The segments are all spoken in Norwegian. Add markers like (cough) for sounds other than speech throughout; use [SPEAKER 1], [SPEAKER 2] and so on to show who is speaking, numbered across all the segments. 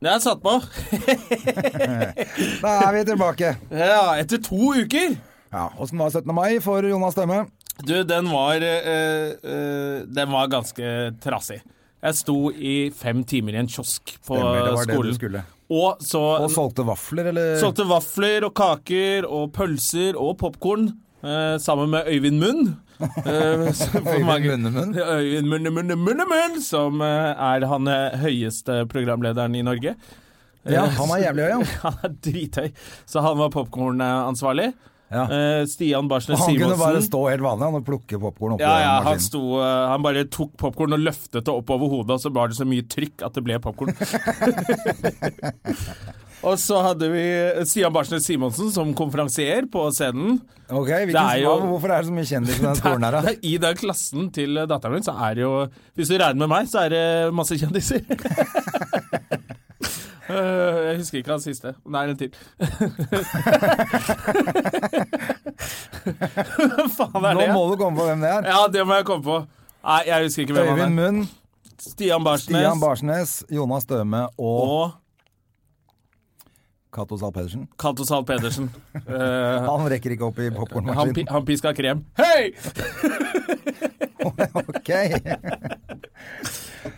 [SPEAKER 1] Det er satt på.
[SPEAKER 2] Da er vi tilbake.
[SPEAKER 1] Ja, etter to uker.
[SPEAKER 2] Ja, Åssen var 17. mai for Jonas Stemme?
[SPEAKER 1] Du, den var eh, eh, Den var ganske trassig. Jeg sto i fem timer i en kiosk på
[SPEAKER 2] Stemmer, det var det du
[SPEAKER 1] skolen.
[SPEAKER 2] skulle.
[SPEAKER 1] og så
[SPEAKER 2] Og solgte vafler, eller?
[SPEAKER 1] solgte vafler og kaker og pølser og popkorn eh, sammen med Øyvind
[SPEAKER 2] (laughs)
[SPEAKER 1] Munn. Eh, så for
[SPEAKER 2] Øyvind
[SPEAKER 1] mange-
[SPEAKER 2] Munnemunn?
[SPEAKER 1] Øyvind Munne, Munne, Munne, Munn, som eh, er han eh, høyeste programlederen i Norge.
[SPEAKER 2] Ja, han er jævlig høy, han.
[SPEAKER 1] Han er drithøy, så han var popkornansvarlig.
[SPEAKER 2] Ja.
[SPEAKER 1] Eh, Stian Barsnes
[SPEAKER 2] Han
[SPEAKER 1] Simonsen
[SPEAKER 2] kunne bare stå helt vanlig han og plukke popkorn oppi
[SPEAKER 1] ja, ja,
[SPEAKER 2] den
[SPEAKER 1] han,
[SPEAKER 2] maskinen.
[SPEAKER 1] sto, eh, han bare tok popkorn og løftet det opp over hodet, og så var det så mye trykk at det ble
[SPEAKER 2] (laughs)
[SPEAKER 1] popkorn. og så hadde vi Stian Barsnes Simonsen som konferansier på scenen.
[SPEAKER 2] Ok,
[SPEAKER 1] Det er
[SPEAKER 2] hvilken,
[SPEAKER 1] jo-
[SPEAKER 2] hva- Hvorfor er det så mye kjendiser
[SPEAKER 1] (laughs)
[SPEAKER 2] i den skolen her, da?
[SPEAKER 1] Der, I den klassen til datteren min, så er det jo Hvis du regner med meg, så er det masse
[SPEAKER 2] (laughs)
[SPEAKER 1] kjendiser. (laughs) Eh, Jeg husker ikke han siste. Nei, en
[SPEAKER 2] (laughs)
[SPEAKER 1] til. (laughs) Hva faen er
[SPEAKER 2] Nå
[SPEAKER 1] det?
[SPEAKER 2] må du komme på hvem det er.
[SPEAKER 1] Ja, det må jeg komme på. Nei, jeg husker ikke hvem
[SPEAKER 2] Øyvind
[SPEAKER 1] han er.
[SPEAKER 2] Munn,
[SPEAKER 1] Stian Barsnes.
[SPEAKER 2] Stian Barsnes, Jonas Støme og
[SPEAKER 1] Og
[SPEAKER 2] Cato Zahl Pedersen.
[SPEAKER 1] Cato Zahl Pedersen. Eh,
[SPEAKER 2] Han rekker ikke opp i
[SPEAKER 1] han, pi-
[SPEAKER 2] popkornmaskinen.
[SPEAKER 1] han piska krem. Hei! (laughs)
[SPEAKER 2] (laughs) Ok, det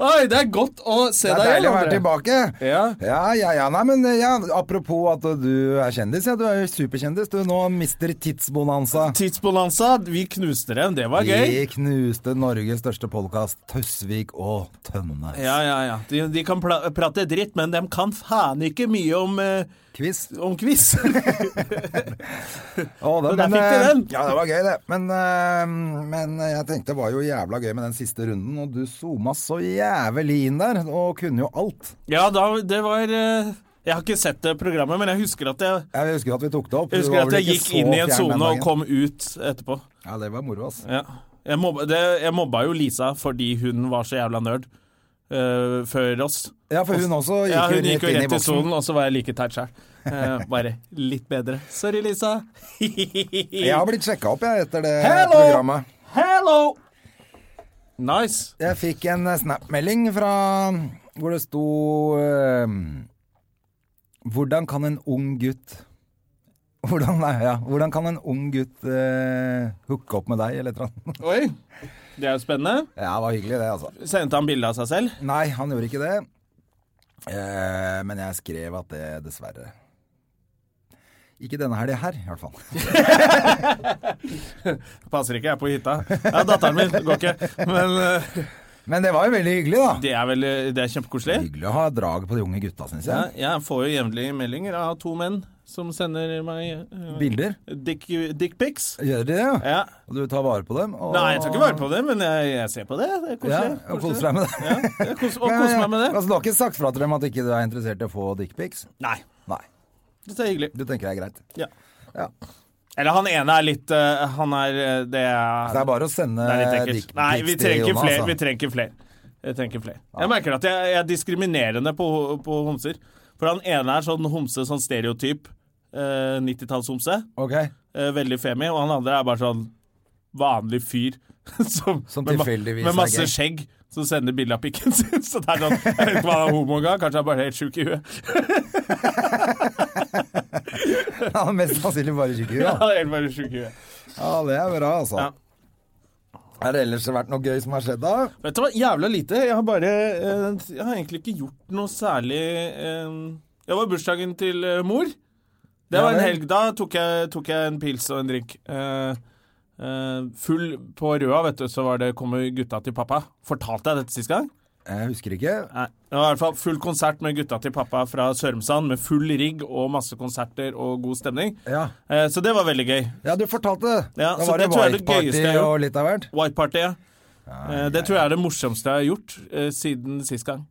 [SPEAKER 1] Oi, det er godt å se
[SPEAKER 2] er
[SPEAKER 1] deg
[SPEAKER 2] deilig å
[SPEAKER 1] André.
[SPEAKER 2] være tilbake.
[SPEAKER 1] Ja.
[SPEAKER 2] Ja, ja, ja. Nei, men eh, ja, apropos at du er kjendis. Ja, du er jo superkjendis. Du er nå mister tidsbonanza.
[SPEAKER 1] Tidsbonanza, vi knuste dem. Det var gøy.
[SPEAKER 2] Vi knuste Norges største podkast, Tøsvik og Tønnes.
[SPEAKER 1] Ja, ja, ja. De, de kan pla prate dritt, men de kan faen ikke mye om, eh,
[SPEAKER 2] Quiz.
[SPEAKER 1] om
[SPEAKER 2] (laughs)
[SPEAKER 1] quiz.
[SPEAKER 2] Å, det,
[SPEAKER 1] Men der fikk du
[SPEAKER 2] eh,
[SPEAKER 1] den.
[SPEAKER 2] Ja, det var gøy, det. Men, eh, men jeg tenkte det var jo jævla gøy med den siste runden, og du zooma så jævlig inn der, og kunne jo alt.
[SPEAKER 1] ja, da, det var eh, Jeg har ikke sett det programmet, men jeg husker at jeg,
[SPEAKER 2] Jeg husker jo at vi tok det opp.
[SPEAKER 1] jeg,
[SPEAKER 2] Du var
[SPEAKER 1] husker at
[SPEAKER 2] vel
[SPEAKER 1] jeg
[SPEAKER 2] ikke
[SPEAKER 1] gikk
[SPEAKER 2] så
[SPEAKER 1] inn i en
[SPEAKER 2] fjern den
[SPEAKER 1] sone og
[SPEAKER 2] dagen.
[SPEAKER 1] kom ut etterpå.
[SPEAKER 2] Ja, det var moro, ass.
[SPEAKER 1] Ja. Jeg, mobba, det, jeg mobba jo Lisa fordi hun var så jævla nerd eh, før oss.
[SPEAKER 2] Ja, for hun også gikk
[SPEAKER 1] Ja,
[SPEAKER 2] jo
[SPEAKER 1] hun
[SPEAKER 2] rett
[SPEAKER 1] gikk jo
[SPEAKER 2] inn i
[SPEAKER 1] rett i
[SPEAKER 2] boksen.
[SPEAKER 1] sonen, og så var jeg like teit sjøl. bare litt bedre. Sorry, Lisa. (laughs)
[SPEAKER 2] Jeg har blitt sjekka opp, jeg, etter det
[SPEAKER 1] Hello!
[SPEAKER 2] programmet.
[SPEAKER 1] Hello! Nice.
[SPEAKER 2] Jeg fikk en eh, snap-melding fra hvor det sto eh, Hvordan kan en ung gutt hvordan, nei, ja. hvordan kan en ung gutt eh, hooke opp med deg, eller et eller annet?
[SPEAKER 1] Oi. Det er jo spennende.
[SPEAKER 2] Ja, det var hyggelig, det, altså.
[SPEAKER 1] Sendte han bilde av seg selv?
[SPEAKER 2] Nei, han gjorde ikke det. Eh, men jeg skrev at det dessverre Ikke denne helga her, i hvert fall.
[SPEAKER 1] Passer ikke, jeg er på hytta. Ja, datteren min går ikke. Men eh,
[SPEAKER 2] Men det var jo veldig hyggelig, da.
[SPEAKER 1] det er vel Det er kjempekoselig.
[SPEAKER 2] Hyggelig å ha drag på de unge gutta, syns
[SPEAKER 1] Ja,
[SPEAKER 2] jeg.
[SPEAKER 1] jeg får jo jevnlig meldinger av to menn som sender meg uh,
[SPEAKER 2] Bilder.
[SPEAKER 1] dickpics. Dick pics.
[SPEAKER 2] Gjør de det? Ja.
[SPEAKER 1] ja.
[SPEAKER 2] Og du tar vare på dem? Og...
[SPEAKER 1] Nei, jeg tar ikke vare på det, men jeg, jeg ser på det. Det er
[SPEAKER 2] Ja,
[SPEAKER 1] koselig.
[SPEAKER 2] og koser deg med det.
[SPEAKER 1] Ja, jeg kos, og koser meg med det.
[SPEAKER 2] Altså, du har ikke sagt fra til dem at ikke du er interessert i å få dickpics?
[SPEAKER 1] Nei,
[SPEAKER 2] Nei.
[SPEAKER 1] dette er hyggelig.
[SPEAKER 2] Du tenker det er greit?
[SPEAKER 1] Ja.
[SPEAKER 2] Ja.
[SPEAKER 1] Eller han ene er litt eh, Han er eh, Det
[SPEAKER 2] Så det
[SPEAKER 1] er,
[SPEAKER 2] er bare å sende
[SPEAKER 1] det er litt ekkelt.
[SPEAKER 2] dickpics
[SPEAKER 1] Nei, vi trenger
[SPEAKER 2] til
[SPEAKER 1] ikke
[SPEAKER 2] Jonas.
[SPEAKER 1] flere.
[SPEAKER 2] da.
[SPEAKER 1] Vi trenger ikke flere. Jeg trenger ikke flere. Jeg merker at jeg, jeg er diskriminerende på, på homser. For han ene er sånn homse, sånn stereotyp eh, 90-tallshomse.
[SPEAKER 2] Ok, (laughs)
[SPEAKER 1] eh, veldig femi, og han andre er bare sånn vanlig fyr (laughs) som,
[SPEAKER 2] Som
[SPEAKER 1] med ma-
[SPEAKER 2] tilfeldigvis
[SPEAKER 1] Med
[SPEAKER 2] er
[SPEAKER 1] masse
[SPEAKER 2] gay.
[SPEAKER 1] skjegg. Som sender bilde av pikken sin. (laughs) Så det er sånn, Jeg vet ikke hva han er homo engang. Kanskje han bare er helt sjuk i huet. (laughs)
[SPEAKER 2] Han er mest sannsynlig bare tjukk i huet. da.
[SPEAKER 1] Han er helt bare sjuk i huet.
[SPEAKER 2] Ja, det er bra, altså.
[SPEAKER 1] Ja.
[SPEAKER 2] Har det ellers vært noe gøy som har skjedd, da?
[SPEAKER 1] Vet du hva, jævla lite. Jeg har bare eh, Jeg har egentlig ikke gjort noe særlig eh, Jeg var i bursdagen til eh, mor. Det
[SPEAKER 2] Ja
[SPEAKER 1] var en
[SPEAKER 2] vel.
[SPEAKER 1] helg. Da tok jeg, tok jeg en pils og en drink. Eh, eh, full på Røa, vet du, så var det 'Kommer gutta til pappa'. Fortalte jeg dette sist gang?
[SPEAKER 2] Jeg husker ikke.
[SPEAKER 1] Nei. Det var i hvert fall full konsert med gutta til pappa fra Sørumsand, med full rigg og masse konserter og god stemning.
[SPEAKER 2] Ja,
[SPEAKER 1] Eh, Så det var veldig gøy.
[SPEAKER 2] ja du fortalte det.
[SPEAKER 1] Ja,
[SPEAKER 2] da
[SPEAKER 1] så
[SPEAKER 2] var det
[SPEAKER 1] det tror jeg er det
[SPEAKER 2] white party
[SPEAKER 1] gøyeste jeg har
[SPEAKER 2] og
[SPEAKER 1] gjort.
[SPEAKER 2] litt av hvert.
[SPEAKER 1] White Party, ja. Eh, Det tror jeg er det morsomste jeg har gjort eh, siden sist gang.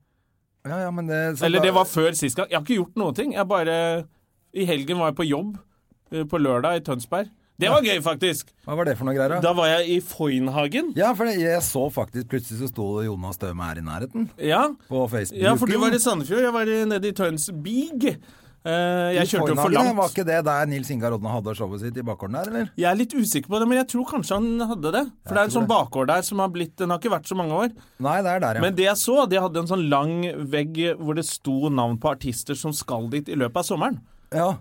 [SPEAKER 2] Ja, ja, men det, så
[SPEAKER 1] Eller
[SPEAKER 2] da-
[SPEAKER 1] det var før sist gang. Jeg har ikke gjort noen ting. Jeg bare I helgen var jeg på jobb eh, på lørdag i Tønsberg. Det var gøy, faktisk!
[SPEAKER 2] Hva var det for noe greier, da?
[SPEAKER 1] Da var jeg i Foynhagen.
[SPEAKER 2] Ja, for jeg så faktisk plutselig så sto det Jonas Støme her i nærheten.
[SPEAKER 1] Ja.
[SPEAKER 2] På Facebook.
[SPEAKER 1] ja, for du var i Sandefjord. Jeg var i- nede i Tønsbig. Eh, jeg kjørte jo for
[SPEAKER 2] Fornagene, Var
[SPEAKER 1] langt.
[SPEAKER 2] ikke det der Nils Ingar Odne hadde showet sitt i bakgården der, eller?
[SPEAKER 1] Jeg er litt usikker på det, men jeg tror kanskje han hadde det. For det er en sånn bakgård der som har blitt Den har ikke vært så mange år.
[SPEAKER 2] Nei, det er der, ja.
[SPEAKER 1] Men det jeg så, de hadde en sånn lang vegg hvor det sto navn på artister som skal dit i løpet av sommeren.
[SPEAKER 2] ja.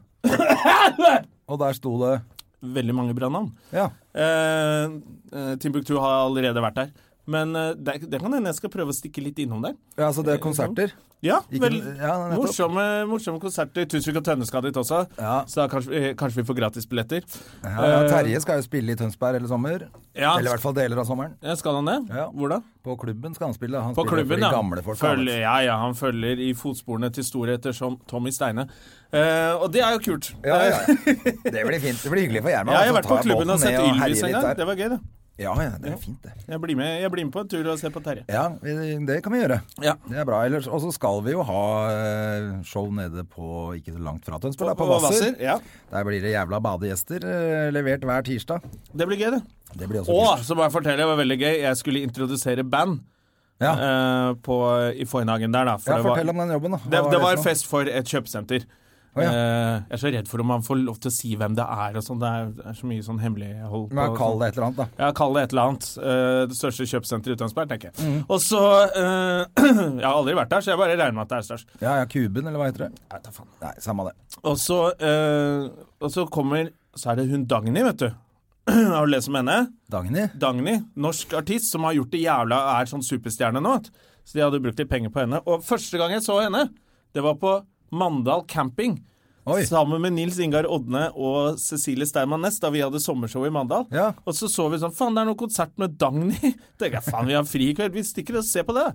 [SPEAKER 2] Og der sto det
[SPEAKER 1] Veldig mange bra navn.
[SPEAKER 2] Ja.
[SPEAKER 1] Eh, eh, Timbuktu har allerede vært der. Men eh, det, det kan hende jeg skal prøve å stikke litt innom der.
[SPEAKER 2] ja altså det er konserter.
[SPEAKER 1] Ja,
[SPEAKER 2] Ikke-
[SPEAKER 1] vel,
[SPEAKER 2] ja, nettopp.
[SPEAKER 1] morsomme, morsomme konserter. Tusvik og Tønne skal dit også,
[SPEAKER 2] Ja.
[SPEAKER 1] så da kanskje, eh, kanskje vi får Eh, gratisbilletter.
[SPEAKER 2] Ja, ja, Terje skal jo spille i Tønsberg hele sommer.
[SPEAKER 1] Ja.
[SPEAKER 2] Eller i hvert fall deler av sommeren.
[SPEAKER 1] Eh, Skal han det?
[SPEAKER 2] Ja.
[SPEAKER 1] Hvor da?
[SPEAKER 2] På klubben skal han spille. Han
[SPEAKER 1] På
[SPEAKER 2] spiller
[SPEAKER 1] klubben,
[SPEAKER 2] for de
[SPEAKER 1] ja.
[SPEAKER 2] gamle folka.
[SPEAKER 1] følger, ja, ja. Han følger i fotsporene til storheter som Tommy Steine. Eh, og det er jo kult.
[SPEAKER 2] Ja, ja,
[SPEAKER 1] (laughs)
[SPEAKER 2] ja. Det blir fint. Det blir hyggelig for Gjerman.
[SPEAKER 1] Ja, jeg har
[SPEAKER 2] altså,
[SPEAKER 1] vært på
[SPEAKER 2] ta
[SPEAKER 1] klubben
[SPEAKER 2] båten
[SPEAKER 1] og sett
[SPEAKER 2] ned herje
[SPEAKER 1] Ylvis en
[SPEAKER 2] litt
[SPEAKER 1] gang.
[SPEAKER 2] der.
[SPEAKER 1] Det var gøy, det.
[SPEAKER 2] Ja, ja, det er fint, det.
[SPEAKER 1] Jeg blir med, jeg blir med på en tur og ser på Terje.
[SPEAKER 2] Ja, vi- det kan vi gjøre.
[SPEAKER 1] Ja.
[SPEAKER 2] Det er bra. Ellers, og så skal vi jo ha eh, show nede på ikke så langt fra Tønsberg, da, på
[SPEAKER 1] Og
[SPEAKER 2] Hvasser.
[SPEAKER 1] Ja.
[SPEAKER 2] Der blir det jævla badegjester eh, levert hver tirsdag.
[SPEAKER 1] Det blir gøy, det.
[SPEAKER 2] Det blir altså også
[SPEAKER 1] Og
[SPEAKER 2] kult.
[SPEAKER 1] så må jeg fortelle, det var veldig gøy. Jeg skulle introdusere band
[SPEAKER 2] Ja,
[SPEAKER 1] eh, på, i Foynhagen der, da. For
[SPEAKER 2] ja
[SPEAKER 1] det, var,
[SPEAKER 2] fortell om den jobben, da. Hva
[SPEAKER 1] det, det
[SPEAKER 2] for
[SPEAKER 1] var
[SPEAKER 2] noe?
[SPEAKER 1] fest for et kjøpesenter.
[SPEAKER 2] Å, ja.
[SPEAKER 1] Eh, jeg er så redd for om man får lov til å si hvem det er og sånn. Det er, det er så mye sånn hemmelighold. på- sånn.
[SPEAKER 2] Men Kall det et eller annet, da.
[SPEAKER 1] Ja, kall det et eller annet. Eh, det største kjøpesenteret i Tønsberg, tenker jeg.
[SPEAKER 2] Mm.
[SPEAKER 1] Og så eh, (clears throat) Jeg har aldri vært der, så jeg bare regner med at det er størst.
[SPEAKER 2] Ja, ja, Kuben, eller hva heter det?
[SPEAKER 1] Jeg vet da faen.
[SPEAKER 2] Nei, samme det.
[SPEAKER 1] Og så, eh, og så kommer Så er det hun Dagny, vet du. (clears throat) Har du lest om henne?
[SPEAKER 2] Dagny?
[SPEAKER 1] Dagny, norsk artist som har gjort det jævla er sånn superstjerne nå. vet du. Så de hadde brukt litt penger på henne. Og første gang jeg så henne, det var på Mandal camping.
[SPEAKER 2] Oi.
[SPEAKER 1] Sammen med Nils Ingar Odne og Cecilie Steinmann Næss da vi hadde sommershow i Mandal.
[SPEAKER 2] Ja.
[SPEAKER 1] Og så så vi sånn Faen, det er noe konsert med Dagny! (laughs) Tenkte jeg, faen, vi har fri i kveld, vi stikker og ser på det.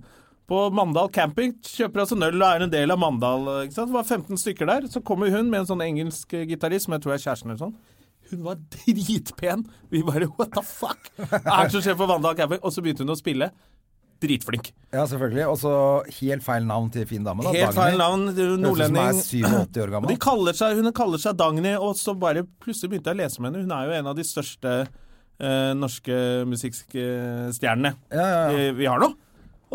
[SPEAKER 1] På Mandal camping. Kjøper oss en øl og er en del av Mandal. Ikke sant? Det var 15 stykker der. Så kommer hun med en sånn engelsk eh, gitarist, som jeg tror er kjæresten eller sånn. Hun var (laughs) dritpen! Vi bare what the fuck? Hva er det som skjer på Vandal camping? Og så begynte hun å spille. Dritflink.
[SPEAKER 2] Ja, selvfølgelig. Og så helt feil navn til fin dame, da.
[SPEAKER 1] Helt
[SPEAKER 2] Dagny.
[SPEAKER 1] feil navn, det er jo nordlending.
[SPEAKER 2] Høres ut som hun er 87 år
[SPEAKER 1] Og de
[SPEAKER 2] gammel.
[SPEAKER 1] kaller seg, hun kaller seg Dagny, og så bare plutselig begynte jeg å lese om henne. Hun er jo en av de største eh, norske musikkstjernene
[SPEAKER 2] Ja, ja, ja.
[SPEAKER 1] eh, vi har nå.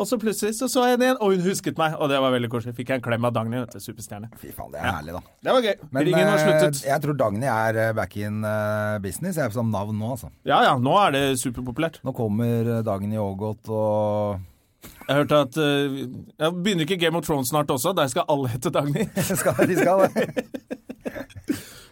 [SPEAKER 1] Og så plutselig så, så jeg henne igjen, og hun husket meg, og det var veldig koselig. Fikk jeg en klem av Dagny, vet du, superstjerne.
[SPEAKER 2] Fy faen, det er herlig, da.
[SPEAKER 1] Det var gøy.
[SPEAKER 2] Men
[SPEAKER 1] Ringen var
[SPEAKER 2] eh,
[SPEAKER 1] sluttet.
[SPEAKER 2] jeg tror Dagny er eh, back in eh, business, jeg er som navn nå, altså.
[SPEAKER 1] Ja ja, nå er det superpopulært.
[SPEAKER 2] Nå kommer eh, Dagny Ågot og (laughs)
[SPEAKER 1] Jeg hørte at eh, jeg Begynner ikke Game of Thrones snart også? Der skal alle hete Dagny.
[SPEAKER 2] skal, De skal (laughs) det.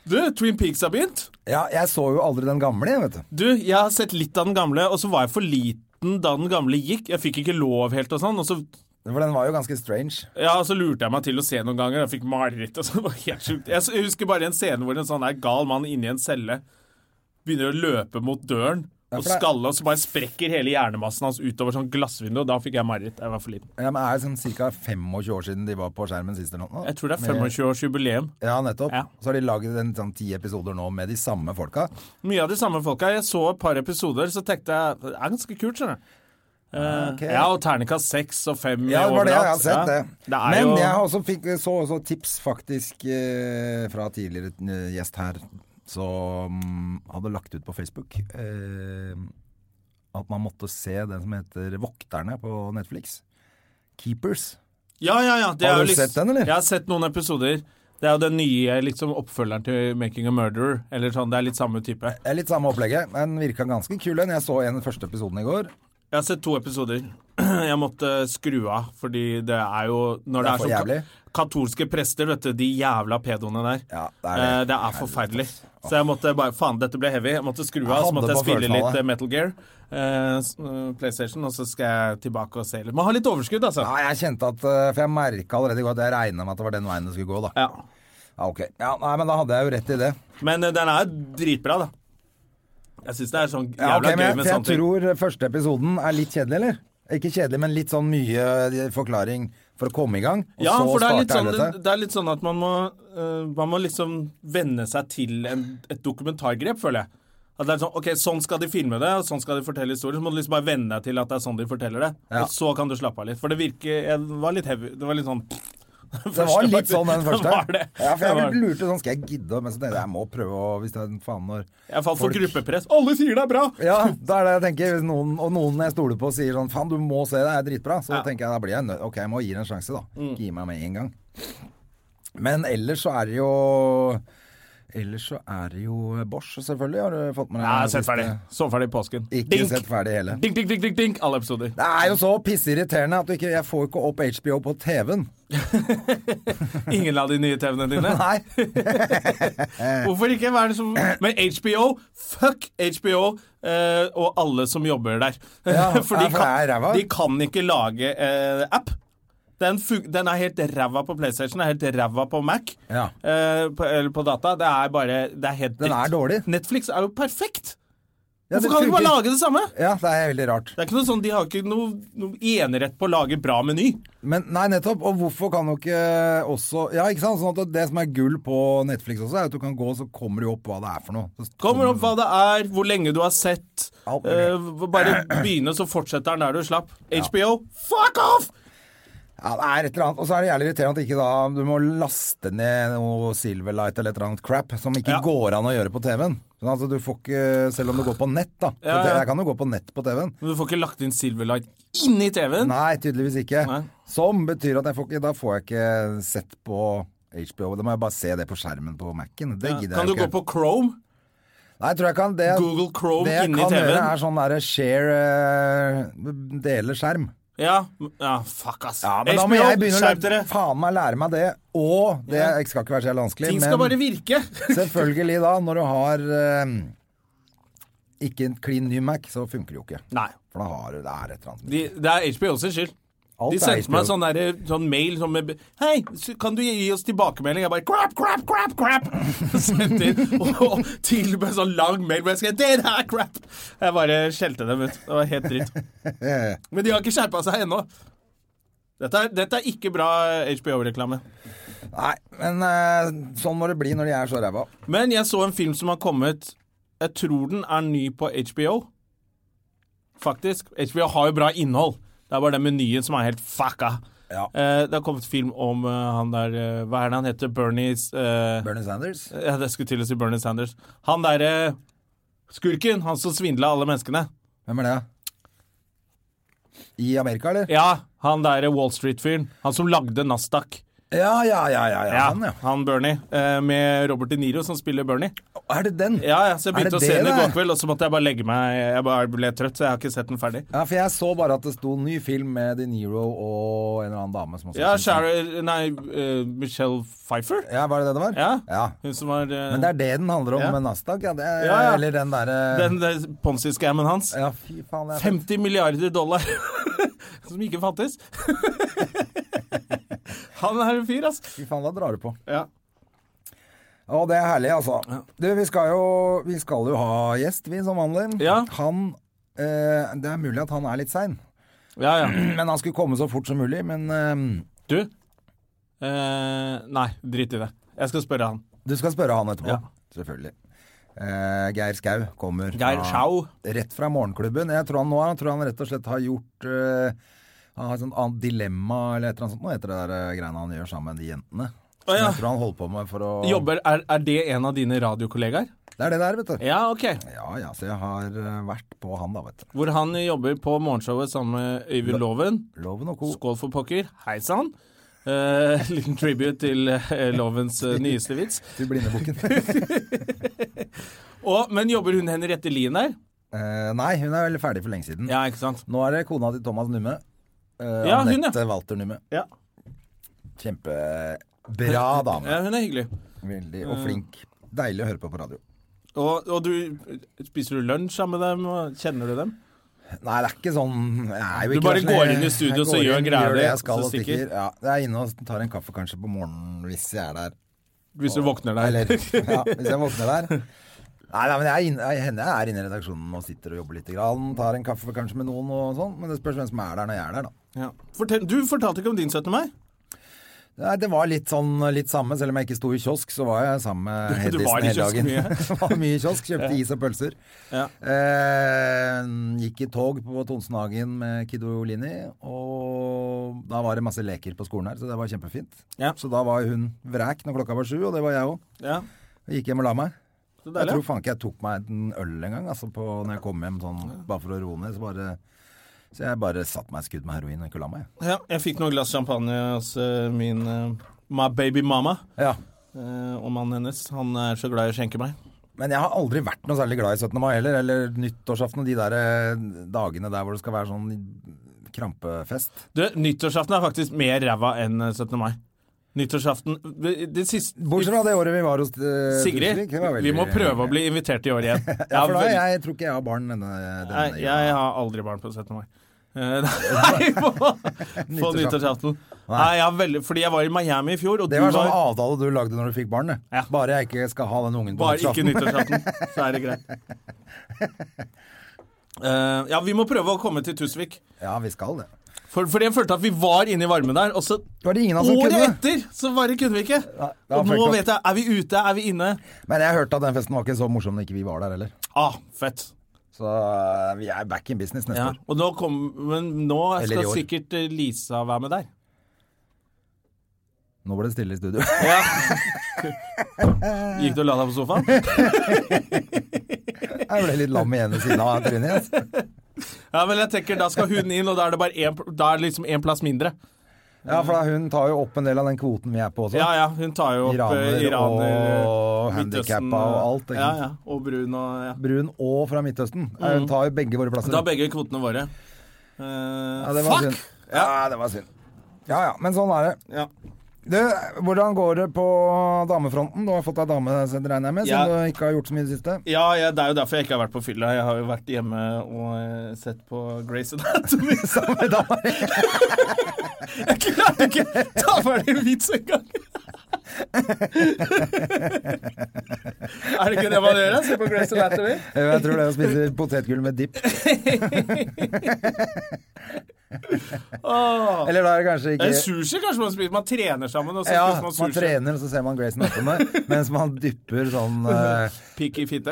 [SPEAKER 1] Du, Twin Peaks har begynt.
[SPEAKER 2] Ja, jeg så jo aldri den gamle, jeg, vet du.
[SPEAKER 1] Du, jeg har sett litt av den gamle, og så var jeg for liten da den gamle gikk. Jeg fikk ikke lov helt og sånn, og så
[SPEAKER 2] For den var jo ganske strange.
[SPEAKER 1] Ja, og så lurte jeg meg til å se noen ganger. Jeg fikk mareritt. og så var det helt sjukt. Jeg husker bare en scene hvor en sånn der gal mann inni en celle begynner å løpe mot døren og
[SPEAKER 2] for det-
[SPEAKER 1] skalle, og så bare sprekker hele hjernemassen hans utover sånn glassvindu. og Da fikk jeg mareritt. Jeg var for liten.
[SPEAKER 2] Ja, men Er det sånn ca. 25 år siden de var på skjermen sist? eller noe?
[SPEAKER 1] Jeg tror det er 25-årsjubileum.
[SPEAKER 2] Ja, nettopp.
[SPEAKER 1] Ja.
[SPEAKER 2] Så har de laget en sånn ti episoder nå med de samme folka.
[SPEAKER 1] Mye av de samme folka. Jeg så et par episoder, så tenkte jeg det er ganske kult, skjønner du. Eh,
[SPEAKER 2] ok.
[SPEAKER 1] Ja, og terningkast seks og fem
[SPEAKER 2] Ja, det var det. Jeg har
[SPEAKER 1] overalt.
[SPEAKER 2] sett det.
[SPEAKER 1] Ja. Det er
[SPEAKER 2] Men
[SPEAKER 1] jo...
[SPEAKER 2] jeg har også fikk, så også tips faktisk eh, fra tidligere eh, gjest her som hadde lagt ut på Facebook eh, at man måtte se den som heter Vokterne på Netflix. Keepers.
[SPEAKER 1] Ja, ja, ja. det
[SPEAKER 2] Har
[SPEAKER 1] er jo
[SPEAKER 2] du sett den, eller?
[SPEAKER 1] Jeg har sett noen episoder. Det er jo den nye liksom, oppfølgeren til 'Making a Murderer'. Eller sånn, Det er litt samme type.
[SPEAKER 2] Det er litt samme opplegget, men virka ganske kul den. Jeg så en første episoden i går.
[SPEAKER 1] Jeg har sett to episoder. (clears throat) Jeg måtte skru av, fordi det er jo Når det
[SPEAKER 2] Det
[SPEAKER 1] er,
[SPEAKER 2] er for
[SPEAKER 1] sånn
[SPEAKER 2] jævlig.
[SPEAKER 1] ka- katolske prester, vet du, de jævla pedoene der.
[SPEAKER 2] Ja, det er det.
[SPEAKER 1] Eh, det er forferdelig. Så jeg måtte bare Faen, dette ble heavy. Jeg måtte skru av,
[SPEAKER 2] Jeg
[SPEAKER 1] så måtte
[SPEAKER 2] hadde
[SPEAKER 1] jeg
[SPEAKER 2] på
[SPEAKER 1] spille
[SPEAKER 2] følelsen av
[SPEAKER 1] litt
[SPEAKER 2] det.
[SPEAKER 1] eh, Metal Gear. eh, s- eh, PlayStation, og så skal jeg tilbake og se litt. Man har litt overskudd, altså.
[SPEAKER 2] Ja, jeg kjente at eh, For jeg merka allerede i går at jeg regna med at det var den veien det skulle gå, da.
[SPEAKER 1] Ja.
[SPEAKER 2] Ja, ok. Ja, nei, men da hadde jeg jo rett i det.
[SPEAKER 1] Men eh, den er dritbra, da. Jeg syns det er sånn
[SPEAKER 2] Ja,
[SPEAKER 1] jævla
[SPEAKER 2] ok, men
[SPEAKER 1] gøy
[SPEAKER 2] jeg,
[SPEAKER 1] med
[SPEAKER 2] for
[SPEAKER 1] sånne
[SPEAKER 2] jeg
[SPEAKER 1] ting.
[SPEAKER 2] tror første episoden er litt kjedelig, eller? Ikke kjedelig, men litt sånn mye eh, forklaring for å komme i gang. Og
[SPEAKER 1] Ja,
[SPEAKER 2] så
[SPEAKER 1] for det er, litt
[SPEAKER 2] starte
[SPEAKER 1] sånn, det,
[SPEAKER 2] helvete.
[SPEAKER 1] det er litt sånn at man må, eh, man må liksom venne seg til en, et dokumentargrep, føler jeg. At det er sånn, ok, Sånn skal de filme det, og sånn skal de fortelle historier. Så må du liksom bare venne deg til at det er sånn de forteller det.
[SPEAKER 2] Ja.
[SPEAKER 1] Og så kan du slappe av litt. For det virker jeg var litt heavy. Det var litt sånn
[SPEAKER 2] Det var litt sånn den
[SPEAKER 1] (laughs)
[SPEAKER 2] første.
[SPEAKER 1] Det var det.
[SPEAKER 2] Ja, for
[SPEAKER 1] Det var
[SPEAKER 2] jeg
[SPEAKER 1] det.
[SPEAKER 2] lurte sånn, skal jeg gidde? Men så tenkte jeg, jeg må prøve å Hvis det er en faen når
[SPEAKER 1] Jeg falt for
[SPEAKER 2] folk-
[SPEAKER 1] gruppepress. Alle sier det er bra!
[SPEAKER 2] Ja, det er det jeg tenker. Hvis noen, og noen jeg stoler på sier sånn faen, du må se det, det er dritbra. Så
[SPEAKER 1] Ja. Mm.
[SPEAKER 2] tenker jeg da blir jeg nødt Ok, jeg må gi det en sjanse, da. Ikke gi meg med en gang. Men ellers så er det jo Ellers så er det jo Bosch, selvfølgelig. Har du fått med deg
[SPEAKER 1] Ja,
[SPEAKER 2] den
[SPEAKER 1] sett
[SPEAKER 2] siste?
[SPEAKER 1] ferdig. Så ferdig i påsken.
[SPEAKER 2] Ikke
[SPEAKER 1] Dink.
[SPEAKER 2] sett ferdig hele.
[SPEAKER 1] Dink, dink, dink, dink, dink. Alle episoder.
[SPEAKER 2] Det er jo så pisseirriterende at du ikke, jeg får ikke opp HBO på TV-en.
[SPEAKER 1] Ingen av de nye TV-ene
[SPEAKER 2] (laughs)
[SPEAKER 1] dine.
[SPEAKER 2] Nei.
[SPEAKER 1] Hvorfor ikke? Hva er det som Men HBO, fuck HBO eh, og alle som jobber der. (laughs)
[SPEAKER 2] Ja,
[SPEAKER 1] for de
[SPEAKER 2] ja, for det er
[SPEAKER 1] kan,
[SPEAKER 2] ræva.
[SPEAKER 1] de kan ikke lage eh, app. Den, fun- den er helt ræva på PlayStation, er helt ræva på Mac.
[SPEAKER 2] Ja.
[SPEAKER 1] Eh, på, eller på data. Det er bare Det er helt
[SPEAKER 2] Den er
[SPEAKER 1] (laughs) dritt.
[SPEAKER 2] dårlig.
[SPEAKER 1] Netflix er jo perfekt!
[SPEAKER 2] Ja,
[SPEAKER 1] Hvorfor kan de ikke bare
[SPEAKER 2] funker.
[SPEAKER 1] lage det samme?
[SPEAKER 2] Ja, det er veldig rart.
[SPEAKER 1] Det er ikke noe sånn, De har ikke noe, noe enerett på å lage bra meny.
[SPEAKER 2] Men nei, nettopp. Og hvorfor kan du ikke også Ja, ikke sant. Sånn at det som er gull på Netflix også, er at du kan gå, så kommer det jo opp hva det er for noe. Så
[SPEAKER 1] Kommer opp hva det er, hvor lenge du har sett.
[SPEAKER 2] Mm. Alt mulig.
[SPEAKER 1] Eh, bare begynne, så fortsetter den der du slapp. HBO, fuck off!
[SPEAKER 2] Ja, det er et eller annet. Og så er det jævlig irriterende at ikke da du må laste ned noe Silverlight eller et eller annet crap som ikke
[SPEAKER 1] Ja.
[SPEAKER 2] går an å gjøre på TV-en. Sånn, altså, du får ikke Selv om du går på nett, da. For
[SPEAKER 1] Ja, ja.
[SPEAKER 2] Jeg kan jo gå på nett på TV-en.
[SPEAKER 1] Men du får ikke lagt inn Silverlight inni TV-en.
[SPEAKER 2] Nei, tydeligvis ikke.
[SPEAKER 1] Nei.
[SPEAKER 2] Som betyr at jeg får ikke, da får jeg ikke sett på HBO. Da må jeg bare se det på skjermen på Mac-en. Det gidder
[SPEAKER 1] Kan du
[SPEAKER 2] jeg ikke.
[SPEAKER 1] gå på Chrome?
[SPEAKER 2] Nei, jeg tror jeg kan det.
[SPEAKER 1] Google Chrome
[SPEAKER 2] det jeg
[SPEAKER 1] inni
[SPEAKER 2] kan
[SPEAKER 1] TV-en.
[SPEAKER 2] gjøre, er sånn derre share eh, Dele skjerm.
[SPEAKER 1] Ja. ja fuck, ass.
[SPEAKER 2] Ja, men da må
[SPEAKER 1] HBO,
[SPEAKER 2] jeg begynne å
[SPEAKER 1] skjerp
[SPEAKER 2] lære,
[SPEAKER 1] dere!
[SPEAKER 2] faen meg lære meg det. Og det jeg skal ikke være så jævla vanskelig,
[SPEAKER 1] Ting
[SPEAKER 2] men
[SPEAKER 1] skal bare virke. (laughs)
[SPEAKER 2] selvfølgelig, da, når du har eh, ikke en klin ny Mac, så funker det jo ikke.
[SPEAKER 1] Nei.
[SPEAKER 2] For da har du det er et eller annet.
[SPEAKER 1] De, det er HBO sin skyld.
[SPEAKER 2] Alt
[SPEAKER 1] De
[SPEAKER 2] er
[SPEAKER 1] sendte
[SPEAKER 2] HBO.
[SPEAKER 1] meg sånn, derre- sånn mail sånn med Hei, s- kan du gi oss tilbakemelding? Jeg bare crap, crap, crap, crap! (laughs) Sendte inn og tilbød sånn lang mail hvor jeg skrev Det der er crap! Jeg bare skjelte dem ut. Det var helt
[SPEAKER 2] (laughs)
[SPEAKER 1] dritt. Men de har ikke skjerpa seg ennå. Dette er, dette er ikke bra HBO-reklame.
[SPEAKER 2] Nei, men eh, sånn må det bli når de er så ræva.
[SPEAKER 1] Men jeg så en film som har kommet Jeg tror den er ny på HBO. Faktisk. HBO har jo bra innhold. Det er bare den menyen som er helt fucka.
[SPEAKER 2] Ja.
[SPEAKER 1] Eh, det har kommet film om eh, han der eh, Hva er det han heter? Bernies eh,
[SPEAKER 2] Bernie Sanders.
[SPEAKER 1] Ja, det skulle til å si Bernie Sanders. Han derre skurken. Han som svindla alle menneskene.
[SPEAKER 2] Hvem er det? I Amerika, eller?
[SPEAKER 1] Ja, han derre Wall Street-fyren. Han som lagde Nasdaq.
[SPEAKER 2] Ja, ja, ja, ja, ja.
[SPEAKER 1] Ja,
[SPEAKER 2] Han, ja.
[SPEAKER 1] han Bernie. Eh, med Robert De Niro som spiller Bernie.
[SPEAKER 2] Er det den?
[SPEAKER 1] Ja, ja, så jeg
[SPEAKER 2] Er det
[SPEAKER 1] begynte å
[SPEAKER 2] det
[SPEAKER 1] se den i
[SPEAKER 2] det er?
[SPEAKER 1] går kveld, og så måtte jeg bare legge meg. Jeg bare ble trøtt, så jeg har ikke sett den ferdig.
[SPEAKER 2] Ja, for jeg så bare at det sto ny film med De Niro og en eller annen dame som også
[SPEAKER 1] Ja, Sharon Nei, eh, Michelle Pfeiffer?
[SPEAKER 2] Ja, var det det det var?
[SPEAKER 1] Ja. Hun som var eh,
[SPEAKER 2] Men det er det den handler om
[SPEAKER 1] Ja.
[SPEAKER 2] med Nasdaq, ja. Det er,
[SPEAKER 1] Ja, ja.
[SPEAKER 2] Eller den derre
[SPEAKER 1] den den ponzi-scammen hans.
[SPEAKER 2] Ja, fy faen. Jeg,
[SPEAKER 1] 50 milliarder dollar (laughs) som ikke fantes. (laughs) Han er en fyr, ass.
[SPEAKER 2] fy faen, da drar du på.
[SPEAKER 1] Ja.
[SPEAKER 2] Å, det er herlig, altså. Du, vi skal jo, vi skal jo ha gjest, vi, som vanlig.
[SPEAKER 1] Ja.
[SPEAKER 2] Han eh, Det er mulig at han er litt sein,
[SPEAKER 1] ja, ja.
[SPEAKER 2] men han skulle komme så fort som mulig. Men eh,
[SPEAKER 1] Du? Eh, nei, drit i det. Jeg skal spørre han.
[SPEAKER 2] du skal spørre han etterpå.
[SPEAKER 1] Ja.
[SPEAKER 2] Selvfølgelig. Eh, Geir Skau kommer
[SPEAKER 1] Geir
[SPEAKER 2] fra-
[SPEAKER 1] Schau.
[SPEAKER 2] rett fra morgenklubben. Jeg tror han nå er, jeg tror han rett og slett har gjort eh, Han har et sånt annet dilemma eller et eller annet sånt. Nå heter det der eh, greiene han gjør sammen med de jentene. Som
[SPEAKER 1] Å, ja.
[SPEAKER 2] jeg tror han holder på med for å
[SPEAKER 1] Jobber, er, er det en av dine radiokollegaer?
[SPEAKER 2] Det er det der, vet du.
[SPEAKER 1] Ja, ok.
[SPEAKER 2] Ja ja, så jeg har eh, vært på han da, vet du.
[SPEAKER 1] Hvor han jobber på morgenshowet sammen med Øyvind Loven.
[SPEAKER 2] Loven og co.
[SPEAKER 1] Oh. Skål for pokker. Hei sann. Eh, (laughs) liten tribute til eh, Lovens eh, nyeste vits. (laughs)
[SPEAKER 2] Til Blindebukken.
[SPEAKER 1] Og, men jobber hun Henriette Lien der?
[SPEAKER 2] Eh, nei, hun er vel ferdig for lenge siden.
[SPEAKER 1] Ja, ikke sant?
[SPEAKER 2] Nå er det kona til Thomas Numme. eh,
[SPEAKER 1] Ja, hun,
[SPEAKER 2] Anette Walter Numme.
[SPEAKER 1] Ja.
[SPEAKER 2] Kjempebra dame.
[SPEAKER 1] hun er hyggelig.
[SPEAKER 2] Veldig
[SPEAKER 1] Mm.
[SPEAKER 2] og flink. Deilig å høre på på radio.
[SPEAKER 1] Og, og du Spiser du lunsj sammen med dem? og Kjenner du dem?
[SPEAKER 2] Nei, det er ikke sånn jeg er jo
[SPEAKER 1] Du
[SPEAKER 2] ikke
[SPEAKER 1] bare
[SPEAKER 2] sånn-
[SPEAKER 1] går inn i studio,
[SPEAKER 2] jeg
[SPEAKER 1] så
[SPEAKER 2] går
[SPEAKER 1] gjør
[SPEAKER 2] inn,
[SPEAKER 1] greia
[SPEAKER 2] gjør
[SPEAKER 1] di,
[SPEAKER 2] jeg skal
[SPEAKER 1] så
[SPEAKER 2] og
[SPEAKER 1] stikker.
[SPEAKER 2] Ja, jeg er inne og tar en kaffe kanskje på morgenen hvis jeg er der.
[SPEAKER 1] Hvis du våkner der.
[SPEAKER 2] Eller ja, hvis jeg våkner der.
[SPEAKER 1] (laughs)
[SPEAKER 2] Nei, nei, men jeg er inne, jeg, hender jeg er inne i redaksjonen og sitter og jobber litt. Grann, tar en kaffe kanskje med noen og sånn, men det spørs hvem som er der når jeg er der, da.
[SPEAKER 1] Ja. Fortell, du fortalte ikke om din 17. mai.
[SPEAKER 2] Nei, det var litt sånn litt samme, selv om jeg ikke sto i kiosk, så var jeg sammen med
[SPEAKER 1] (laughs) Du- du
[SPEAKER 2] Hedisen
[SPEAKER 1] var i
[SPEAKER 2] hele
[SPEAKER 1] kiosk
[SPEAKER 2] dagen. (laughs)
[SPEAKER 1] mye.
[SPEAKER 2] var mye i kiosk, kjøpte is og pølser.
[SPEAKER 1] Ja.
[SPEAKER 2] Eh, gikk i tog på Tonsenhagen med Kidolini, og da var det masse leker på skolen her, så det var kjempefint.
[SPEAKER 1] Ja.
[SPEAKER 2] Så da var hun vræk når klokka var sju, og det var jeg òg.
[SPEAKER 1] Ja,
[SPEAKER 2] Gikk hjem og la meg.
[SPEAKER 1] så
[SPEAKER 2] Jeg
[SPEAKER 1] deilig.
[SPEAKER 2] tror faen ikke jeg tok meg en øl engang altså på- når jeg kom hjem, sånn, bare for å roe ned. Så, bare, så jeg bare satte meg et skudd med heroin og ikke la meg.
[SPEAKER 1] Ja, jeg fikk noen glass champagne hos eh, min eh, my baby mama.
[SPEAKER 2] Ja.
[SPEAKER 1] eh, og mannen hennes. Han er så glad i å skjenke meg.
[SPEAKER 2] Men jeg har aldri vært noe særlig glad i 17. mai heller, eller nyttårsaften og de der eh, dagene der hvor det skal være sånn krampefest.
[SPEAKER 1] Du, nyttårsaften er faktisk mer ræva enn eh, 17. mai. Nyttårsaften det, det siste
[SPEAKER 2] Bortsett fra det året vi var hos eh,
[SPEAKER 1] Sigrid,
[SPEAKER 2] Tusvik, det var veldig-
[SPEAKER 1] vi må prøve å bli invitert i år igjen.
[SPEAKER 2] (laughs) Ja, for da,
[SPEAKER 1] vel-
[SPEAKER 2] jeg tror ikke jeg har barn denne, denne
[SPEAKER 1] Nei, jeg har aldri barn på 17. mai. Eh, (laughs) Nei,
[SPEAKER 2] (laughs)
[SPEAKER 1] på, på nyttårsaften. Nei, jeg har veldig, fordi jeg var i Miami i fjor, og
[SPEAKER 2] Det
[SPEAKER 1] du
[SPEAKER 2] var sånn
[SPEAKER 1] var
[SPEAKER 2] avtale du lagde når du fikk barn, det.
[SPEAKER 1] Ja.
[SPEAKER 2] Bare jeg ikke skal ha den ungen på
[SPEAKER 1] Bare ikke
[SPEAKER 2] nyttårsaften.
[SPEAKER 1] nyttårsaften,
[SPEAKER 2] (laughs)
[SPEAKER 1] så er det greit. Eh, ja, vi må prøve å komme til Tusvik.
[SPEAKER 2] Ja, vi skal det.
[SPEAKER 1] For, fordi jeg følte at vi var inne i varmen der, og så
[SPEAKER 2] Det var det ingen av oss som
[SPEAKER 1] året
[SPEAKER 2] kunne.
[SPEAKER 1] etter så bare kunne vi ikke.
[SPEAKER 2] Nei, det var
[SPEAKER 1] Og nå
[SPEAKER 2] fucked up.
[SPEAKER 1] vet jeg Er vi ute? Er vi inne?
[SPEAKER 2] Men jeg hørte at den festen var ikke så morsom når ikke vi var der heller.
[SPEAKER 1] Ah, fett.
[SPEAKER 2] Så eh, vi er back in business neste
[SPEAKER 1] Ja.
[SPEAKER 2] år.
[SPEAKER 1] Og nå kom, men nå
[SPEAKER 2] Eller i
[SPEAKER 1] skal
[SPEAKER 2] år.
[SPEAKER 1] sikkert eh, Lisa være med der.
[SPEAKER 2] Nå ble det stille i studio. (laughs) Eh.
[SPEAKER 1] Gikk du og la deg på
[SPEAKER 2] (laughs)
[SPEAKER 1] sofaen?
[SPEAKER 2] Jeg ble litt lam i ene siden av trynet. ass.
[SPEAKER 1] Ja, men jeg tenker Da skal hun inn, og da er det bare en, da er det liksom én plass mindre.
[SPEAKER 2] Ja, for da, hun tar jo opp en del av den kvoten vi er på også.
[SPEAKER 1] Ja ja, hun tar jo opp eh,
[SPEAKER 2] Iraner
[SPEAKER 1] iraner
[SPEAKER 2] og
[SPEAKER 1] Midtøsten, eh,
[SPEAKER 2] handikappa og alt, ikke
[SPEAKER 1] Ja,
[SPEAKER 2] sant?
[SPEAKER 1] ja, og brun og ja. Mm.
[SPEAKER 2] Brun og fra Midtøsten. Eh, Hun tar jo begge våre plasser.
[SPEAKER 1] Da er begge kvotene våre. Eh,
[SPEAKER 2] ja, det var
[SPEAKER 1] fuck!
[SPEAKER 2] synd. Ja. det var synd. Ja ja, men sånn er det.
[SPEAKER 1] Ja.
[SPEAKER 2] Du, hvordan går det på damefronten? Du har fått deg dame, så det regner jeg med,
[SPEAKER 1] Ja.
[SPEAKER 2] siden du ikke har gjort så mye i det siste.
[SPEAKER 1] Ja, ja, det er jo derfor jeg ikke har vært på fylla. Jeg har jo vært hjemme og eh, sett på Grace
[SPEAKER 2] (laughs)
[SPEAKER 1] Anatomy.
[SPEAKER 2] Samme
[SPEAKER 1] (laughs)
[SPEAKER 2] dame.
[SPEAKER 1] Jeg klarte ikke ta ferdig en vits
[SPEAKER 2] (laughs)
[SPEAKER 1] engang! er det ikke det man gjør? da? Se på Grace Anatomy?
[SPEAKER 2] Jeg tror det er å spise potetgull med dipp.
[SPEAKER 1] (laughs) Åh.
[SPEAKER 2] Eller da er det kanskje ikke
[SPEAKER 1] Eh, Sushi kanskje man spiser? Man trener sammen, og så
[SPEAKER 2] ja,
[SPEAKER 1] spiser man
[SPEAKER 2] man
[SPEAKER 1] sushi.
[SPEAKER 2] trener, og så ser man
[SPEAKER 1] (laughs)
[SPEAKER 2] Grayson Anatomy, mens man dypper sånn eh,
[SPEAKER 1] Pikk i fitte. (laughs)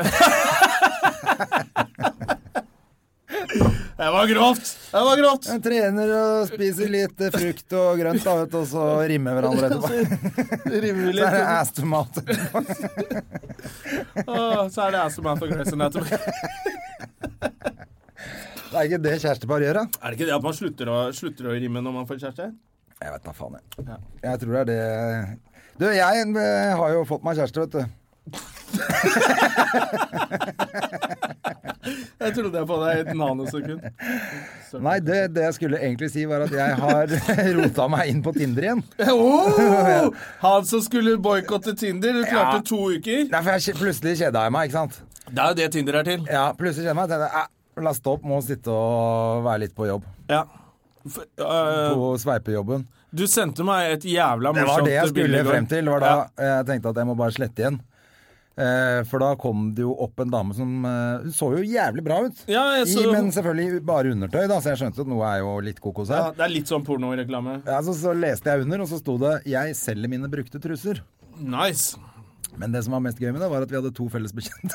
[SPEAKER 1] det var grovt! Det var grovt!
[SPEAKER 2] Jeg trener og spiser litt eh, frukt og grønt, da, vet du, og så rimer hverandre
[SPEAKER 1] (laughs)
[SPEAKER 2] etterpå.
[SPEAKER 1] Rimer vi
[SPEAKER 2] (laughs) Så er det
[SPEAKER 1] litt.
[SPEAKER 2] ass to mouth.
[SPEAKER 1] Åh, så er det ass to man for Grey's Anatomy. Er
[SPEAKER 2] Det er ikke det kjærestepar gjør, da?
[SPEAKER 1] det ikke det at man slutter å, slutter å rime når man får kjæreste?
[SPEAKER 2] Jeg vet da faen, jeg.
[SPEAKER 1] Ja.
[SPEAKER 2] Jeg tror det er det Du, jeg eh, har jo fått meg kjæreste, vet du.
[SPEAKER 1] Jeg trodde jeg på deg i et nanosekund.
[SPEAKER 2] Nei, det, det jeg skulle egentlig si, var at jeg har (laughs) rota meg inn på Tinder igjen.
[SPEAKER 1] Åh! Oh! han som skulle boikotte Tinder, du klarte
[SPEAKER 2] Ja.
[SPEAKER 1] to uker.
[SPEAKER 2] Nei, for jeg, kje- plutselig kjeda jeg meg, ikke sant?
[SPEAKER 1] Det er jo det Tinder er til.
[SPEAKER 2] Ja, plutselig kjeda jeg meg. Tenkte, jeg, "Æ, la stopp, må sitte og være litt på jobb.
[SPEAKER 1] Ja. For, øh,
[SPEAKER 2] På sveipejobben.
[SPEAKER 1] du sendte meg et jævla
[SPEAKER 2] Det var
[SPEAKER 1] morsomt
[SPEAKER 2] det jeg
[SPEAKER 1] bilde
[SPEAKER 2] skulle
[SPEAKER 1] i går.
[SPEAKER 2] frem til. Det var da
[SPEAKER 1] Ja.
[SPEAKER 2] jeg tenkte at jeg må bare slette igjen. Eh, for da kom det jo opp en dame som eh, Hun så jo jævlig bra ut.
[SPEAKER 1] Ja, jeg så-
[SPEAKER 2] I, men selvfølgelig bare undertøy, da, så jeg skjønte at noe er jo litt kokos
[SPEAKER 1] Ja,
[SPEAKER 2] her.
[SPEAKER 1] det er litt sånn pornoreklame.
[SPEAKER 2] Ja, så, så leste jeg under, og så sto det 'Jeg selger mine brukte truser'.
[SPEAKER 1] Nice.
[SPEAKER 2] Men det som var mest gøy med det, var at vi hadde to felles bekjente.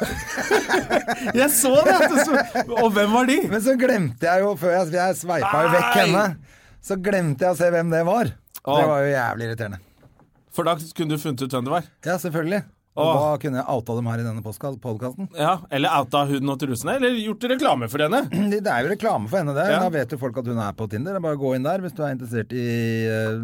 [SPEAKER 1] Jeg så det! at det så- Og hvem var de?
[SPEAKER 2] (laughs) Men så glemte jeg jo, før jeg, jeg sveipa jo vekk
[SPEAKER 1] Nei!
[SPEAKER 2] henne, så glemte jeg å se hvem det var.
[SPEAKER 1] Å.
[SPEAKER 2] Det var jo jævlig irriterende.
[SPEAKER 1] For da kunne du funnet ut hvem det var.
[SPEAKER 2] Ja, selvfølgelig. Og
[SPEAKER 1] Å.
[SPEAKER 2] da kunne jeg outa dem her i denne podkasten.
[SPEAKER 1] Ja, Eller outa huden og trusene, eller gjort reklame for henne.
[SPEAKER 2] (clears throat) Det det er jo reklame for henne, det.
[SPEAKER 1] Ja.
[SPEAKER 2] Da vet jo folk at hun er på Tinder. Det er Bare å gå inn der hvis du er interessert i eh,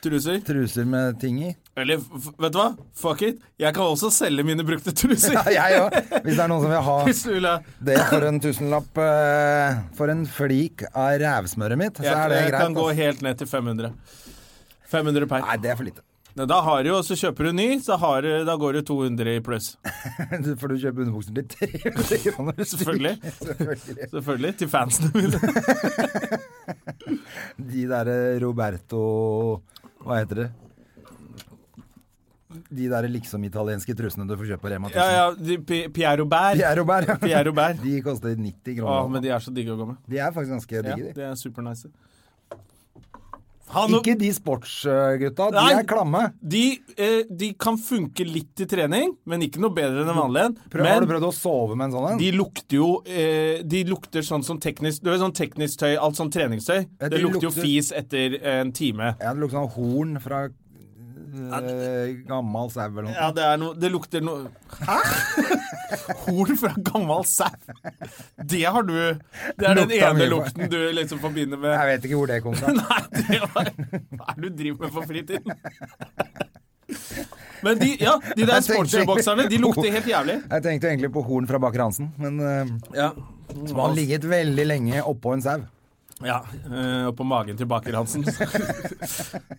[SPEAKER 1] Truser.
[SPEAKER 2] truser med ting i. (laughs)
[SPEAKER 1] Eller f- vet du hva? Fuck it. Jeg kan også selge mine brukte truser.
[SPEAKER 2] Ja, jeg òg. Hvis det er noen som vil ha
[SPEAKER 1] Hvis du vil ha
[SPEAKER 2] det for en tusenlapp eh, for en flik av rævsmøret mitt, så
[SPEAKER 1] Jeg,
[SPEAKER 2] er det
[SPEAKER 1] jeg kan
[SPEAKER 2] greit.
[SPEAKER 1] gå
[SPEAKER 2] ass.
[SPEAKER 1] helt ned til 500. 500 per.
[SPEAKER 2] Nei, det er for lite. (laughs)
[SPEAKER 1] Nei, Da har du jo, så kjøper du ny, så har, du- da går du 200 i pluss.
[SPEAKER 2] Du- For du kjøper underbukser til 300 kroner.
[SPEAKER 1] (laughs)
[SPEAKER 2] stykk.
[SPEAKER 1] Selvfølgelig.
[SPEAKER 2] (laughs) Selvfølgelig.
[SPEAKER 1] Selvfølgelig. Til fansene
[SPEAKER 2] (laughs)
[SPEAKER 1] mine.
[SPEAKER 2] De derre Roberto Hva heter det? De derre liksom-italienske trusene du får kjøpe på Rema 1000.
[SPEAKER 1] Ja, ja. de- Pi- Pierre Robert.
[SPEAKER 2] Pierre Robert.
[SPEAKER 1] Pierre Robert.
[SPEAKER 2] (laughs) De koster 90 kroner.
[SPEAKER 1] Ah, Å, men de er så digge å gå med.
[SPEAKER 2] De er faktisk ganske
[SPEAKER 1] Ja,
[SPEAKER 2] digge, de.
[SPEAKER 1] det er supernice. Han-
[SPEAKER 2] Ikke de sportsgutta, de
[SPEAKER 1] Nei.
[SPEAKER 2] er klamme.
[SPEAKER 1] De, eh, de kan funke litt i trening, men ikke noe bedre enn en vanlig en.
[SPEAKER 2] Prøv, har du
[SPEAKER 1] Men
[SPEAKER 2] prøvd å sove med en sånn en?
[SPEAKER 1] de lukter jo eh, De lukter sånn som teknisk Du vet sånn teknisk tøy, alt sånn treningstøy.
[SPEAKER 2] Ja, de
[SPEAKER 1] Det lukter jo
[SPEAKER 2] lukter-
[SPEAKER 1] fis etter en time.
[SPEAKER 2] Ja, det lukter sånn horn fra eh, gammel sau eller noe.
[SPEAKER 1] Ja, det, er noe- det lukter noe (laughs) Hæ? Horn fra gammel sau. Det har du Det er den
[SPEAKER 2] Lukta
[SPEAKER 1] ene
[SPEAKER 2] mye på.
[SPEAKER 1] lukten du liksom forbinder med
[SPEAKER 2] Jeg vet ikke hvor det kom fra.
[SPEAKER 1] (laughs) Nei, det var Hva er det du driver med for fritiden? Men de, ja, de der
[SPEAKER 2] Jeg tenkte-
[SPEAKER 1] sportsbokserne, de lukter helt jævlig.
[SPEAKER 2] Jeg tenkte egentlig på horn fra Baker Hansen, men eh,
[SPEAKER 1] Ja.
[SPEAKER 2] som har ligget veldig lenge oppå en sau.
[SPEAKER 1] Ja, eh, og på magen til Baker Hansen. (laughs)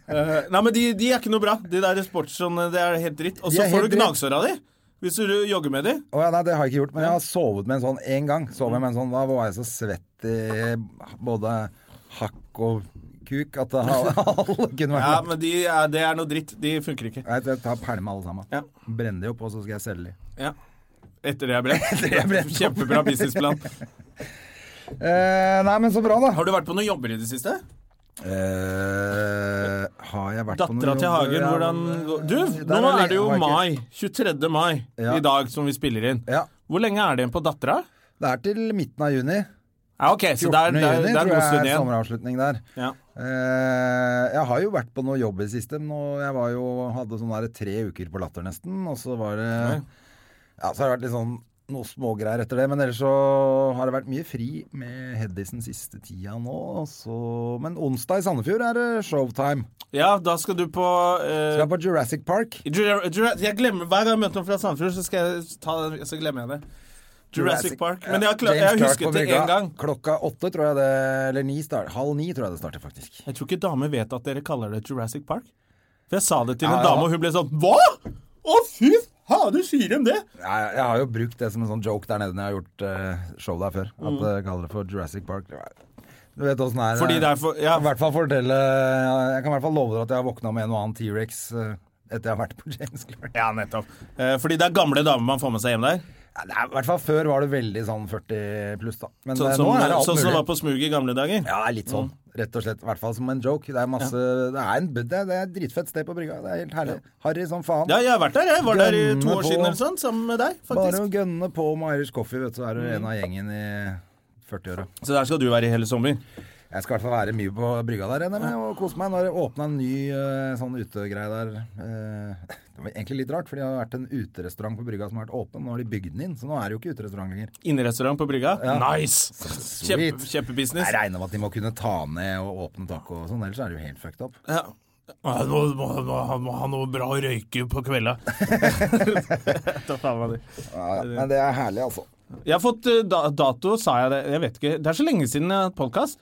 [SPEAKER 1] Eh, nei, men de, de er ikke noe bra. De der sportsene, det er helt dritt. Og
[SPEAKER 2] De
[SPEAKER 1] så
[SPEAKER 2] er helt
[SPEAKER 1] får du
[SPEAKER 2] dritt.
[SPEAKER 1] gnagsåra di hvis du jogger med de.
[SPEAKER 2] Å ja, nei, det har jeg ikke gjort, men jeg har sovet med en sånn én gang. Sov jeg med en sånn, Da var jeg så svett i både hakk og kuk
[SPEAKER 1] (laughs)
[SPEAKER 2] at det- alle
[SPEAKER 1] Ja,
[SPEAKER 2] kunne vært med.
[SPEAKER 1] men de er, det er noe dritt. De funker ikke.
[SPEAKER 2] Jeg, jeg tar pælme alle sammen.
[SPEAKER 1] Ja.
[SPEAKER 2] Brenn de opp, og så skal jeg selge de.
[SPEAKER 1] Ja. Etter det er brent.
[SPEAKER 2] det er brent.
[SPEAKER 1] (laughs) Kjempebra businessplan.
[SPEAKER 2] Eh, nei, men så bra, da.
[SPEAKER 1] Har du vært på noen jobber i det siste?
[SPEAKER 2] Eh, har jeg vært på noen
[SPEAKER 1] Dattera til
[SPEAKER 2] jobber?
[SPEAKER 1] Hagen,
[SPEAKER 2] Ja,
[SPEAKER 1] hvordan Du,
[SPEAKER 2] eh, der
[SPEAKER 1] nå
[SPEAKER 2] har jeg-
[SPEAKER 1] er det jo
[SPEAKER 2] har jeg ikke-
[SPEAKER 1] mai. 23. mai
[SPEAKER 2] Ja.
[SPEAKER 1] i dag som vi spiller inn.
[SPEAKER 2] Ja.
[SPEAKER 1] Hvor lenge er det igjen på dattera?
[SPEAKER 2] Det er til midten av juni.
[SPEAKER 1] Ja, OK, så
[SPEAKER 2] 14.
[SPEAKER 1] det er, det er,
[SPEAKER 2] juni
[SPEAKER 1] det er en
[SPEAKER 2] tror
[SPEAKER 1] god
[SPEAKER 2] jeg
[SPEAKER 1] stund
[SPEAKER 2] er
[SPEAKER 1] igjen.
[SPEAKER 2] sommeravslutning der.
[SPEAKER 1] Ja.
[SPEAKER 2] Eh, jeg har jo vært på noe jobb i det siste, men nå- jeg var jo, hadde sånn der tre uker på latter nesten, og så var det Ja, så har det vært litt sånn noe smågreier etter det, men ellers så har det vært mye fri med Heddisen siste tida nå, og så Men onsdag i Sandefjord er det showtime.
[SPEAKER 1] ja, da skal du på eh,
[SPEAKER 2] Så jeg er på Jurassic Park.
[SPEAKER 1] Jura- Jura- jeg glemmer, Hver gang jeg møter noen fra Sandefjord, så, skal jeg ta, den- så glemmer jeg det. Jurassic Park. Men jeg har, kla-
[SPEAKER 2] James
[SPEAKER 1] jeg har
[SPEAKER 2] Clark på
[SPEAKER 1] husket det
[SPEAKER 2] brygga.
[SPEAKER 1] én gang.
[SPEAKER 2] Klokka åtte, tror jeg det Eller ni start, halv ni, tror jeg det starter, faktisk.
[SPEAKER 1] Jeg tror ikke damer vet at dere kaller det Jurassic Park. For jeg sa det til en
[SPEAKER 2] Ja, ja.
[SPEAKER 1] dame, og hun ble sånn Hva?! Å, fy faen, du sier dem det?!
[SPEAKER 2] Jeg, jeg har jo brukt det som en sånn joke der nede når jeg har gjort eh, show der før. At jeg kaller det for Jurassic Park. Du vet åssen det er.
[SPEAKER 1] Mm.
[SPEAKER 2] eh,
[SPEAKER 1] Fordi det er for Ja,
[SPEAKER 2] Jeg kan i hvert fall fortelle eh, Jeg kan i hvert fall love dere at jeg har våkna med en og annen T-rex eh, etter jeg har vært på James Clark.
[SPEAKER 1] ja nettopp. Eh, Fordi det er gamle damer man får med seg hjem der.
[SPEAKER 2] Ja, det er, I hvert fall før var det veldig sånn 40 pluss, da. Men eh,
[SPEAKER 1] Sånn som,
[SPEAKER 2] nå er det alt
[SPEAKER 1] sånn som
[SPEAKER 2] mulig.
[SPEAKER 1] var på Mm. smug i gamle dager.
[SPEAKER 2] Ja, det er litt sånn. Rett og slett. I hvert fall som en joke. Det er masse Det er, en, det er et dritfett sted på brygga. Det er helt herlig. Harry som faen.
[SPEAKER 1] Ja, jeg har vært der. Jeg var der i to
[SPEAKER 2] Gønne
[SPEAKER 1] år
[SPEAKER 2] på.
[SPEAKER 1] siden eller sånn, sammen med deg,
[SPEAKER 2] Bare
[SPEAKER 1] faktisk. Mm.
[SPEAKER 2] å gønne på med Irish Coffee, vet du, så er du en av gjengen i 40-åra.
[SPEAKER 1] Så der skal du være i hele sommer.
[SPEAKER 2] Jeg skal i hvert fall være mye på brygga der regner jeg med, og kose meg. Nå har det åpna en ny eh, sånn utegreie der. Eh, (laughs) Det var egentlig litt rart, for det har vært en uterestaurant på brygga som har vært åpen. Nå har de bygd den inn, så nå er det jo ikke uterestaurant lenger.
[SPEAKER 1] Innerestaurant på brygga. Nice!
[SPEAKER 2] Sweet.
[SPEAKER 1] Kjempe,
[SPEAKER 2] Jeg
[SPEAKER 1] kjempebusiness.
[SPEAKER 2] regner med at de må kunne ta ned og åpne taco og sånn, ellers er det jo helt fucked up.
[SPEAKER 1] Ja. Han må, må, må, han må ha noe bra å røyke på kvelda. (laughs)
[SPEAKER 2] (laughs)
[SPEAKER 1] Ta faen meg det.
[SPEAKER 2] Ja, ja. (laughs) Men det er herlig, altså.
[SPEAKER 1] jeg har fått eh, da, dato, sa jeg det. Jeg vet ikke. Det er så lenge siden jeg har hatt podkast.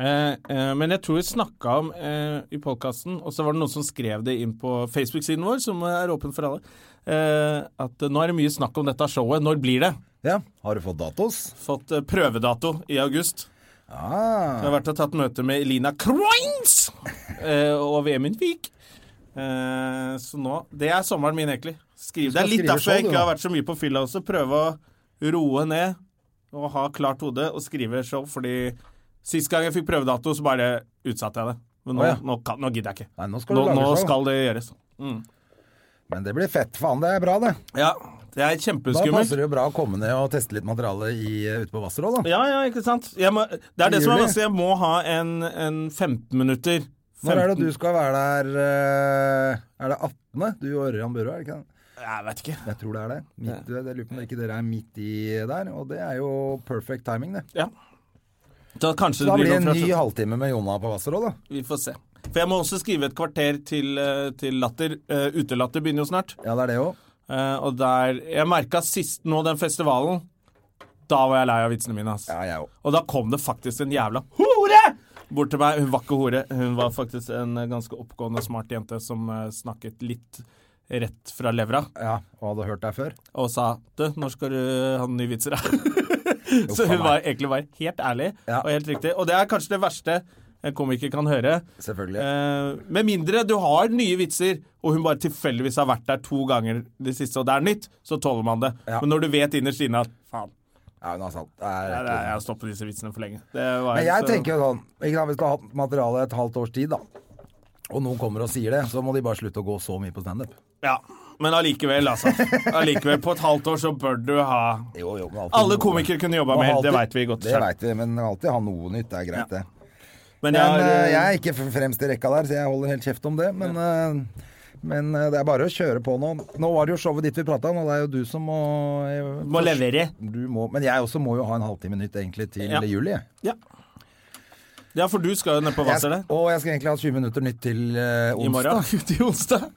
[SPEAKER 1] Eh, eh, men jeg tror vi snakka om eh, i podkasten, og så var det noen som skrev det inn på Facebook-siden vår, som er åpen for alle, eh, at eh, nå er det mye snakk om dette showet. Når blir det?
[SPEAKER 2] Ja, har du fått datos?
[SPEAKER 1] Fått eh, prøvedato i august.
[SPEAKER 2] Ah,
[SPEAKER 1] Jeg har vært og tatt møte med Elina Kroins eh, og Vemund Vik. Eh, så nå Det er sommeren min, egentlig. Skriv. Det
[SPEAKER 2] skal
[SPEAKER 1] er litt
[SPEAKER 2] skrive
[SPEAKER 1] derfor jeg
[SPEAKER 2] show, du,
[SPEAKER 1] ikke har
[SPEAKER 2] da.
[SPEAKER 1] vært så mye på fylla også. Prøve å roe ned og ha klart hode og skrive show, fordi sist gang jeg fikk prøvedato, så bare utsatte jeg det. Men nå,
[SPEAKER 2] Å, ja.
[SPEAKER 1] nå, kan, nå gidder jeg ikke.
[SPEAKER 2] nei, nå skal du
[SPEAKER 1] Nå, nå
[SPEAKER 2] lage show.
[SPEAKER 1] skal det gjøres.
[SPEAKER 2] Men det blir fett. Faen, det er bra, det.
[SPEAKER 1] Ja, det er
[SPEAKER 2] Da passer
[SPEAKER 1] kjempeskummelt.
[SPEAKER 2] det jo bra å komme ned og teste litt materiale i, eh, ute på Vasserdal, da.
[SPEAKER 1] Ja, ja, ikke sant. Jeg må, det er det som er
[SPEAKER 2] Juli.
[SPEAKER 1] vanskelig. Jeg må ha en, en 15 minutter.
[SPEAKER 2] Når er det du skal være der eh, Er det 18.? Du og Ørjan Burøe, er det ikke det?
[SPEAKER 1] Jeg vet ikke.
[SPEAKER 2] Jeg tror det er det. Midt, jeg lurer på om ikke dere er midt i der, og det er jo perfect timing, det.
[SPEAKER 1] Ja. Da kanskje
[SPEAKER 2] Så da
[SPEAKER 1] det
[SPEAKER 2] blir
[SPEAKER 1] blir
[SPEAKER 2] det en
[SPEAKER 1] noe
[SPEAKER 2] ny
[SPEAKER 1] fra
[SPEAKER 2] halvtime med Jonna på Vasserdal, da.
[SPEAKER 1] Vi får se. For jeg må også skrive et kvarter til, eh, til Latter. Eh, Utelatter begynner jo snart.
[SPEAKER 2] Ja, det er det òg.
[SPEAKER 1] Eh, og der Jeg merka sist nå den festivalen. Da var jeg lei av vitsene mine, ass.
[SPEAKER 2] Ja, jeg òg.
[SPEAKER 1] Og da kom det faktisk en jævla hore bort til meg. Hun var ikke hore. Hun var faktisk en eh, ganske oppegående, smart jente som eh, snakket litt rett fra levra
[SPEAKER 2] Ja, og hadde hørt deg før.
[SPEAKER 1] og sa Du, når skal du ha nye
[SPEAKER 2] (laughs)
[SPEAKER 1] vitser, da?
[SPEAKER 2] Uff,
[SPEAKER 1] Så hun
[SPEAKER 2] faen
[SPEAKER 1] var
[SPEAKER 2] meg.
[SPEAKER 1] egentlig bare helt ærlig
[SPEAKER 2] Ja.
[SPEAKER 1] og helt riktig. Og det er kanskje det verste en komiker kan høre.
[SPEAKER 2] Selvfølgelig.
[SPEAKER 1] Eh, med mindre du har nye vitser, og hun bare tilfeldigvis har vært der to ganger det siste, og det er nytt, så tåler man det.
[SPEAKER 2] Ja.
[SPEAKER 1] Men når du vet innerst inne at faen,
[SPEAKER 2] Ja, hun har salt. Det er
[SPEAKER 1] Nei,
[SPEAKER 2] rett
[SPEAKER 1] nei,
[SPEAKER 2] og
[SPEAKER 1] jeg
[SPEAKER 2] slett.
[SPEAKER 1] har stoppet disse vitsene for lenge. Det var
[SPEAKER 2] Men jeg
[SPEAKER 1] så-
[SPEAKER 2] tenker jo sånn ikke sant, Hvis du har hatt materialet et halvt års tid, da, og noen kommer og sier det, så må de bare slutte å gå så mye på standup.
[SPEAKER 1] Ja, men allikevel,
[SPEAKER 2] (laughs)
[SPEAKER 1] altså. Allikevel, på et halvt år så bør du ha
[SPEAKER 2] Jo, jo, men alltid
[SPEAKER 1] Alle
[SPEAKER 2] noe.
[SPEAKER 1] komikere kunne jobba
[SPEAKER 2] Og
[SPEAKER 1] mer,
[SPEAKER 2] alltid-
[SPEAKER 1] det veit vi godt.
[SPEAKER 2] Det
[SPEAKER 1] selv.
[SPEAKER 2] vet vi, men alltid ha noe nytt. Det er greit, det.
[SPEAKER 1] Men
[SPEAKER 2] Men
[SPEAKER 1] jeg, har,
[SPEAKER 2] eh,
[SPEAKER 1] eh,
[SPEAKER 2] jeg er ikke f- fremst i rekka der, så jeg holder helt kjeft om det. Men, eh, men eh, det er bare å kjøre på nå. Nå var det jo showet ditt vi prata om, og det er jo du som må jeg-
[SPEAKER 1] må levere.
[SPEAKER 2] Du må, men jeg også må jo ha en halvtime nytt egentlig til
[SPEAKER 1] Ja.
[SPEAKER 2] juli. jeg.
[SPEAKER 1] Ja. ja, for du skal jo ned på
[SPEAKER 2] Jeg,
[SPEAKER 1] Hvasser der.
[SPEAKER 2] og jeg skal egentlig ha 20 minutter nytt til eh,
[SPEAKER 1] I morgen.
[SPEAKER 2] onsdag.
[SPEAKER 1] Til onsdag.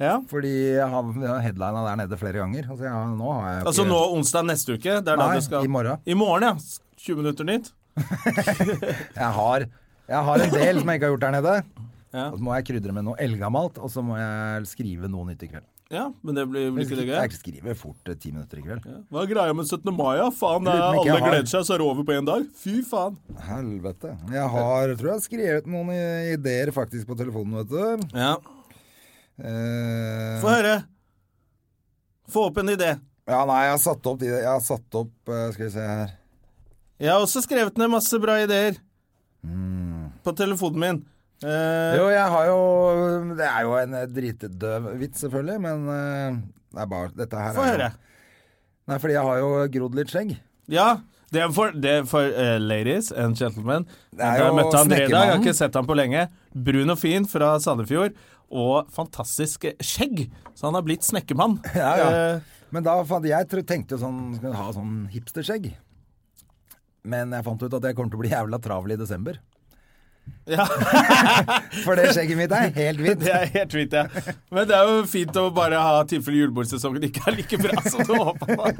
[SPEAKER 1] Ja.
[SPEAKER 2] Fordi jeg har headlina der nede flere ganger. Altså, jeg, har- nå har jeg jo
[SPEAKER 1] Altså
[SPEAKER 2] ikke-
[SPEAKER 1] nå onsdag neste uke? Det er da
[SPEAKER 2] Nei,
[SPEAKER 1] du skal
[SPEAKER 2] i morgen.
[SPEAKER 1] I morgen, ja. 20 minutter nytt.
[SPEAKER 2] Jeg har, jeg har en del som jeg ikke har gjort der nede.
[SPEAKER 1] Ja.
[SPEAKER 2] Og så må jeg krydre med noe eldgammelt, og så må jeg skrive noe nytt i kveld.
[SPEAKER 1] Ja, men det blir, blir ikke det gøy?
[SPEAKER 2] Jeg skriver fort eh, ti minutter i kveld.
[SPEAKER 1] Hva er greia med 17. mai, da? Faen, det
[SPEAKER 2] Lurer
[SPEAKER 1] er,
[SPEAKER 2] på
[SPEAKER 1] alle
[SPEAKER 2] om ikke jeg har-
[SPEAKER 1] gleder seg, så er det over på én dag. Fy faen.
[SPEAKER 2] Helvete. Jeg har, tror jeg har skrevet noen i- ideer faktisk på telefonen, vet du.
[SPEAKER 1] Ja.
[SPEAKER 2] Eh,
[SPEAKER 1] Få høre. Få opp en idé.
[SPEAKER 2] ja, nei, jeg har satt opp de Jeg har satt opp eh, Skal vi se her.
[SPEAKER 1] Jeg har også skrevet ned masse bra ideer. På telefonen min. Eh,
[SPEAKER 2] Mm. Jo, jeg har jo Det er jo en eh, dritdøv vits, selvfølgelig, men eh, det er bare Dette her
[SPEAKER 1] Få
[SPEAKER 2] er jo-
[SPEAKER 1] høre.
[SPEAKER 2] Nei, fordi jeg har jo grodd litt skjegg.
[SPEAKER 1] Ja. Det er for, det er for eh, ladies and gentlemen.
[SPEAKER 2] Det er
[SPEAKER 1] Jeg har
[SPEAKER 2] jo
[SPEAKER 1] møtt han i dag, jeg har
[SPEAKER 2] snekkermannen.
[SPEAKER 1] ikke sett han på lenge. Brun og fin fra Sandefjord. Og fantastisk eh, skjegg! Så han har blitt snekkermann.
[SPEAKER 2] Ja, ja.
[SPEAKER 1] Eh,
[SPEAKER 2] Men da fant jeg tro- tenkte jo sånn Skal ha sånn hipsterskjegg. Men jeg fant ut at jeg kommer til å bli jævla travel i desember.
[SPEAKER 1] ja.
[SPEAKER 2] (laughs) For det skjegget mitt er helt hvitt.
[SPEAKER 1] Det er helt fint, ja. Men det er jo fint å bare ha tilfelle julebordsesongen ikke er like bra som du håpa på.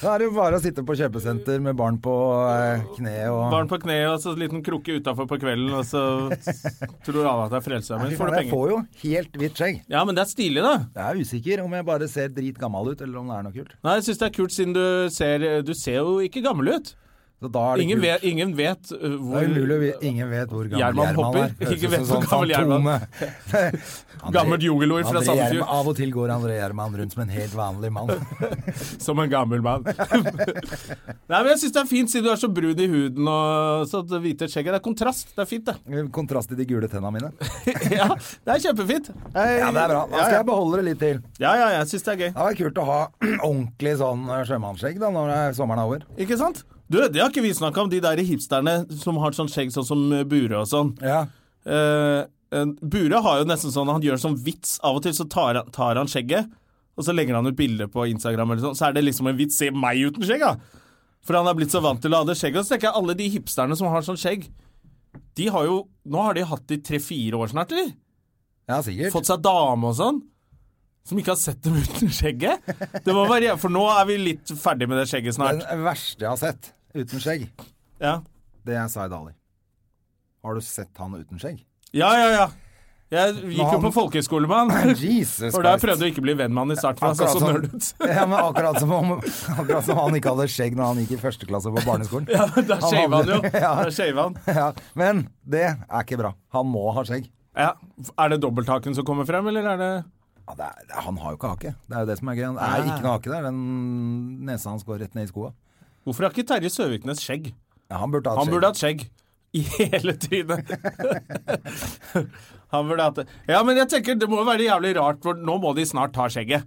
[SPEAKER 2] Da er det jo bare å sitte på kjøpesenter med barn på eh, kne og
[SPEAKER 1] Barn på kne og så en liten krukke utafor på kvelden, og så s- tror alle at det er frelseren
[SPEAKER 2] Fy
[SPEAKER 1] min. Får
[SPEAKER 2] faen,
[SPEAKER 1] du
[SPEAKER 2] Jeg
[SPEAKER 1] penger?
[SPEAKER 2] får jo helt hvitt skjegg.
[SPEAKER 1] Ja, men det er stilig, da.
[SPEAKER 2] Jeg er usikker om jeg bare ser dritgammal ut, eller om det er noe kult.
[SPEAKER 1] Nei, jeg syns det er kult, siden du ser Du ser jo ikke gammel ut.
[SPEAKER 2] Så da er det
[SPEAKER 1] Ingen
[SPEAKER 2] kult.
[SPEAKER 1] vet, ingen vet uh,
[SPEAKER 2] Det
[SPEAKER 1] hvor
[SPEAKER 2] er umulig å vi- Ingen vet hvor gammel
[SPEAKER 1] Gjerman
[SPEAKER 2] Gjerman,
[SPEAKER 1] hopper.
[SPEAKER 2] er. Høres
[SPEAKER 1] Ingen
[SPEAKER 2] ut
[SPEAKER 1] vet
[SPEAKER 2] som sånn
[SPEAKER 1] hvor gammel Gjerman- (laughs)
[SPEAKER 2] fantome. André-
[SPEAKER 1] Gammelt jungelord fra
[SPEAKER 2] André
[SPEAKER 1] Sandefjord.
[SPEAKER 2] Gjerman- Av og til går André Gjerman rundt som en helt vanlig mann. (laughs)
[SPEAKER 1] Som en gammel mann. (laughs) Nei, men jeg syns det er fint, siden du er så brun i huden og så det hvite skjegget. Det er kontrast. Det er fint, (laughs) det.
[SPEAKER 2] Kontrast til de gule tennene mine.
[SPEAKER 1] ja, det er kjempefint.
[SPEAKER 2] Ja, det er bra. Da
[SPEAKER 1] Ja,
[SPEAKER 2] skal
[SPEAKER 1] ja.
[SPEAKER 2] jeg beholde det litt til.
[SPEAKER 1] Ja, ja, jeg syns det er gøy.
[SPEAKER 2] Det hadde vært kult å ha (clears throat) ordentlig sånn eh, sjømannsskjegg da, når det er sommeren er over.
[SPEAKER 1] Ikke sant? Du, det har ikke vi snakka om, de der hipsterne som har sånn skjegg sånn som eh, Bure og sånn.
[SPEAKER 2] Ja.
[SPEAKER 1] Eh, en- Bure har jo nesten sånn Han gjør sånn vits av og til, så tar, han- tar han skjegget, og så legger han ut bilde på Instagram, eller sånn, så er det liksom en vits. Se meg uten skjegg, da! For han er blitt så vant til å ha det skjegget. Og så tenker jeg alle de hipsterne som har sånn skjegg, de har jo Nå har de hatt det i tre-fire år snart, de.
[SPEAKER 2] ja, sikkert.
[SPEAKER 1] Fått seg dame og sånn. Som ikke har sett dem uten skjegget. Det må være, For nå er vi litt ferdig med det skjegget
[SPEAKER 2] Den
[SPEAKER 1] snart.
[SPEAKER 2] verste jeg har sett uten skjegg,
[SPEAKER 1] Ja.
[SPEAKER 2] det er Zaid Ali. Har du sett han uten skjegg?
[SPEAKER 1] Ja, ja, ja. Jeg gikk jo
[SPEAKER 2] han-
[SPEAKER 1] på folkehøyskole med
[SPEAKER 2] (clears throat)
[SPEAKER 1] han.
[SPEAKER 2] Jesus
[SPEAKER 1] For der prøvde jeg ikke å bli venn med han i starten. for Han så
[SPEAKER 2] Akkurat sånn.
[SPEAKER 1] så
[SPEAKER 2] som-
[SPEAKER 1] nerd ut.
[SPEAKER 2] (laughs) ja, men akkurat som, om, akkurat som han ikke hadde skjegg når han gikk i første klasse på barneskolen.
[SPEAKER 1] (laughs) Ja, men Der
[SPEAKER 2] Han
[SPEAKER 1] shava han jo.
[SPEAKER 2] hadde- (laughs) Ja.
[SPEAKER 1] Der shava han.
[SPEAKER 2] Ja, men det er ikke bra. Han må ha skjegg.
[SPEAKER 1] Ja. Er det dobbelthaken som kommer frem, eller er det
[SPEAKER 2] Ja, det er, han har jo ikke hake. Det er jo det som er greia. Det er ikke noe hake der. Den nesa hans går rett ned i skoa.
[SPEAKER 1] Hvorfor har ikke Terje Søviknes skjegg?
[SPEAKER 2] Ja, han burde ha
[SPEAKER 1] Han
[SPEAKER 2] skjegg.
[SPEAKER 1] burde hatt skjegg. I (laughs) hele trynet. (laughs) Han burde hatt det. Ja, men jeg tenker det må jo være jævlig rart, for nå må de snart ta skjegget.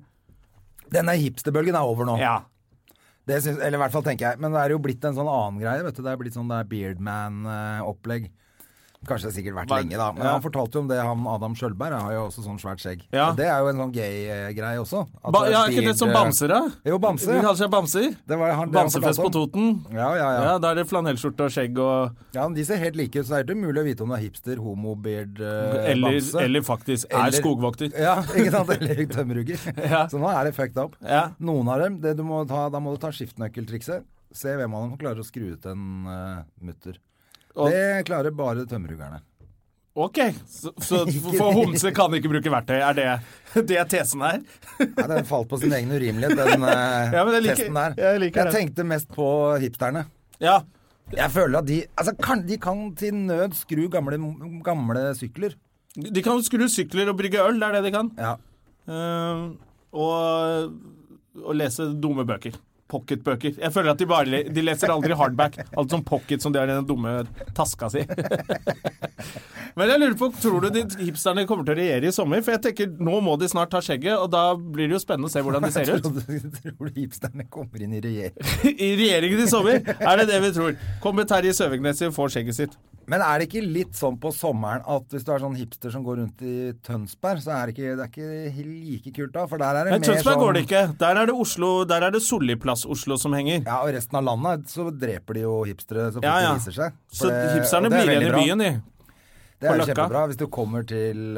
[SPEAKER 2] Denne hipsterbølgen er over nå.
[SPEAKER 1] Ja.
[SPEAKER 2] Det syns- eller i hvert fall tenker jeg. Men det er jo blitt en sånn annen greie. vet du. Det er blitt sånn det er Beardman-opplegg. Kanskje det har sikkert vært
[SPEAKER 1] Hva-
[SPEAKER 2] lenge, da. Men
[SPEAKER 1] Ja.
[SPEAKER 2] han fortalte jo om det, han Adam Skjølberg. Han har jo også sånn svært skjegg.
[SPEAKER 1] Ja.
[SPEAKER 2] Og Det er jo en sånn gay-greie også. At
[SPEAKER 1] Ba
[SPEAKER 2] det er
[SPEAKER 1] ja, er ikke det som
[SPEAKER 2] beard- eh,
[SPEAKER 1] bamser, da?
[SPEAKER 2] Jo, bamse.
[SPEAKER 1] De kaller seg bamser.
[SPEAKER 2] Det var han, det han
[SPEAKER 1] Bamsefest på
[SPEAKER 2] fortalte om.
[SPEAKER 1] Toten.
[SPEAKER 2] Ja, ja, ja.
[SPEAKER 1] Ja, da er det flanellskjorte og skjegg og
[SPEAKER 2] Ja, men De ser helt like ut, så det er ikke mulig å vite om du er hipster, homo, beard, eh,
[SPEAKER 1] Eller,
[SPEAKER 2] bamse.
[SPEAKER 1] eller faktisk er
[SPEAKER 2] Eller- Eh.
[SPEAKER 1] skogvokter.
[SPEAKER 2] Ja, (laughs) ikke sant? Eller tømmerugger.
[SPEAKER 1] (laughs) Ja.
[SPEAKER 2] Så nå er det fucked up.
[SPEAKER 1] Ja.
[SPEAKER 2] Noen av dem, det du må ta, da må du ta skiftenøkkeltrikset. Se hvem av dem som klarer å skru ut en eh, mutter.
[SPEAKER 1] Og-
[SPEAKER 2] Det klarer bare tømmerugerne.
[SPEAKER 1] Ok, så, så for homse kan ikke bruke verktøy, er det, det er tesen her?
[SPEAKER 2] Nei, den falt på sin egen
[SPEAKER 1] (laughs)
[SPEAKER 2] urimelighet, den eh,
[SPEAKER 1] Ja, men jeg liker-
[SPEAKER 2] testen der.
[SPEAKER 1] jeg liker den.
[SPEAKER 2] tenkte mest på hipsterne.
[SPEAKER 1] Ja.
[SPEAKER 2] Jeg føler at de altså, kan, De kan til nød skru gamle, gamle sykler.
[SPEAKER 1] De kan skru sykler og brygge øl, det er det de kan.
[SPEAKER 2] Ja.
[SPEAKER 1] Eh, og, og lese dumme bøker. Pocketbøker. Jeg føler at de bare le de leser aldri hardback. Alt som pocket som de har i den dumme taska si. (laughs) Men jeg lurer på, tror du de hipsterne kommer til å regjere i sommer? For jeg tenker, nå må de snart ta skjegget, og da blir det jo spennende å se
[SPEAKER 2] (laughs)
[SPEAKER 1] hvordan de ser ut.
[SPEAKER 2] Tror du, tror du hipsterne kommer inn i regjering?
[SPEAKER 1] I regjeringen i sommer, er det det vi tror. Kommer Terje Søviknes og får skjegget sitt.
[SPEAKER 2] Men er det ikke litt sånn på sommeren at hvis du er sånn hipster som går rundt i Tønsberg, så er det ikke, det er ikke like kult da? For der er det
[SPEAKER 1] Men
[SPEAKER 2] mer
[SPEAKER 1] Tønsberg
[SPEAKER 2] sånn
[SPEAKER 1] går det ikke. Der er det Oslo, der er det Solliplass-Oslo som henger.
[SPEAKER 2] Ja, og resten av landet så dreper de jo hipstere så fort
[SPEAKER 1] Ja, ja.
[SPEAKER 2] de viser seg. For
[SPEAKER 1] Så
[SPEAKER 2] det-
[SPEAKER 1] hipsterne
[SPEAKER 2] og det er
[SPEAKER 1] blir igjen
[SPEAKER 2] veldig
[SPEAKER 1] i
[SPEAKER 2] bra.
[SPEAKER 1] byen, de.
[SPEAKER 2] Det er
[SPEAKER 1] på
[SPEAKER 2] jo
[SPEAKER 1] Løkka.
[SPEAKER 2] kjempebra hvis du kommer til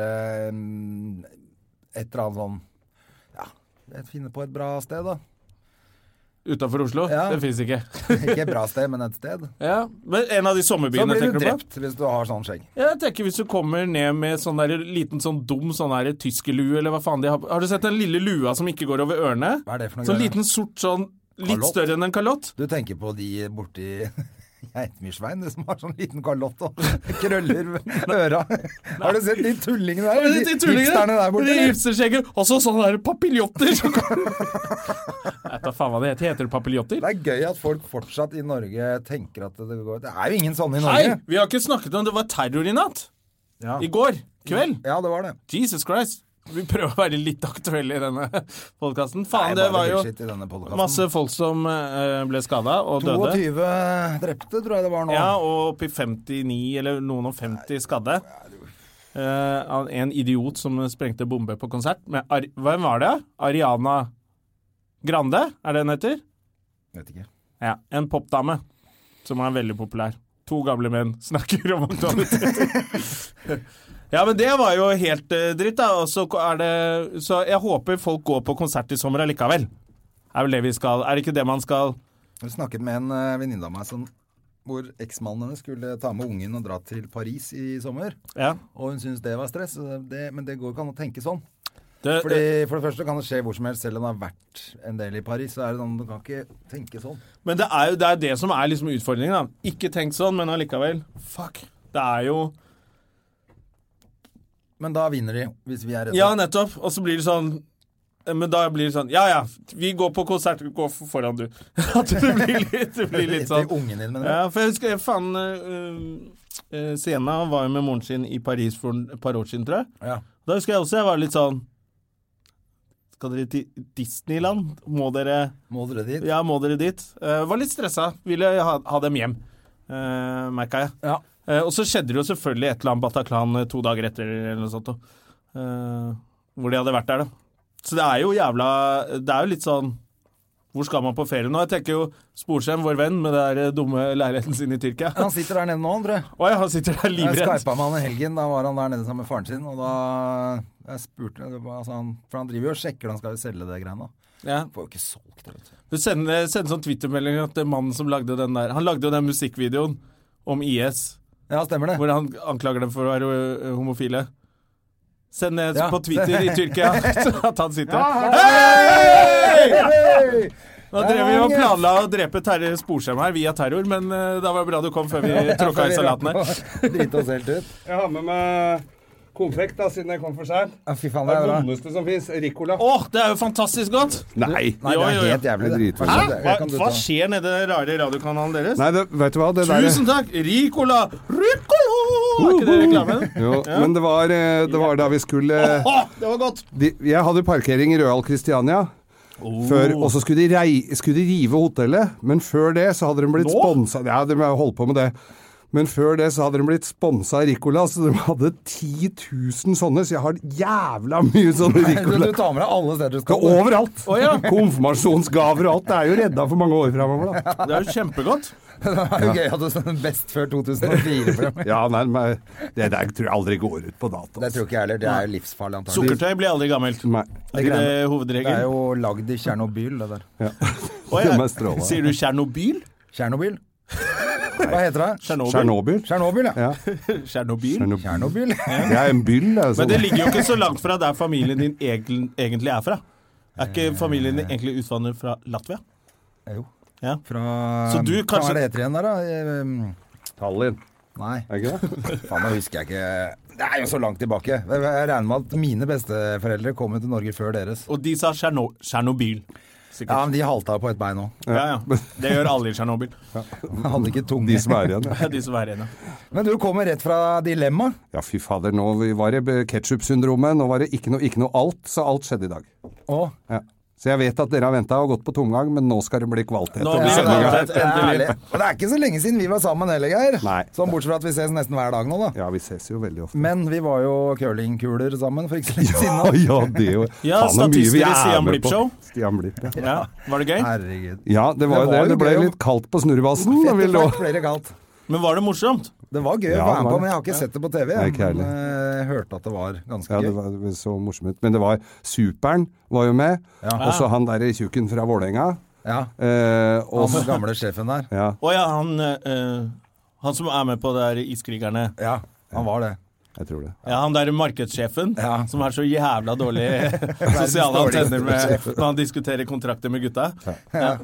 [SPEAKER 2] eh, et eller annet sånn Ja, finne på et bra sted, da.
[SPEAKER 1] Utafor Oslo.
[SPEAKER 2] Ja.
[SPEAKER 1] Det fins ikke.
[SPEAKER 2] Ikke et bra sted, men et sted.
[SPEAKER 1] Ja, Men en av de
[SPEAKER 2] Så
[SPEAKER 1] sommerbyene,
[SPEAKER 2] blir du
[SPEAKER 1] tenker du på?
[SPEAKER 2] drept hvis du har sånn skjegg.
[SPEAKER 1] Jeg tenker Hvis du kommer ned med sånn der, liten sånn dum sånn der tyskerlue, eller hva faen de har Har du sett den lille lua som ikke går over ørene?
[SPEAKER 2] Hva er det for noe
[SPEAKER 1] Sånn
[SPEAKER 2] greier?
[SPEAKER 1] liten sort sånn Litt
[SPEAKER 2] Kalott?
[SPEAKER 1] større enn en kalott?
[SPEAKER 2] Du tenker på de borti (laughs) Geitmyrsveien, du som har sånn liten kalott og (laughs) krøller
[SPEAKER 1] (laughs)
[SPEAKER 2] ved øra. Har du sett de tullingene der?
[SPEAKER 1] De, de tullingene!
[SPEAKER 2] hipsterne der borte?
[SPEAKER 1] De
[SPEAKER 2] eller?
[SPEAKER 1] hipsterskjegget! Og så sånne der
[SPEAKER 2] (laughs)
[SPEAKER 1] papiljotter! som kommer. Jeg vet da faen hva det heter. Heter det papiljotter?
[SPEAKER 2] Det er gøy at folk fortsatt i Norge tenker at det går Det er jo ingen sånne i
[SPEAKER 1] Nei,
[SPEAKER 2] Norge.
[SPEAKER 1] vi har ikke snakket om det var terror i natt.
[SPEAKER 2] Ja.
[SPEAKER 1] I går kveld.
[SPEAKER 2] Ja, det var det.
[SPEAKER 1] Jesus Christ. Vi prøver å være litt aktuelle i denne podkasten. Faen,
[SPEAKER 2] Nei,
[SPEAKER 1] det
[SPEAKER 2] bare
[SPEAKER 1] var jo
[SPEAKER 2] bullshit i denne podcasten.
[SPEAKER 1] masse folk som eh, ble skada og døde.
[SPEAKER 2] 22 drepte, tror jeg det var nå.
[SPEAKER 1] Ja, og oppi 59, eller noen og 50 skadde. Eh, av en idiot som sprengte bombe på konsert. Med Ar Hvem var det? Ariana Grande, er det hun heter?
[SPEAKER 2] Vet ikke.
[SPEAKER 1] Ja, en popdame som er veldig populær. To gamle menn snakker om aktualiteter. ja, men det var jo helt eh, dritt, da. Og så er det Så jeg håper folk går på konsert i sommer allikevel. Er vel det vi skal Er det ikke det man skal
[SPEAKER 2] Jeg snakket med en eh, venninne av meg som, hvor eksmannen hennes skulle ta med ungen og dra til Paris i sommer.
[SPEAKER 1] Ja.
[SPEAKER 2] Og hun syntes det var stress, så det, men det går jo ikke an å tenke sånn.
[SPEAKER 1] Det,
[SPEAKER 2] Fordi, for det første kan det skje hvor som helst, selv om det har vært en del i Paris. Så er det sånn, du kan ikke tenke sånn.
[SPEAKER 1] Men det er jo det, er det som er liksom utfordringen. da. Ikke tenk sånn, men allikevel. Fuck. Det er jo
[SPEAKER 2] Men da vinner de, hvis vi er redde.
[SPEAKER 1] Ja, nettopp. Og så blir det sånn men da blir det sånn Ja ja, vi går på konsert. Gå f- foran, du. (laughs) At det blir litt, det blir litt
[SPEAKER 2] (laughs)
[SPEAKER 1] sånn.
[SPEAKER 2] Til ungen din, mener jeg.
[SPEAKER 1] Ja, for jeg husker faen eh, eh, Sena var jo med moren sin i Paris for en- et par år siden, tror jeg.
[SPEAKER 2] Ja.
[SPEAKER 1] Da husker jeg også jeg var litt sånn Skal dere til Disneyland? Må dere
[SPEAKER 2] Må dere dit?
[SPEAKER 1] Ja, må dere dit. Eh, var litt stressa. Ville ha, ha dem hjem, uh, merka jeg.
[SPEAKER 2] Ja.
[SPEAKER 1] Eh, og så skjedde det jo selvfølgelig et eller annet Bataclan eh, to dager etter, eller noe sånt. da. Eh, hvor de hadde vært der, da. Så det er jo jævla Det er jo litt sånn Hvor skal man på ferie nå? Jeg tenker jo Sporsem, vår venn, med det der eh, dumme leiligheten sin i Tyrkia. Å
[SPEAKER 2] Han sitter der nede nå, tror jeg.
[SPEAKER 1] ja, han sitter der
[SPEAKER 2] Jeg
[SPEAKER 1] livredd.
[SPEAKER 2] skypa med han i helgen, da var han der nede sammen med faren sin. Og da jeg spurte det var- altså han, For han driver jo og sjekker, han skal jo selge det greiene.
[SPEAKER 1] Ja.
[SPEAKER 2] Får jo ikke solgt det, vet du.
[SPEAKER 1] Du sender, sender sånn Twitter-melding at det er mannen som lagde den der Han lagde jo den musikkvideoen om IS.
[SPEAKER 2] Ja, stemmer det.
[SPEAKER 1] Hvor han anklager dem for å være ø, homofile. Send det
[SPEAKER 2] Ja.
[SPEAKER 1] på Twitter i Tyrkia (laughs) at han sitter
[SPEAKER 2] Hei!
[SPEAKER 1] Nå drev vi og planla å drepe Terje Sporsem her via terror, men ø, da var det bra du kom før vi tråkka i salatene.
[SPEAKER 2] (laughs) Drite oss helt ut.
[SPEAKER 3] Jeg har med meg konfekt, da, siden jeg kom for seint.
[SPEAKER 2] Ja, fy faen,
[SPEAKER 3] Det
[SPEAKER 2] det er bra.
[SPEAKER 3] vondeste som fins. Ricola.
[SPEAKER 1] Å, det er jo fantastisk godt!
[SPEAKER 3] Nei!
[SPEAKER 2] Nei, det
[SPEAKER 1] Jo,
[SPEAKER 2] er
[SPEAKER 1] jo, jo.
[SPEAKER 2] helt jævlig dritfullt.
[SPEAKER 1] Hæ? Hva, hva skjer nede i den rare radiokanalen deres?
[SPEAKER 3] Nei, det, vet du hva? Det der,
[SPEAKER 1] Tusen takk! Ricola! Ricola! Er ikke det reklamen?
[SPEAKER 3] Jo, Men det var, eh, det var da vi skulle
[SPEAKER 1] Å, det var godt!
[SPEAKER 3] de, Jeg hadde parkering i Rødal Christiania. Før,
[SPEAKER 1] Oh.
[SPEAKER 3] og så skulle de, rei, skulle de rive hotellet, men før det så hadde de blitt
[SPEAKER 1] Nå?
[SPEAKER 3] sponsa Ja, de har holdt på med det. Men før det så hadde de blitt sponsa av Ricola, så de hadde 10 000 sånne, så jeg har jævla mye sånne Ricola.
[SPEAKER 2] Du tar med deg alle steder du
[SPEAKER 3] Det
[SPEAKER 2] skal.
[SPEAKER 3] er overalt! Konfirmasjonsgaver og alt. Det er jo redda for mange år framover, da.
[SPEAKER 1] Det er jo kjempegodt.
[SPEAKER 2] (laughs) Det er jo gøy at du sånn best
[SPEAKER 1] (laughs)
[SPEAKER 2] før 2004 for dem.
[SPEAKER 3] (laughs) Ja, nei, men det der tror jeg aldri går ut på dato. altså.
[SPEAKER 2] Det tror ikke jeg heller. Det er jo livsfarlig, antagelig.
[SPEAKER 1] Sukkertøy blir aldri gammelt.
[SPEAKER 3] Nei.
[SPEAKER 1] Er ikke det
[SPEAKER 2] Det er
[SPEAKER 1] hovedregelen?
[SPEAKER 2] jo lagd i Tsjernobyl, det der.
[SPEAKER 3] Ja.
[SPEAKER 1] Å, ja.
[SPEAKER 3] Det mest strålende.
[SPEAKER 1] Sier du Tsjernobyl?
[SPEAKER 2] Tsjernobyl? Hva heter det?
[SPEAKER 1] Tsjernobyl.
[SPEAKER 3] Tsjernobyl.
[SPEAKER 2] Tsjernobyl, ja.
[SPEAKER 1] Tsjernobyl.
[SPEAKER 3] Tsjernobyl.
[SPEAKER 2] Tsjernobyl.
[SPEAKER 3] Det er en byll, det.
[SPEAKER 1] Men
[SPEAKER 3] Altså.
[SPEAKER 1] det ligger jo ikke så langt fra der familien din egel- egentlig er fra. Er ikke familien din egentlig utvandret fra Latvia?
[SPEAKER 2] Jo.
[SPEAKER 1] Ja.
[SPEAKER 2] Fra
[SPEAKER 1] Så du
[SPEAKER 2] Hva
[SPEAKER 1] kanskje-
[SPEAKER 2] er det heter igjen der, da? Ehm,
[SPEAKER 3] Tallinn,
[SPEAKER 2] Nei,
[SPEAKER 3] er ikke det?
[SPEAKER 2] faen, nå husker jeg ikke Det er jo så langt tilbake. Jeg jeg regner med at mine besteforeldre kom jo til Norge før deres.
[SPEAKER 1] Og de sa Tsjerno- Tsjernobyl. Sikkert.
[SPEAKER 2] Ja, men de halta på ett bein òg.
[SPEAKER 1] Ja, ja. Det gjør alle i Tsjernobyl.
[SPEAKER 2] Hadde ikke tunge.
[SPEAKER 3] De som er igjen. ja.
[SPEAKER 1] De som er igjen, ja.
[SPEAKER 2] Men du kommer rett fra dilemma.
[SPEAKER 3] Ja, fy fader. Nå var det ketsjup-syndromet. Nå var det ikke noe, ikke noe alt, så alt skjedde i dag.
[SPEAKER 2] Å,
[SPEAKER 3] Ja. Så jeg vet at dere har venta og gått på tomgang, men nå skal det bli kvalitet.
[SPEAKER 1] Nå
[SPEAKER 3] i
[SPEAKER 1] blir det
[SPEAKER 3] sendingen.
[SPEAKER 1] kvalitet.
[SPEAKER 2] det er ærlig. Og det er ikke så lenge siden vi var sammen heller, Geir.
[SPEAKER 3] Nei.
[SPEAKER 2] Sånn bortsett fra at vi ses nesten hver dag nå, da.
[SPEAKER 3] Ja, vi ses jo veldig ofte.
[SPEAKER 2] Men vi var jo curlingkuler sammen for ikke så lenge siden.
[SPEAKER 3] (laughs) Ja, ja, det er jo
[SPEAKER 1] Ja,
[SPEAKER 3] Faen, så mye vi
[SPEAKER 1] statister i
[SPEAKER 3] er
[SPEAKER 1] Stian
[SPEAKER 3] med på.
[SPEAKER 1] Blipp-show.
[SPEAKER 3] Stian Blipp, ja.
[SPEAKER 1] ja. Var det gøy?
[SPEAKER 2] Herregud.
[SPEAKER 3] ja, det var jo det.
[SPEAKER 2] var jo
[SPEAKER 3] Det ble
[SPEAKER 2] gøy å-
[SPEAKER 3] litt kaldt på snurrebasen. da vi
[SPEAKER 2] Fett
[SPEAKER 3] lå
[SPEAKER 2] og flatt ble det kaldt.
[SPEAKER 1] Men var det morsomt?
[SPEAKER 2] Det var gøy
[SPEAKER 3] Ja,
[SPEAKER 2] å være med
[SPEAKER 3] det var
[SPEAKER 2] på, men jeg har ikke sett det på TV.
[SPEAKER 3] Nei, ikke jeg
[SPEAKER 2] men eh, hørte at det var ganske
[SPEAKER 3] Ja, det
[SPEAKER 2] gøy.
[SPEAKER 3] var det så morsomt ut. Men det var Superen var jo med. Og så han derre tjukken fra Vålerenga.
[SPEAKER 2] Ja,
[SPEAKER 3] Eh, og
[SPEAKER 2] Og den gamle sjefen der.
[SPEAKER 3] ja.
[SPEAKER 1] Å ja, han, eh, han som er med på det der Iskrigerne.
[SPEAKER 2] Ja, han var det.
[SPEAKER 3] Jeg tror det.
[SPEAKER 1] Ja, han der markedssjefen
[SPEAKER 2] Ja.
[SPEAKER 1] som er så jævla
[SPEAKER 3] (laughs)
[SPEAKER 1] dårlig sosiale
[SPEAKER 2] dårligste
[SPEAKER 1] antenner med,
[SPEAKER 2] sjef.
[SPEAKER 1] når han diskuterer kontrakter med gutta.
[SPEAKER 3] Ja,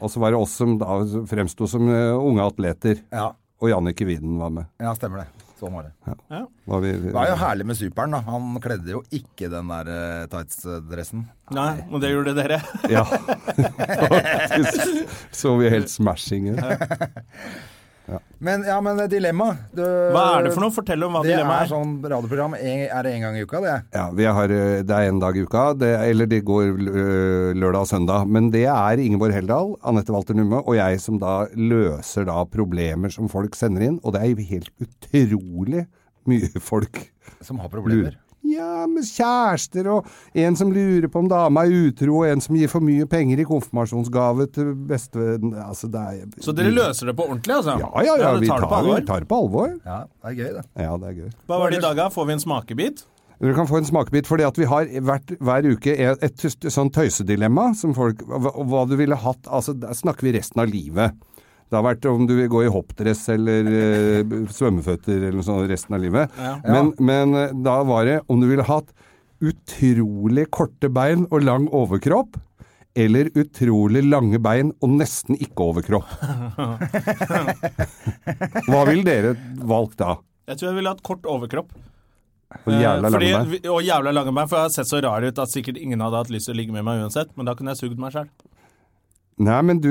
[SPEAKER 3] og så var det oss som da fremsto som eh, unge atleter.
[SPEAKER 2] Ja,
[SPEAKER 3] Og Jannicke Widen var med.
[SPEAKER 2] ja stemmer det. Sånn var det.
[SPEAKER 3] Var vi,
[SPEAKER 2] Det var jo herlig med superen, da. Han kledde jo ikke den der eh, tights-dressen.
[SPEAKER 1] Nei, men det gjorde
[SPEAKER 3] (laughs)
[SPEAKER 1] dere.
[SPEAKER 3] Ja. Faktisk. så vi helt smashing ut.
[SPEAKER 2] Men ja, men eh, dilemma. Du,
[SPEAKER 1] Hva er det for noe? Fortell om hva
[SPEAKER 2] Det
[SPEAKER 1] dilemmaet
[SPEAKER 2] er
[SPEAKER 1] er.
[SPEAKER 2] sånn radioprogram en, er det en gang i uka, det.
[SPEAKER 3] Ja, vi har, eh, det er én dag i uka, det, eller det går eh, lørdag og søndag. Men det er Ingeborg Heldal, Anette Walter Numme og jeg som da løser da problemer som folk sender inn. Og det er jo helt utrolig mye folk
[SPEAKER 2] Som har
[SPEAKER 3] lurer.
[SPEAKER 2] problemer.
[SPEAKER 3] Ja, med kjærester og en som lurer på om dama er utro, og en som gir for mye penger i konfirmasjonsgave til bestevennen altså, det er,
[SPEAKER 1] Så dere løser det på ordentlig, altså?
[SPEAKER 3] Ja, ja, ja.
[SPEAKER 1] dere
[SPEAKER 3] Vi
[SPEAKER 1] tar det på
[SPEAKER 3] tar, vi
[SPEAKER 1] alvor.
[SPEAKER 3] tar det på alvor.
[SPEAKER 2] Ja, det er gøy, det.
[SPEAKER 3] Ja, det er gøy.
[SPEAKER 1] Hva var det i dag, da? Får vi en smakebit?
[SPEAKER 3] Dere kan få en smakebit, fordi at vi har hvert, hver uke et, et tyst- sånn tøysedilemma som folk hva, hva du ville hatt Altså, der snakker vi resten av livet. Det har vært om du vil gå i hoppdress eller eh, b- svømmeføtter eller noe sånt resten av livet. Men, men eh, da var det om du ville hatt utrolig korte bein og lang overkropp. Eller utrolig lange bein og nesten ikke overkropp. Hva ville dere valgt da?
[SPEAKER 1] Jeg tror jeg ville hatt kort overkropp.
[SPEAKER 3] Og jævla
[SPEAKER 1] Eh,
[SPEAKER 3] lange
[SPEAKER 1] fordi,
[SPEAKER 3] bein?
[SPEAKER 1] vi- Og jævla lange bein, for jeg har sett så rar ut at sikkert ingen hadde hatt lyst til å ligge med meg uansett, men da kunne jeg sugd meg sjøl.
[SPEAKER 3] Nei, men du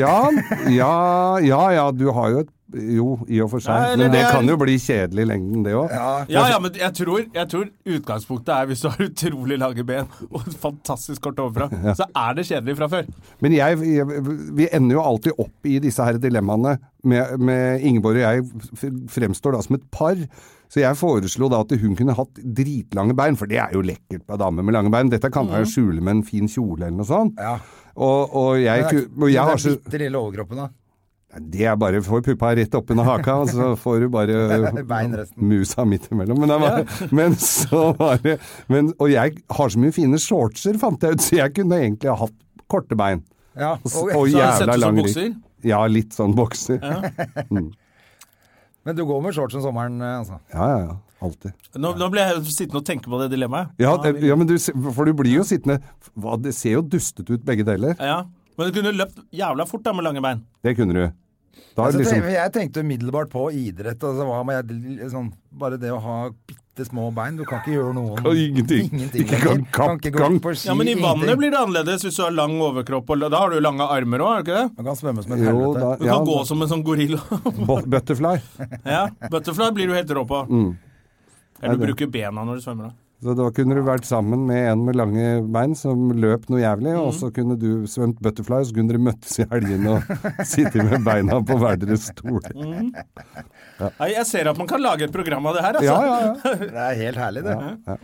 [SPEAKER 3] Ja, ja, ja, ja du har jo et Jo, i og for seg.
[SPEAKER 1] Nei, eller
[SPEAKER 3] men det
[SPEAKER 1] det er-
[SPEAKER 3] kan jo bli kjedelig i lengden, det òg.
[SPEAKER 2] Ja,
[SPEAKER 1] Ja, ja, men jeg tror, jeg tror utgangspunktet er hvis du har (laughs) utrolig lange ben og et fantastisk kort
[SPEAKER 3] (laughs)
[SPEAKER 1] overfra, så er det kjedelig fra før.
[SPEAKER 3] Men jeg, jeg, vi ender jo alltid opp i disse her dilemmaene. Med, med Ingeborg og jeg f- fremstår da som et par. Så jeg foreslo da at hun kunne hatt dritlange bein, for det er jo lekkert på ei dame med lange bein. Dette kan man jo skjule med en fin kjole eller noe sånt.
[SPEAKER 2] Mm. Ja.
[SPEAKER 3] Og, og
[SPEAKER 2] Men
[SPEAKER 3] jeg,
[SPEAKER 2] det er
[SPEAKER 3] ku- og jeg har så
[SPEAKER 2] Den bitte lille overkroppen, da.
[SPEAKER 3] Nei, Det er bare få puppa rett opp under haka, og så får du
[SPEAKER 2] (laughs)
[SPEAKER 3] bare
[SPEAKER 2] Bein resten.
[SPEAKER 3] musa midt imellom. Men, det var, (laughs) men så var det men, Og jeg har så mye fine shortser, fant jeg ut, så jeg kunne egentlig ha hatt korte bein.
[SPEAKER 2] Ja,
[SPEAKER 3] Og, s-
[SPEAKER 2] og-
[SPEAKER 3] og
[SPEAKER 1] Så sett ut
[SPEAKER 3] jævla
[SPEAKER 1] som
[SPEAKER 3] lang
[SPEAKER 1] bukser?
[SPEAKER 3] rygg. Ja, litt sånn bokser. Ja,
[SPEAKER 2] Men du går med shorts om sommeren, eh, altså.
[SPEAKER 3] (laughs) ja, ja. Alltid.
[SPEAKER 1] Nå, nå ble jeg sittende og tenke på det dilemmaet.
[SPEAKER 3] Ja, det- ja, men du, se- for du blir jo sittende hva, Det ser jo dustet ut, begge deler.
[SPEAKER 1] Ja. Men du kunne løpt jævla fort da med lange bein.
[SPEAKER 3] Det kunne du. Da
[SPEAKER 2] Altså,
[SPEAKER 3] liksom
[SPEAKER 2] tenk- Jeg tenkte umiddelbart på idrett. Altså, hva med jeg, sånn, bare det å ha bitte små bein. Du kan ikke gjøre noen
[SPEAKER 3] Kan ingenting. Ikke
[SPEAKER 2] lenger.
[SPEAKER 3] kan kapp-
[SPEAKER 2] ikke gå
[SPEAKER 3] gang.
[SPEAKER 2] på ski,
[SPEAKER 1] Ja, Men i vannet
[SPEAKER 2] ingenting.
[SPEAKER 1] blir det annerledes hvis du har lang overkropp. Og da har du lange armer òg, er det ikke det?
[SPEAKER 2] Du kan svømme som en
[SPEAKER 3] Jo,
[SPEAKER 2] helvete.
[SPEAKER 3] da
[SPEAKER 1] Du
[SPEAKER 3] ja,
[SPEAKER 1] kan gå som en sånn gorilla. (laughs)
[SPEAKER 3] bo- Butterfly.
[SPEAKER 1] ja. Butterfly blir du helt rå på.
[SPEAKER 3] Mm.
[SPEAKER 1] Eller du bruker bena når du svømmer. da.
[SPEAKER 3] Så da kunne du vært sammen med en med lange bein som løp noe jævlig, og
[SPEAKER 2] Mhm.
[SPEAKER 3] så kunne du svømt butterfly, og så kunne dere møttes i helgene
[SPEAKER 2] (laughs)
[SPEAKER 3] og sitte med beina på hver deres stol.
[SPEAKER 2] Mhm.
[SPEAKER 1] Nei, Jeg ser at man kan lage et program av det her, altså.
[SPEAKER 3] Ja, ja, ja.
[SPEAKER 2] Det er helt herlig, det.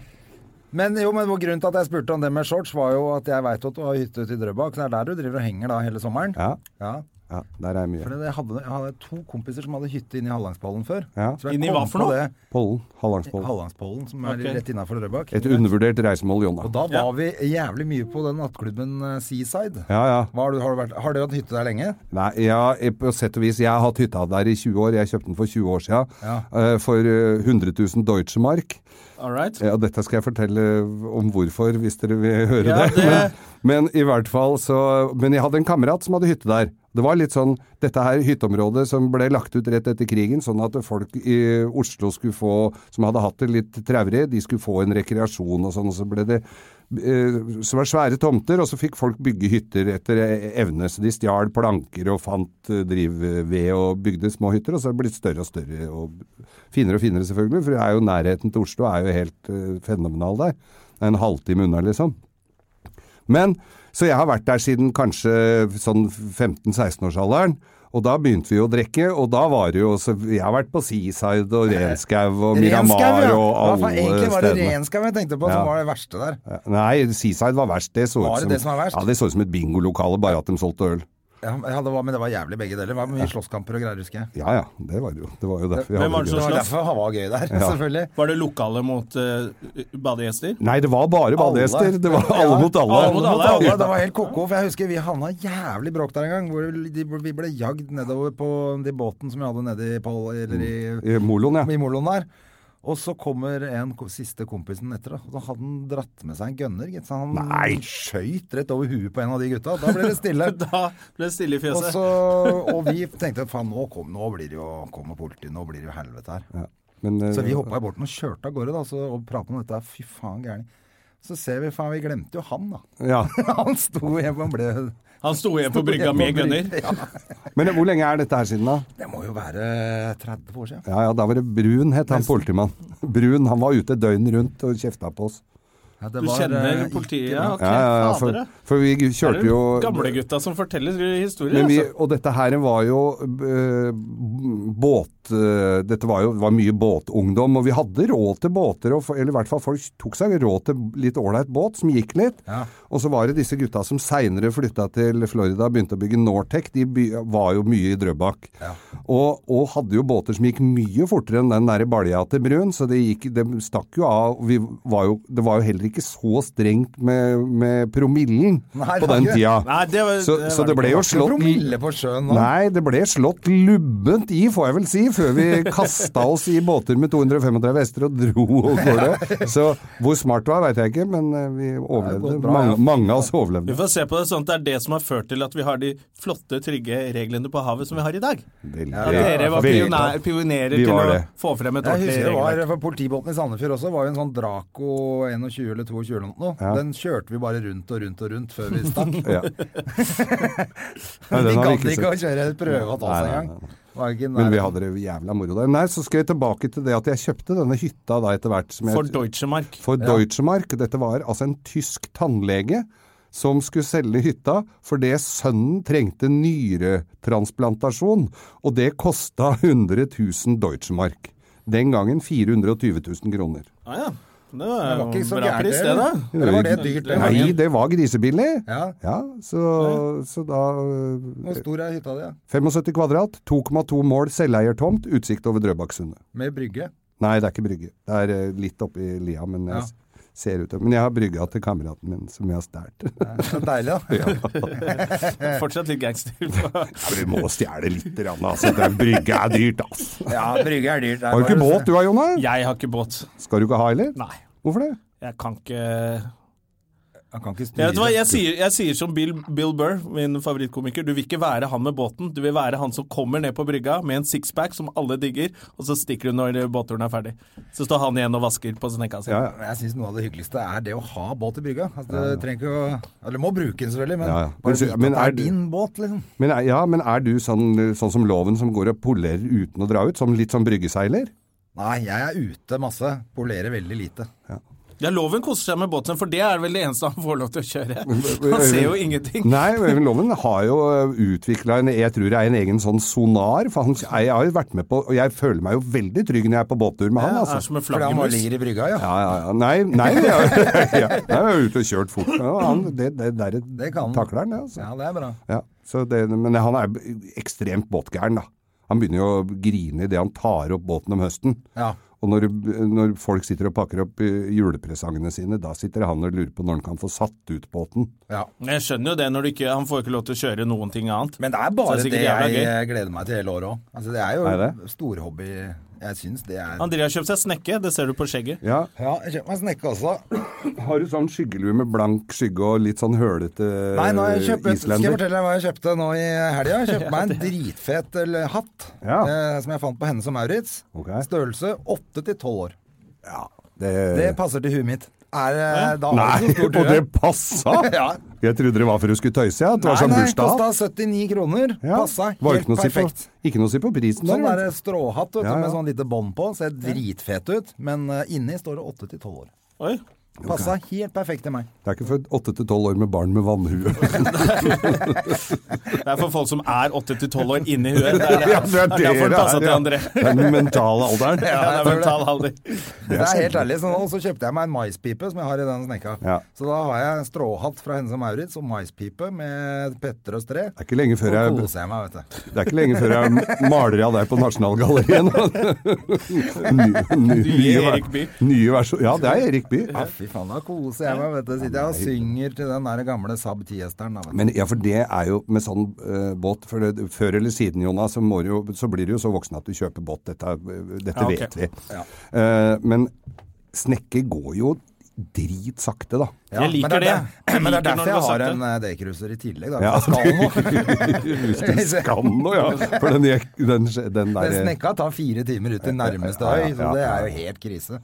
[SPEAKER 2] Men jo, men hvor grunnen til at jeg spurte om det med shorts, var jo at jeg veit at du har hytte ute i Drøbak. så Det er der du driver og henger da hele sommeren.
[SPEAKER 3] Ja,
[SPEAKER 2] Ja.
[SPEAKER 3] ja der
[SPEAKER 2] For
[SPEAKER 3] er mye.
[SPEAKER 2] det- jeg hadde, jeg hadde to kompiser som hadde hytte inne i Hallangsbollen før.
[SPEAKER 3] Ja.
[SPEAKER 2] Så jeg
[SPEAKER 1] Inni
[SPEAKER 2] kom
[SPEAKER 1] hva for
[SPEAKER 2] på
[SPEAKER 1] noe?
[SPEAKER 2] det.
[SPEAKER 3] Pollen. Hallangspollen.
[SPEAKER 2] Hallangspollen, som er
[SPEAKER 1] Ok.
[SPEAKER 2] rett innafor Drøbak.
[SPEAKER 3] Et undervurdert reisemål, Jonna.
[SPEAKER 2] Og da var vi jævlig mye på den nattklubben eh, Seaside.
[SPEAKER 3] Ja, ja.
[SPEAKER 2] Hva har, du, har, du vært, har dere hatt hytte der lenge?
[SPEAKER 3] Nei, ja, jeg- på sett og vis. Jeg har hatt hytta der i 20 år. Jeg kjøpte den for 20 år siden
[SPEAKER 2] Ja.
[SPEAKER 3] eh, for eh, 100 000 Deutsche Mark.
[SPEAKER 1] All right.
[SPEAKER 3] Ja, dette skal jeg fortelle om hvorfor, hvis dere vil høre
[SPEAKER 1] Ja,
[SPEAKER 3] det.
[SPEAKER 1] det-
[SPEAKER 3] Men, men i hvert fall så Men jeg hadde en kamerat som hadde hytte der. Det var litt sånn Dette her hytteområdet som ble lagt ut rett etter krigen, sånn at folk i Oslo skulle få, som hadde hatt det litt traurig, de skulle få en rekreasjon og sånn. Og så ble det eh, så var det svære tomter, og så fikk folk bygge hytter etter eh, evne. Så de stjal planker og fant eh, drivved og bygde små hytter, og så er det blitt større og større og finere og finere, selvfølgelig. For det er jo nærheten til Oslo er jo helt eh, fenomenal der. Det er en halvtime unna, liksom. Men, så jeg har vært der siden kanskje sånn 15-16-årsalderen, og da begynte vi å drikke, og da var det jo også, jeg har vært på Seaside og Renskau og Miramar
[SPEAKER 2] Renskau, ja.
[SPEAKER 3] og
[SPEAKER 2] Hva faen,
[SPEAKER 3] alle
[SPEAKER 2] Egentlig var det
[SPEAKER 3] stedene.
[SPEAKER 2] renskau jeg tenkte på,
[SPEAKER 3] Ja.
[SPEAKER 2] som var det verste der.
[SPEAKER 3] Nei, Seaside var verst. Det så
[SPEAKER 2] Var det
[SPEAKER 3] ut
[SPEAKER 2] det som var verst?
[SPEAKER 3] Ja, det så ut som et bingolokale, bare at de solgte øl.
[SPEAKER 2] Ja, ja, det var, men det var jævlig begge deler. Det var mye slåsskamper og greier, husker jeg.
[SPEAKER 3] Ja ja, det var det jo. Det var jo derfor vi
[SPEAKER 1] Hvem
[SPEAKER 3] hadde
[SPEAKER 1] var det som
[SPEAKER 2] Det var
[SPEAKER 1] slåss?
[SPEAKER 2] derfor han var gøy der, selvfølgelig.
[SPEAKER 1] Var det lokale mot eh, badegjester? (laughs)
[SPEAKER 3] Nei, det var bare badegjester. Det var
[SPEAKER 2] Ja,
[SPEAKER 3] alle mot alle.
[SPEAKER 1] alle mot alle.
[SPEAKER 2] Ja, det var helt koko, for jeg husker vi havna jævlig bråk der en gang. Hvor de, vi ble jagd nedover på de båten som vi hadde nede i, Pol, eller i,
[SPEAKER 3] Mm. I Moloen, ja.
[SPEAKER 2] (laughs) i moloen der. Og så kommer en ko- siste kompisen etter, da. og da hadde han dratt med seg en gønner, gitt. Så han
[SPEAKER 3] Nei.
[SPEAKER 2] skøyt rett over huet på en av de gutta. Da ble det stille.
[SPEAKER 1] (laughs) Da ble det stille i
[SPEAKER 2] og,
[SPEAKER 1] fjeset.
[SPEAKER 2] så, og vi tenkte faen, nå, kom, nå blir det jo kommer politiet, nå blir det jo helvete her.
[SPEAKER 3] ja. Men, eh,
[SPEAKER 2] Så vi hoppa i båten og kjørte av gårde da, så, og prata om dette. Fy faen, gærning. Så ser vi, faen, vi glemte jo han, da. (laughs)
[SPEAKER 3] ja.
[SPEAKER 2] Han sto hjemme og ble
[SPEAKER 1] Han sto igjen på brygga med gunner.
[SPEAKER 3] Men hvor lenge er dette her siden, da?
[SPEAKER 2] Det må jo være 30 år siden.
[SPEAKER 3] Ja ja, da var det Brun, het han politimann. Brun, han var ute døgnet rundt og kjefta på oss.
[SPEAKER 2] Ja, det
[SPEAKER 1] Du
[SPEAKER 2] var,
[SPEAKER 1] kjenner
[SPEAKER 2] eh,
[SPEAKER 1] politiet, ja? ok,
[SPEAKER 3] Ja, ja, ja,
[SPEAKER 1] fader,
[SPEAKER 3] for,
[SPEAKER 1] ja.
[SPEAKER 3] for vi
[SPEAKER 1] Det
[SPEAKER 3] kjørte
[SPEAKER 1] er
[SPEAKER 3] jo
[SPEAKER 1] jo gamlegutta som forteller historier.
[SPEAKER 3] Men vi,
[SPEAKER 1] altså.
[SPEAKER 3] og dette her var jo eh, båt... eh, dette var jo var mye båtungdom, og vi hadde råd til båter, og, for- eller i hvert fall folk tok seg råd til litt ålreit båt, som gikk litt.
[SPEAKER 2] Ja.
[SPEAKER 3] Og så var det disse gutta som seinere flytta til Florida og begynte å bygge Nortec. De by, var jo mye i Drøbak. Og, og hadde jo båter som gikk mye fortere enn den derre balja til Brun, så det gikk, de stakk jo av. og Vi var jo, det var jo heller ikke så strengt med, med promillen
[SPEAKER 2] Nei, det
[SPEAKER 3] på
[SPEAKER 2] var
[SPEAKER 3] den
[SPEAKER 2] ikke det.
[SPEAKER 3] tida.
[SPEAKER 1] Nei, det var-
[SPEAKER 3] så,
[SPEAKER 1] det
[SPEAKER 3] så
[SPEAKER 1] var
[SPEAKER 3] det
[SPEAKER 1] det
[SPEAKER 3] ble
[SPEAKER 1] ikke.
[SPEAKER 3] jo
[SPEAKER 2] Ikke
[SPEAKER 3] slått
[SPEAKER 2] promille på sjøen nå.
[SPEAKER 3] Nei, det ble slått lubbent i, får jeg vel si, før vi kasta oss i båter med 235 hester og dro av gårde. Så hvor smart det var, veit jeg ikke, men eh, vi overlevde.
[SPEAKER 2] gått bra, ja.
[SPEAKER 3] mange, mange av oss
[SPEAKER 1] Vi
[SPEAKER 3] overlevde.
[SPEAKER 1] får se på det sånn at det er det som har ført til at vi har de flotte, trygge reglene på havet som vi har i dag.
[SPEAKER 3] Veldig-
[SPEAKER 1] Ja, dere var
[SPEAKER 3] veldig-
[SPEAKER 1] pioner, pionerer
[SPEAKER 3] Vi
[SPEAKER 1] til
[SPEAKER 3] var
[SPEAKER 1] å
[SPEAKER 3] det.
[SPEAKER 1] få frem et
[SPEAKER 2] Jeg
[SPEAKER 1] ordentlig
[SPEAKER 2] husker det var,
[SPEAKER 1] regelverk.
[SPEAKER 2] for Politibåten i Sandefjord også var jo en sånn Draco 21 eller 22 eller noe.
[SPEAKER 3] Ja.
[SPEAKER 2] Den kjørte vi bare rundt og rundt og rundt før vi
[SPEAKER 3] (laughs)
[SPEAKER 2] stakk.
[SPEAKER 3] Ja.
[SPEAKER 2] vi
[SPEAKER 3] Nei, den har vi
[SPEAKER 2] gadd
[SPEAKER 3] ikke
[SPEAKER 2] ikke å
[SPEAKER 3] sett.
[SPEAKER 2] kjøre et prøvehatt
[SPEAKER 3] Nei,
[SPEAKER 2] altså
[SPEAKER 3] nei, nei,
[SPEAKER 2] engang. Var ikke
[SPEAKER 3] Men vi
[SPEAKER 2] nær-
[SPEAKER 3] hadde det jævla moro der. Nei, så skal vi tilbake til det at jeg kjøpte denne hytta da etter hvert. Som jeg,
[SPEAKER 1] For Deutsche Mark.
[SPEAKER 3] for Deutsche Mark. Dette var altså en tysk tannlege som skulle selge hytta fordi sønnen trengte nyretransplantasjon, og det kosta 100 000 Deutsche Mark. Den gangen 420 000 kroner.
[SPEAKER 1] Ah, ja. Det
[SPEAKER 2] Det
[SPEAKER 1] var
[SPEAKER 2] var
[SPEAKER 1] jo
[SPEAKER 2] ikke
[SPEAKER 1] en
[SPEAKER 2] så
[SPEAKER 1] bra
[SPEAKER 2] gærent,
[SPEAKER 1] pris, det, da.
[SPEAKER 2] eller? Eller var det dyrt? det?
[SPEAKER 3] Nei, det var grisebillig!
[SPEAKER 2] Ja.
[SPEAKER 3] Ja, så, så da
[SPEAKER 2] Hvor stor er hytta di? da?
[SPEAKER 3] 75 kvadrat, 2,2 mål selveiertomt, utsikt over Drøbaksundet.
[SPEAKER 2] Med brygge?
[SPEAKER 3] Nei, det er ikke brygge. Det er eh, litt oppi lia, men jeg
[SPEAKER 2] Ja.
[SPEAKER 3] s- ser ut til Men jeg har brygga til kameraten min, som jeg har stjålet.
[SPEAKER 2] Så deilig,
[SPEAKER 3] (laughs)
[SPEAKER 2] da.
[SPEAKER 1] Fortsatt litt gangster.
[SPEAKER 2] (laughs)
[SPEAKER 3] Ja, men Du må stjele litt, rann, altså. Det er- brygge er dyrt, altså.
[SPEAKER 2] Ja, brygge er dyrt.
[SPEAKER 3] Har du ikke båt du da, Jonah?
[SPEAKER 1] Jeg har ikke båt.
[SPEAKER 3] Skal du ikke ha heller?
[SPEAKER 1] Nei.
[SPEAKER 3] Hvorfor det?
[SPEAKER 1] Jeg kan ikke
[SPEAKER 2] Han kan ikke
[SPEAKER 1] Jeg
[SPEAKER 2] styre.
[SPEAKER 1] vet hva, jeg sier, jeg sier som Bill, Bill Burr, min favorittkomiker. Du vil ikke være han med båten, du vil være han som kommer ned på brygga med en sixpack som alle digger, og så stikker du når båtturen er ferdig. Så står han igjen og vasker på snekka si.
[SPEAKER 3] Ja, ja.
[SPEAKER 2] Men Jeg syns noe av det hyggeligste er det å ha båt i brygga. Altså, du trenger ikke å Eller du må bruke den selvfølgelig, men
[SPEAKER 3] Ja, ja. Men
[SPEAKER 2] bare
[SPEAKER 3] sy-
[SPEAKER 2] vite at
[SPEAKER 3] men
[SPEAKER 2] det
[SPEAKER 3] er
[SPEAKER 2] er
[SPEAKER 3] du-
[SPEAKER 2] din båt, liksom.
[SPEAKER 3] Men, er- ja, men er du sånn, sånn som loven som går og polerer uten å dra ut? Som litt som bryggeseiler?
[SPEAKER 2] Nei, jeg er ute masse. Polerer veldig lite.
[SPEAKER 1] Ja, Loven koser seg med båten, for det er vel det eneste han får lov til å kjøre. Han ser jo ingenting.
[SPEAKER 3] Nei, men loven har jo utvikla en Jeg tror det er en egen sånn sonar. For han, jeg har jo vært med på Og jeg føler meg jo veldig trygg når jeg er på båttur med han,
[SPEAKER 1] Han
[SPEAKER 3] altså.
[SPEAKER 1] er som en
[SPEAKER 2] Fordi han bare
[SPEAKER 1] flaggermus.
[SPEAKER 2] ligger i brygga, ja.
[SPEAKER 3] Ja, ja, ja. Nei, nei, (laughs) ja. ja. Nei, jeg er ute og kjørt fort. Ja, han, det, det, der
[SPEAKER 2] Det kan han.
[SPEAKER 3] takler han, det. Altså.
[SPEAKER 2] Ja, det er bra.
[SPEAKER 3] Ja, så det, men han er ekstremt båtgæren, da. Han begynner jo å grine idet han tar opp båten om høsten.
[SPEAKER 2] Ja.
[SPEAKER 3] Og når, når folk sitter og pakker opp eh, julepresangene sine, da sitter han og lurer på når han kan få satt ut båten.
[SPEAKER 2] ja.
[SPEAKER 1] Jeg skjønner jo det, når du ikke, han får ikke lov til å kjøre noen ting annet.
[SPEAKER 2] Men det er
[SPEAKER 1] Så
[SPEAKER 2] bare
[SPEAKER 1] det er
[SPEAKER 2] det,
[SPEAKER 1] sikkert jævla
[SPEAKER 2] jeg gleder meg til hele året òg. Altså, det er jo
[SPEAKER 3] Er det?
[SPEAKER 2] storhobby. Jeg syns det er
[SPEAKER 1] André har kjøpt seg snekke, det ser du på skjegget.
[SPEAKER 3] Ja.
[SPEAKER 2] Ja, jeg kjøpte meg snekke også.
[SPEAKER 3] Har du sånn skyggelue med blank skygge og litt sånn hølete
[SPEAKER 2] Nei, nå
[SPEAKER 3] Eh,
[SPEAKER 2] har jeg kjøpt, skal jeg
[SPEAKER 3] islender?
[SPEAKER 2] fortelle deg hva jeg kjøpte nå i helga? Jeg
[SPEAKER 3] (laughs)
[SPEAKER 2] kjøpte meg en dritfet eller, hatt
[SPEAKER 3] Ja.
[SPEAKER 2] eh, som jeg fant på Hennes og Maurits.
[SPEAKER 3] Ok.
[SPEAKER 2] Størrelse 8 til 12 år.
[SPEAKER 3] Ja, det,
[SPEAKER 2] Det passer til huet mitt. Er, eh, da
[SPEAKER 3] Eh.
[SPEAKER 2] (laughs)
[SPEAKER 3] Nei,
[SPEAKER 2] har du så
[SPEAKER 3] (laughs) og
[SPEAKER 2] stor
[SPEAKER 3] det
[SPEAKER 2] hue.
[SPEAKER 3] passa!
[SPEAKER 2] (laughs) Ja.
[SPEAKER 3] Jeg trodde det var for å skulle tøyse, ja. At det var
[SPEAKER 2] Nei,
[SPEAKER 3] sånn
[SPEAKER 2] nei,
[SPEAKER 3] bursdag.
[SPEAKER 2] kosta 79 kroner.
[SPEAKER 3] Ja.
[SPEAKER 2] Passa
[SPEAKER 3] Var
[SPEAKER 2] helt
[SPEAKER 3] ikke noe å si på-
[SPEAKER 2] perfekt.
[SPEAKER 3] Ikke noe å si på prisen
[SPEAKER 2] Sånn
[SPEAKER 3] der.
[SPEAKER 2] der stråhatt vet du,
[SPEAKER 3] Ja, ja.
[SPEAKER 2] med sånn lite bånd på. Ser dritfet ut, men eh, inni står det 8 til 12 år.
[SPEAKER 1] Oi.
[SPEAKER 2] Passa helt perfekt til meg.
[SPEAKER 3] Det er ikke for 8 til 12 år med barn med
[SPEAKER 2] (laughs)
[SPEAKER 3] vannhue.
[SPEAKER 1] Det er for folk som er 8-12 år inni huet. Det er,
[SPEAKER 3] Ja, det er det
[SPEAKER 1] derfor
[SPEAKER 3] det
[SPEAKER 1] det passer
[SPEAKER 3] er,
[SPEAKER 1] til
[SPEAKER 3] ja.
[SPEAKER 1] André.
[SPEAKER 3] Det er den mentale alderen.
[SPEAKER 1] Ja, det er mental alder.
[SPEAKER 2] Det er helt ærlig. Sånn, og så kjøpte jeg meg en maispipe som jeg har i den snekka.
[SPEAKER 3] Ja.
[SPEAKER 2] Så da har jeg en stråhatt fra Hennes og Maurits og maispipe med Petter og Stre.
[SPEAKER 3] Det er ikke lenge
[SPEAKER 2] Så
[SPEAKER 3] før jeg,
[SPEAKER 2] koser jeg meg, vet du.
[SPEAKER 3] det er ikke lenge før jeg maler av deg på Nasjonalgalleriet.
[SPEAKER 1] (laughs)
[SPEAKER 3] Nye, nye, nye,
[SPEAKER 1] Nye
[SPEAKER 3] ver-
[SPEAKER 1] Erik Bye.
[SPEAKER 3] nye versjon. Ja, det er Erik Bye.
[SPEAKER 2] Ja, fy faen, da koser jeg meg, vet du. Sitter jeg og synger til den der gamle Saab 10-hesteren, da, vet du.
[SPEAKER 3] Men ja, for det er jo med sånn eh, båt for det, Før eller siden, Jonas, så, må du jo, så blir du jo så voksen at du kjøper båt. Dette, er- dette
[SPEAKER 1] Ja, ok.
[SPEAKER 3] vet vi. Eh, men snekke går jo dritsakte, da.
[SPEAKER 2] Ja,
[SPEAKER 1] Jeg liker
[SPEAKER 2] men det. er
[SPEAKER 1] det.
[SPEAKER 2] der- Men det er
[SPEAKER 1] Liker når det
[SPEAKER 2] derfor jeg
[SPEAKER 1] går
[SPEAKER 2] har
[SPEAKER 1] sakte.
[SPEAKER 2] en eh, daycruiser i tillegg, da.
[SPEAKER 3] Ja.
[SPEAKER 2] Jeg skal
[SPEAKER 3] (laughs)
[SPEAKER 2] nå.
[SPEAKER 3] Skam nå, ja! For den, den, den
[SPEAKER 2] Den
[SPEAKER 3] der
[SPEAKER 2] snekka tar fire timer ut til nærmeste
[SPEAKER 3] (laughs) Ja, ja,
[SPEAKER 2] øy,
[SPEAKER 3] ja,
[SPEAKER 2] så det
[SPEAKER 3] ja.
[SPEAKER 2] er jo helt krise.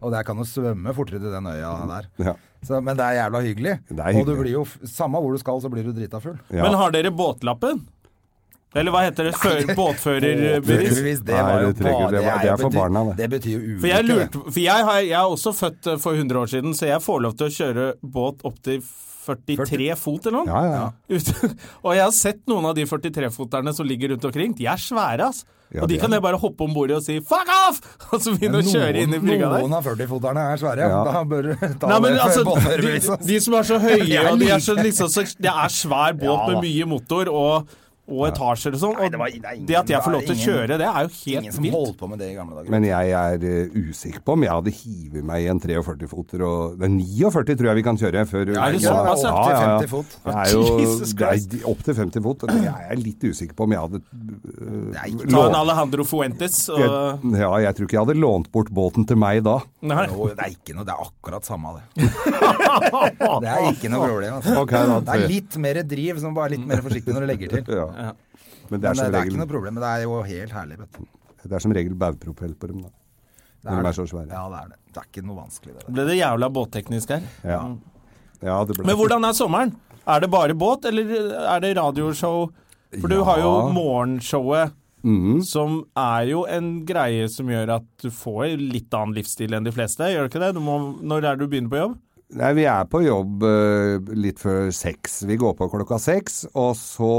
[SPEAKER 2] Og der kan du svømme fortere til den øya der.
[SPEAKER 3] (laughs) Ja.
[SPEAKER 2] Så, men det er jævla hyggelig.
[SPEAKER 3] Det er
[SPEAKER 2] Og du
[SPEAKER 3] hyggelig.
[SPEAKER 2] blir jo, f- samme hvor du skal, så blir du drita full.
[SPEAKER 3] ja.
[SPEAKER 1] Men har dere båtlappen? Eller hva heter det? Før, båtførerbevis?
[SPEAKER 2] Bevis,
[SPEAKER 3] Nei, det trenger-
[SPEAKER 2] bare-
[SPEAKER 3] det var- det er for
[SPEAKER 2] bety-
[SPEAKER 3] barna, det.
[SPEAKER 2] Det betyr jo ulykke.
[SPEAKER 1] For jeg,
[SPEAKER 2] det.
[SPEAKER 1] lurte, for jeg, har, jeg er også født eh, for 100 år siden, så jeg får lov til å kjøre båt opp til 43 fot eller noe.
[SPEAKER 3] Ja, ja.
[SPEAKER 1] (laughs) Ute- og jeg har sett noen av de 43-foterne som ligger rundt omkring. De er svære, ass.
[SPEAKER 3] Ja,
[SPEAKER 1] og de
[SPEAKER 3] de
[SPEAKER 1] kan jeg bare hoppe om bordet og si 'fuck off!' (laughs) og så begynne å kjøre inn i brygga der.
[SPEAKER 2] Noen av 40-foterne er svære, ja.
[SPEAKER 3] Ja.
[SPEAKER 2] Da bør du ta
[SPEAKER 1] Nei,
[SPEAKER 2] (laughs)
[SPEAKER 1] men
[SPEAKER 2] det
[SPEAKER 1] altså,
[SPEAKER 2] for båtførerbevis.
[SPEAKER 1] de,
[SPEAKER 2] ass.
[SPEAKER 1] de som er så høye,
[SPEAKER 2] Jeg
[SPEAKER 1] og de er
[SPEAKER 2] liker
[SPEAKER 1] så liksom så, Det er svær båt
[SPEAKER 2] Ja, da.
[SPEAKER 1] med mye motor og, og etasjer og sånn.
[SPEAKER 2] Nei,
[SPEAKER 1] Og
[SPEAKER 2] det var- det er ingen-
[SPEAKER 1] det at jeg får lov til å
[SPEAKER 2] det er ingen-
[SPEAKER 1] kjøre, det er jo
[SPEAKER 2] Ingen
[SPEAKER 1] helt
[SPEAKER 2] som
[SPEAKER 1] vilt.
[SPEAKER 2] holdt på med det i gamle dager.
[SPEAKER 3] Men jeg er eh, usikker på om jeg hadde hivet meg i en 43-foter og Det er 49 tror jeg vi kan kjøre før
[SPEAKER 1] Er det
[SPEAKER 3] Ja,
[SPEAKER 1] såpass, ja?
[SPEAKER 3] ja, ja, ja.
[SPEAKER 2] 50 fot.
[SPEAKER 3] Det er jo
[SPEAKER 1] Jesus
[SPEAKER 3] det
[SPEAKER 1] Christ.
[SPEAKER 3] er opp til 50 fot. og Jeg er litt usikker på om jeg hadde
[SPEAKER 2] Det er ikke
[SPEAKER 1] Ta
[SPEAKER 3] lov-
[SPEAKER 1] en Alejandro Fuentes og
[SPEAKER 3] jeg, Ja, jeg tror ikke jeg hadde lånt bort båten til meg da.
[SPEAKER 1] Nei.
[SPEAKER 2] Jo, det er ikke noe, det er akkurat samme det. Det er ikke noe problem. Altså.
[SPEAKER 3] Ok, da.
[SPEAKER 2] det er litt mer driv, som bare er litt mer forsiktig når du legger til.
[SPEAKER 3] Ja.
[SPEAKER 2] Men
[SPEAKER 3] Men det
[SPEAKER 2] eh,
[SPEAKER 3] er som
[SPEAKER 2] det er ikke
[SPEAKER 3] regel,
[SPEAKER 2] noe problem, men det er jo helt herlig, vet du.
[SPEAKER 3] det er som regel baugpropell på dem, da. Når de er så svære.
[SPEAKER 2] Ja, det er det. Det er ikke noe vanskelig, det der.
[SPEAKER 1] (laughs) Ble det jævla båtteknisk her.
[SPEAKER 3] Ja.
[SPEAKER 2] Mm.
[SPEAKER 3] ja, det ble
[SPEAKER 1] Men hvordan er sommeren? Er det bare båt, eller er det radioshow? For du
[SPEAKER 3] Ja.
[SPEAKER 1] har jo morgenshowet,
[SPEAKER 2] Mhm.
[SPEAKER 1] som er jo en greie som gjør at du får litt annen livsstil enn de fleste, gjør det ikke det? Du må, når er det du begynner på jobb?
[SPEAKER 3] Nei, vi er på jobb eh, litt før seks. Vi går på klokka seks, og så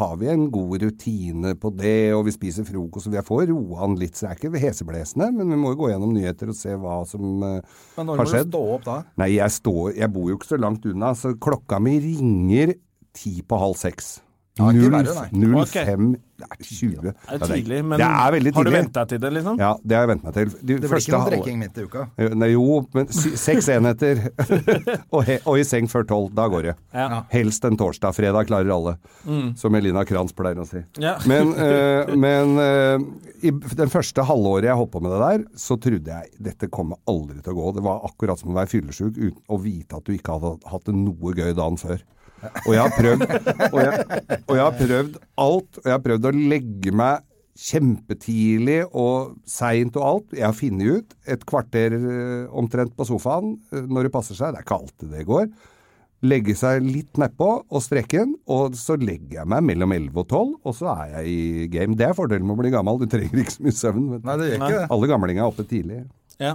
[SPEAKER 3] har vi en god rutine på det, og vi spiser frokost, og vi får roa han litt, så det er ikke heseblesende, men vi må jo gå gjennom nyheter og se hva som eh,
[SPEAKER 2] Men når
[SPEAKER 3] har
[SPEAKER 2] må du
[SPEAKER 3] skjedd.
[SPEAKER 2] stå opp da?
[SPEAKER 3] Nei, jeg, står, jeg bor jo ikke så langt unna, så klokka mi ringer ti på halv seks.
[SPEAKER 2] Ja, ikke verre,
[SPEAKER 3] 05.20.
[SPEAKER 1] Ok. Er det tidlig? Men
[SPEAKER 3] det er veldig tidlig.
[SPEAKER 1] har du venta til det, liksom?
[SPEAKER 3] Ja, det har jeg vent meg til. De
[SPEAKER 2] Det blir
[SPEAKER 3] første
[SPEAKER 2] ikke noe
[SPEAKER 3] halve-
[SPEAKER 2] drikking midt i uka.
[SPEAKER 3] Jo, Nei, jo, men sy- seks enheter. og, he, og i seng før tolv. Da går det.
[SPEAKER 1] Ja.
[SPEAKER 3] Helst en torsdag. Fredag klarer alle, som Elina Kranz pleier å si.
[SPEAKER 1] Ja.
[SPEAKER 3] (laughs) Men, eh, men eh, i den første halvåret jeg holdt på med det der, så trodde jeg dette kommer aldri til å gå. Det var akkurat som å være fyllesyk uten å vite at du ikke hadde hatt det noe gøy dagen før. Og jeg har prøvd, og jeg, og jeg har prøvd alt. Og jeg har prøvd å legge meg kjempetidlig og seint og alt. Jeg har funnet ut et kvarter eh, omtrent på sofaen eh, når det passer seg. Det er ikke alltid det går legge seg litt nedpå og strekke den, og så legger jeg meg mellom 11 og 12, og så er jeg i game. Det er fordelen med å bli gammel, du trenger ikke så mye søvn. vet du.
[SPEAKER 2] Nei, det gjør ikke det.
[SPEAKER 3] Alle gamlinga er oppe tidlig.
[SPEAKER 1] Ja.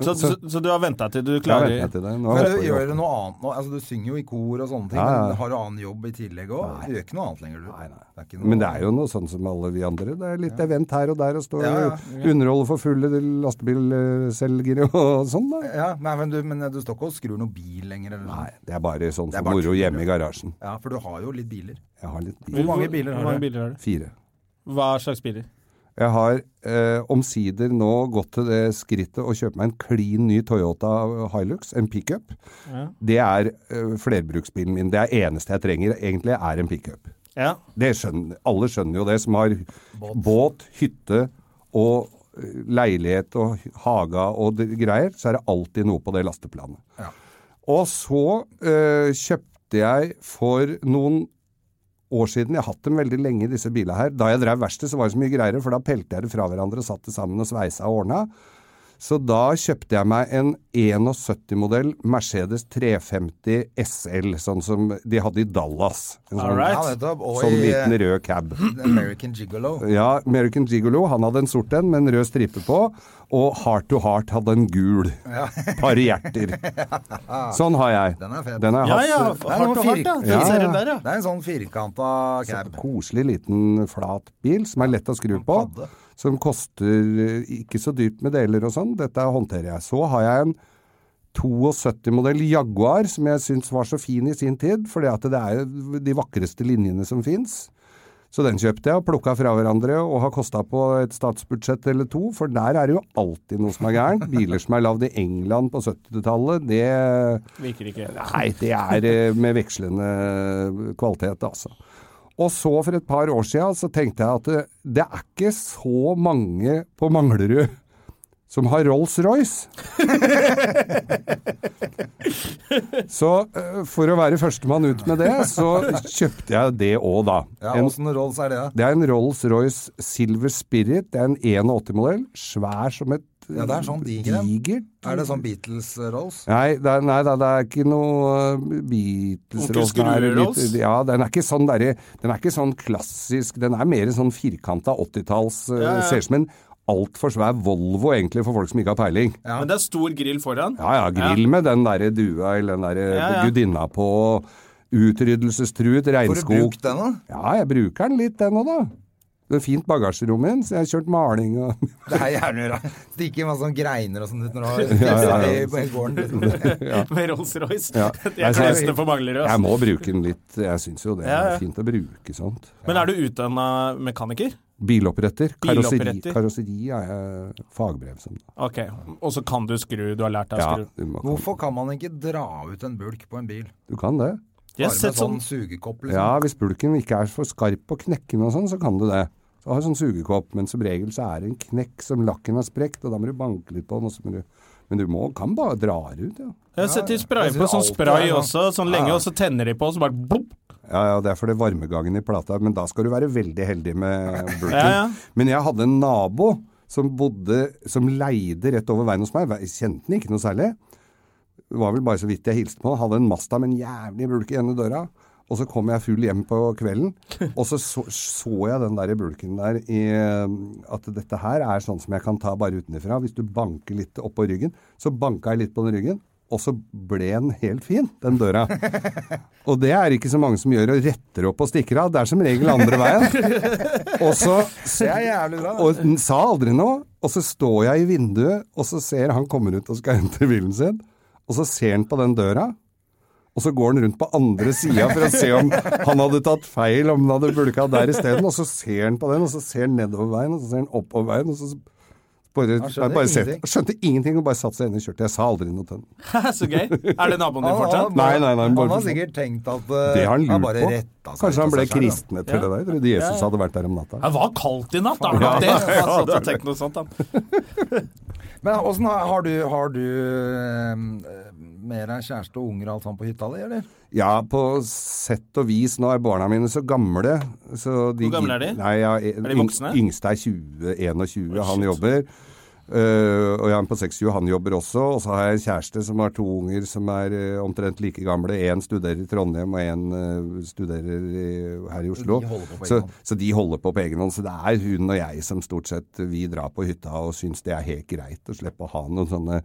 [SPEAKER 1] Så, så, så du har venta til du
[SPEAKER 3] Jeg har
[SPEAKER 1] klarer
[SPEAKER 3] ventet til det. Nå
[SPEAKER 2] Men
[SPEAKER 3] er
[SPEAKER 2] du
[SPEAKER 3] jeg oppe
[SPEAKER 2] gjør noe annet nå. Altså, du synger jo i kor og sånne ting,
[SPEAKER 3] Ja, ja.
[SPEAKER 2] men har du annen jobb i tillegg òg? Du gjør ikke noe annet lenger, du.
[SPEAKER 3] Nei, nei.
[SPEAKER 2] Det er ikke noe...
[SPEAKER 3] men det er jo noe sånn som alle vi andre. Det er litt event her og der, og stå
[SPEAKER 2] Ja, ja.
[SPEAKER 3] og underholde for fulle lastebilselgere og sånn. da.
[SPEAKER 2] ja, nei, men, du, men eh, du står ikke og skrur noen bil lenger? Eller noe.
[SPEAKER 3] Nei, det er bare sånn
[SPEAKER 2] Det er
[SPEAKER 3] for
[SPEAKER 2] bare
[SPEAKER 3] moro
[SPEAKER 2] tull,
[SPEAKER 3] hjemme i garasjen.
[SPEAKER 2] Ja, for du har jo litt biler.
[SPEAKER 3] Jeg har litt
[SPEAKER 1] Hvor
[SPEAKER 3] bil.
[SPEAKER 2] mange biler har
[SPEAKER 1] Hvor mange
[SPEAKER 2] du?
[SPEAKER 1] biler har du?
[SPEAKER 3] Fire.
[SPEAKER 1] Hva slags biler?
[SPEAKER 3] Jeg har eh, omsider nå gått til det skrittet å kjøpe meg en klin ny Toyota Hilux, en pickup. Det er eh, flerbruksbilen min. Det er eneste jeg trenger, egentlig, er en pickup.
[SPEAKER 1] Ja.
[SPEAKER 3] Det skjønner, alle skjønner jo det, som har båt, hytte og eh, leilighet og haga og det, greier, så er det alltid noe på det lasteplanet. Og så eh, kjøpte jeg for noen år siden, jeg har hatt dem veldig lenge disse bilene her, da jeg drev verksted så var det så mye greier, for da pelte jeg det fra hverandre og satt det sammen og sveisa og ordna. Så da kjøpte jeg meg en 71-modell Mercedes 350 SL, sånn som de hadde i Dallas. En
[SPEAKER 1] All
[SPEAKER 3] sånn,
[SPEAKER 1] right.
[SPEAKER 2] Ja, nettopp. Og
[SPEAKER 3] sånn
[SPEAKER 2] i
[SPEAKER 3] liten
[SPEAKER 2] eh,
[SPEAKER 3] rød cab.
[SPEAKER 2] American Gigolo.
[SPEAKER 3] Ja, American Gigolo, han hadde en sort en med en rød stripe på, og Heart to Heart hadde en gul. Par
[SPEAKER 2] (laughs)
[SPEAKER 3] hjerter. Sånn har jeg.
[SPEAKER 2] Den er fet.
[SPEAKER 3] Den har
[SPEAKER 1] Ja,
[SPEAKER 3] jeg
[SPEAKER 1] ja.
[SPEAKER 3] hatt.
[SPEAKER 1] Hardt og hardt, ja. Den
[SPEAKER 3] Ja,
[SPEAKER 1] serien der,
[SPEAKER 2] Det
[SPEAKER 1] ja.
[SPEAKER 2] er en sånn firkanta cab.
[SPEAKER 3] Koselig liten flat bil som er lett å skru på.
[SPEAKER 2] padde.
[SPEAKER 3] Som koster eh, ikke så dyrt med deler og sånn. Dette håndterer jeg. Så har jeg en 72-modell Jaguar som jeg syns var så fin i sin tid, fordi at det er jo de vakreste linjene som fins. Så den kjøpte jeg og plukka fra hverandre og har kosta på et statsbudsjett eller to, for der er det jo alltid noe som er gærent. Biler som er lagd i England på 70-tallet, det
[SPEAKER 1] Liker ikke.
[SPEAKER 3] Nei, det er eh, med vekslende kvalitet, altså. Og så for et par år siden så tenkte jeg at det, det er ikke så mange på Manglerud som har Rolls-Royce. (laughs) så eh, for å være førstemann ut med det, så kjøpte jeg det òg, da.
[SPEAKER 2] Ja,
[SPEAKER 3] En,
[SPEAKER 2] Åssen Rolls er det? da?
[SPEAKER 3] det er en Rolls-Royce Silver Spirit. Det er en 81-modell. Svær som et
[SPEAKER 2] Ja, det er sånn diger, den.
[SPEAKER 3] digert
[SPEAKER 2] Er det sånn Beatles-Rolls?
[SPEAKER 3] Nei, det er, nei da, det er ikke noe uh, Beatles
[SPEAKER 1] Onkel
[SPEAKER 3] Rolls, nei, det er litt-
[SPEAKER 1] Skrue-Rolls?
[SPEAKER 3] Ja, den er ikke sånn derre Den er ikke sånn klassisk Den er mer sånn firkanta 80-talls uh,
[SPEAKER 1] Ja, ja.
[SPEAKER 3] Ser ut som en altfor svær Volvo, egentlig, for folk som ikke har peiling.
[SPEAKER 1] Men det er stor grill foran.
[SPEAKER 3] Ja ja, grill med den derre dua eller den derre
[SPEAKER 1] Ja, ja.
[SPEAKER 3] gudinna på. Utryddelsestruet
[SPEAKER 2] Får du
[SPEAKER 3] regnskog.
[SPEAKER 2] brukt den, da?
[SPEAKER 3] Ja, jeg bruker den litt, den òg, da. Det er fint bagasjerom igjen, så jeg har kjørt maling og
[SPEAKER 2] Det er jævlig bra. Stikke masse sånn greiner og sånn ut når du har
[SPEAKER 3] ja, ja.
[SPEAKER 2] i på gården. liksom.
[SPEAKER 1] (laughs) Med Rolls-Royce. (laughs)
[SPEAKER 3] Ja.
[SPEAKER 1] Jeg er
[SPEAKER 3] Altså, jeg-
[SPEAKER 1] nesten for Manglerud.
[SPEAKER 3] Jeg
[SPEAKER 1] ass.
[SPEAKER 3] må bruke den litt. Jeg syns jo det
[SPEAKER 1] Ja,
[SPEAKER 3] er
[SPEAKER 1] ja.
[SPEAKER 3] fint å bruke sånt.
[SPEAKER 1] Men er du utdanna mekaniker?
[SPEAKER 3] Biloppretter. Karosseri,
[SPEAKER 1] Biloppretter.
[SPEAKER 3] karosseri er jeg fagbrev som.
[SPEAKER 1] Ok. Og så kan du skru. Du har lært deg å
[SPEAKER 3] Ja,
[SPEAKER 1] skru.
[SPEAKER 3] du, må,
[SPEAKER 2] Hvorfor kan man ikke dra ut en bulk på en bil?
[SPEAKER 3] du kan det.
[SPEAKER 1] Jeg
[SPEAKER 2] Bare
[SPEAKER 1] har
[SPEAKER 2] med
[SPEAKER 1] sett
[SPEAKER 2] sånn
[SPEAKER 1] sånn
[SPEAKER 2] sugekopp, liksom.
[SPEAKER 3] Ja, hvis bulken ikke er for skarp og knekkende og sånn, så kan du det. Så har du sånn sugekopp, men som regel så er det en knekk som lakken har sprukket, og da må du banke litt på den, og så må du Men du må, kan bare dra det ut, ja.
[SPEAKER 1] Jeg har sett de sprayer
[SPEAKER 2] Jeg
[SPEAKER 1] på
[SPEAKER 2] synes
[SPEAKER 1] sånn
[SPEAKER 2] alltid
[SPEAKER 1] spray
[SPEAKER 2] det er
[SPEAKER 1] også, sånn lenge, og så tenner de på, og så bare boop. (laughs)
[SPEAKER 3] Ja, ja, det er for det varmegangen i plata, men da skal du være veldig heldig
[SPEAKER 1] (laughs)
[SPEAKER 3] med bulken.
[SPEAKER 1] Ja, ja.
[SPEAKER 3] Men jeg hadde en nabo som bodde, som leide rett over veien hos meg. Jeg kjente den ikke noe særlig. Det var vel bare så vidt jeg hilste på han. Hadde en Masta med en jævlig bulk i ene døra. Og så kom jeg full hjem på
[SPEAKER 1] (laughs)
[SPEAKER 3] kvelden, og så så, så jeg den der bulken der i eh, At dette her er sånn som jeg kan ta bare utenfra. Hvis du banker litt oppå ryggen. Så banka jeg litt på den ryggen, og så ble den helt fin, den
[SPEAKER 1] (laughs)
[SPEAKER 3] døra. Og det er ikke så mange som gjør og retter opp og stikker av. Det er som regel andre
[SPEAKER 2] (laughs)
[SPEAKER 3] veien. Og så
[SPEAKER 2] Det er jævlig bra. altså.
[SPEAKER 3] og den sa aldri noe. Og så står jeg i vinduet, og så ser han kommer ut og skal hente bilen sin. Og så ser han på den døra, og så går han rundt på andre sida for å se om han hadde tatt feil, om han hadde bulka der isteden. Og så ser han på den, og så ser han nedover veien, og så ser han oppover veien, og så bare,
[SPEAKER 2] skjønner
[SPEAKER 3] jeg bare sett-
[SPEAKER 2] ingenting.
[SPEAKER 3] skjønte ingenting og bare satte seg inn i kjørte. Jeg sa aldri noe til den.
[SPEAKER 1] Så gøy. Er det naboen din
[SPEAKER 2] Han, han,
[SPEAKER 1] fortsatt?
[SPEAKER 2] han,
[SPEAKER 3] Nei, nei, nei, bare-
[SPEAKER 2] Ah, han har sikkert tenkt at uh,
[SPEAKER 3] Det har han lurt
[SPEAKER 2] bare
[SPEAKER 3] på.
[SPEAKER 2] retta seg
[SPEAKER 3] Kanskje han
[SPEAKER 2] ut av
[SPEAKER 3] ble
[SPEAKER 2] seg selv, da.
[SPEAKER 3] kristen etter det der. Jeg trodde Jesus hadde vært der om natta.
[SPEAKER 1] Det var kaldt i natt, er det
[SPEAKER 2] Ja,
[SPEAKER 1] nok det? altså
[SPEAKER 2] ja,
[SPEAKER 1] Jeg har satt og tenkt noe sånt, da.
[SPEAKER 2] Men åssen har, har du, har du eh, mer av kjæreste og unger og alt sånn på hytta di, eller?
[SPEAKER 3] Ja, på sett og vis. Nå er barna mine så gamle. Så de,
[SPEAKER 1] Hvor gamle er de?
[SPEAKER 3] Nei, ja, er
[SPEAKER 1] de voksne?
[SPEAKER 3] Yngste er 20, 21, han jobber. Eh, og jeg er på 26, han jobber også. Og så har jeg en kjæreste som har to unger som er eh, omtrent like gamle. Én studerer i Trondheim, og én eh, studerer i, her i Oslo.
[SPEAKER 2] de holder på på
[SPEAKER 3] så,
[SPEAKER 2] egen hånd.
[SPEAKER 3] så de holder på på egen hånd. Så det er hun og jeg som stort sett eh, vi drar på hytta og syns det er helt greit å slippe å ha noen sånne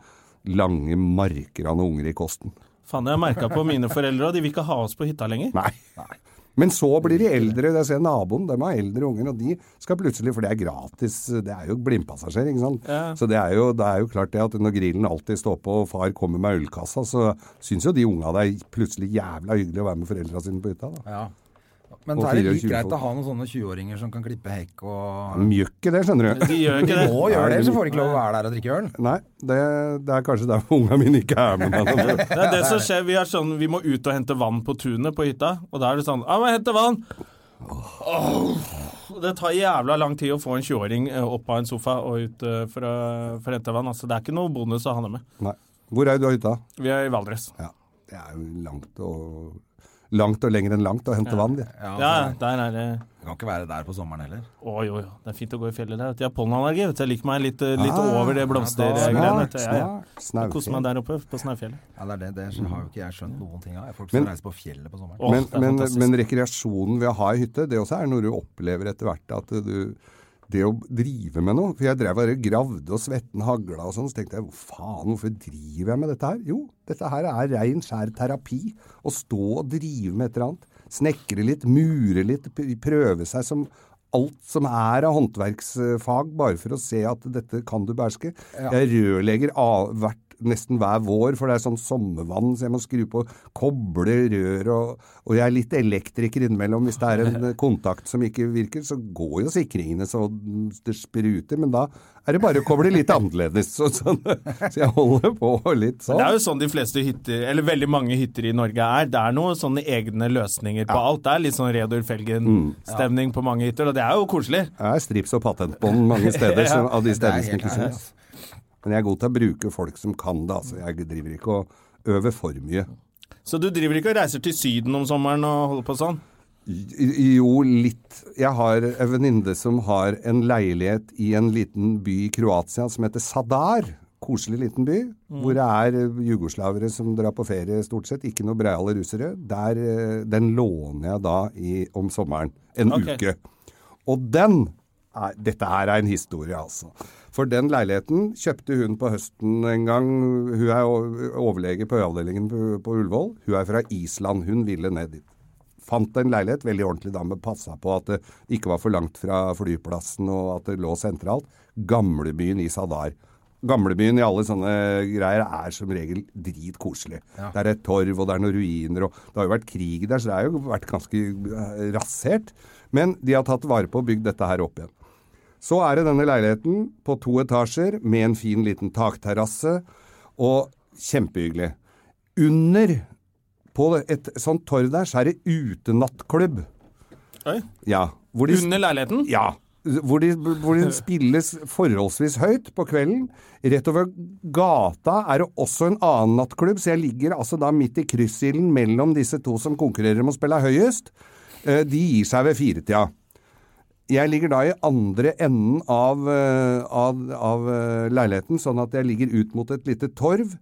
[SPEAKER 3] lange marker av noen unger i kosten.
[SPEAKER 1] Faen, jeg merka på mine foreldre, og de vil ikke ha oss på hytta lenger.
[SPEAKER 3] Nei. Men så blir de eldre. Jeg ser naboen, de har eldre unger, og de skal plutselig, for det er gratis, det er jo blindpassasjer, ikke sant. Så det er, jo, det er jo klart det at når grillen alltid står på og far kommer med ølkassa, så syns jo de unga det er plutselig jævla hyggelig å være med foreldra sine på hytta, da.
[SPEAKER 2] Ja. Men
[SPEAKER 3] Og
[SPEAKER 2] så er det
[SPEAKER 3] 24
[SPEAKER 2] litt greit
[SPEAKER 3] folk.
[SPEAKER 2] å ha noen sånne 20-åringer som kan klippe hekk og
[SPEAKER 3] Mjøkke det, skjønner du.
[SPEAKER 1] De gjør ikke
[SPEAKER 2] De
[SPEAKER 1] det.
[SPEAKER 2] må
[SPEAKER 3] Mm. Nei,
[SPEAKER 2] gjøre det,
[SPEAKER 3] det-
[SPEAKER 2] så får de ikke lov å være der og drikke øl.
[SPEAKER 3] Nei, det, det er kanskje derfor unga mine ikke er altså, med. meg.
[SPEAKER 1] Det er det som skjer. Vi, er sånn, vi må ut og hente vann på tunet på hytta, og da er det sånn Ja, men hente vann! Åh, det tar jævla lang tid å få en 20-åring eh, opp av en sofa og ut eh, fra, fra rentevann. Altså, det er ikke noe bonus å ha det med.
[SPEAKER 3] Nei. Hvor er du av hytta?
[SPEAKER 1] Vi er i Valdres.
[SPEAKER 3] Ja. Det er jo langt og Langt og lenger enn langt å hente vann. det.
[SPEAKER 2] Ja,
[SPEAKER 1] Ja, der er det
[SPEAKER 2] Du kan ikke være der på sommeren heller.
[SPEAKER 1] Å jo, jo. Det er fint å gå i fjellet der. vet du. Jeg har pollenallergi. vet du. Jeg liker meg litt, eh, litt
[SPEAKER 3] Ah,
[SPEAKER 1] over det blomstergreiene.
[SPEAKER 3] Snart,
[SPEAKER 1] vet du. Ja, ja.
[SPEAKER 3] snart,
[SPEAKER 1] Jeg Koser meg
[SPEAKER 3] snaufjell.
[SPEAKER 1] der oppe, på Snaufjellet.
[SPEAKER 2] Ja, det, er det, det har jo ikke jeg skjønt noen ting av. Folk som
[SPEAKER 3] Men-
[SPEAKER 2] reiser på fjellet på sommeren.
[SPEAKER 1] Åh,
[SPEAKER 3] Men,
[SPEAKER 1] det er
[SPEAKER 3] men,
[SPEAKER 1] fantastisk.
[SPEAKER 3] men rekreasjonen ved å ha ei hytte, det også er noe du opplever etter hvert. at du... Det å drive med noe. For jeg drev bare gravde og svetten hagla og sånn. Så tenkte jeg hvor faen, hvorfor driver jeg med dette her? Jo, dette her er rein, skjær terapi. Å stå og drive med et eller annet. Snekre litt, mure litt, p- prøve seg som alt som er av håndverksfag, bare for å se at dette kan du beherske. Jeg rørlegger av, hvert, nesten hver vår, for det er sånn sommervann, så jeg må skru på kobler, rør, og, og jeg er litt elektriker innimellom. Hvis det
[SPEAKER 1] (laughs)
[SPEAKER 3] er en kontakt som ikke virker, så går jo sikringene så det spruter, men da er det bare å koble litt annerledes. Så, sånn, så jeg holder på litt sånn.
[SPEAKER 1] Det er jo sånn de fleste hytter, eller veldig mange hytter i Norge er. Det er noen sånne egne løsninger på alt. Det er litt sånn Reodor Felgen-stemning
[SPEAKER 2] Mm.
[SPEAKER 1] på mange hytter, og det er jo koselig.
[SPEAKER 3] Det er strips og patentbånd mange
[SPEAKER 1] (laughs)
[SPEAKER 3] steder,
[SPEAKER 1] Ja.
[SPEAKER 3] som, av de
[SPEAKER 2] Det er
[SPEAKER 3] stedene som
[SPEAKER 2] helt
[SPEAKER 3] ikke
[SPEAKER 2] ærlig,
[SPEAKER 3] syns. Men jeg er god til å bruke folk som kan det, altså. Jeg driver ikke og øver for mye.
[SPEAKER 1] Så du driver ikke og reiser til Syden om sommeren og holder på sånn?
[SPEAKER 3] J- Jo, litt. Jeg har en venninne som har en leilighet i en liten by i Kroatia som heter Sadar. Koselig liten by, hvor det er eh, jugoslavere som drar på ferie stort sett. Ikke noe breiale russere. Der, eh, den låner jeg da i, om sommeren. En
[SPEAKER 1] Ok.
[SPEAKER 3] uke. Og den er, Dette her er en historie, altså. For den leiligheten kjøpte hun på høsten en gang. Hun er o- overlege på avdelingen på, på Ullevål. Hun er fra Island. Hun ville ned dit fant en leilighet, veldig ordentlig dame, passa på at det ikke var for langt fra flyplassen og at det lå sentralt. Gamlebyen i Sadar. Gamlebyen i alle sånne greier er som regel dritkoselig. Det er et torv, og det er noen ruiner, og det har jo vært krig der, så det har jo vært ganske eh, rasert. Men de har tatt vare på og bygd dette her opp igjen. Så er det denne leiligheten på to etasjer med en fin liten takterrasse, og kjempehyggelig. Under på et sånt torv der, så er det utenattklubb.
[SPEAKER 1] Oi.
[SPEAKER 3] Ja. Hvor de,
[SPEAKER 1] Under leiligheten?
[SPEAKER 3] ja, hvor de, hvor de spilles forholdsvis høyt på kvelden. Rett over gata er det også en annen nattklubb, så jeg ligger altså da midt i kryssilden mellom disse to som konkurrerer om å spille høyest. Eh, De gir seg ved firetida. Jeg ligger da i andre enden av, eh, av, av eh, leiligheten, sånn at jeg ligger ut mot et lite torv.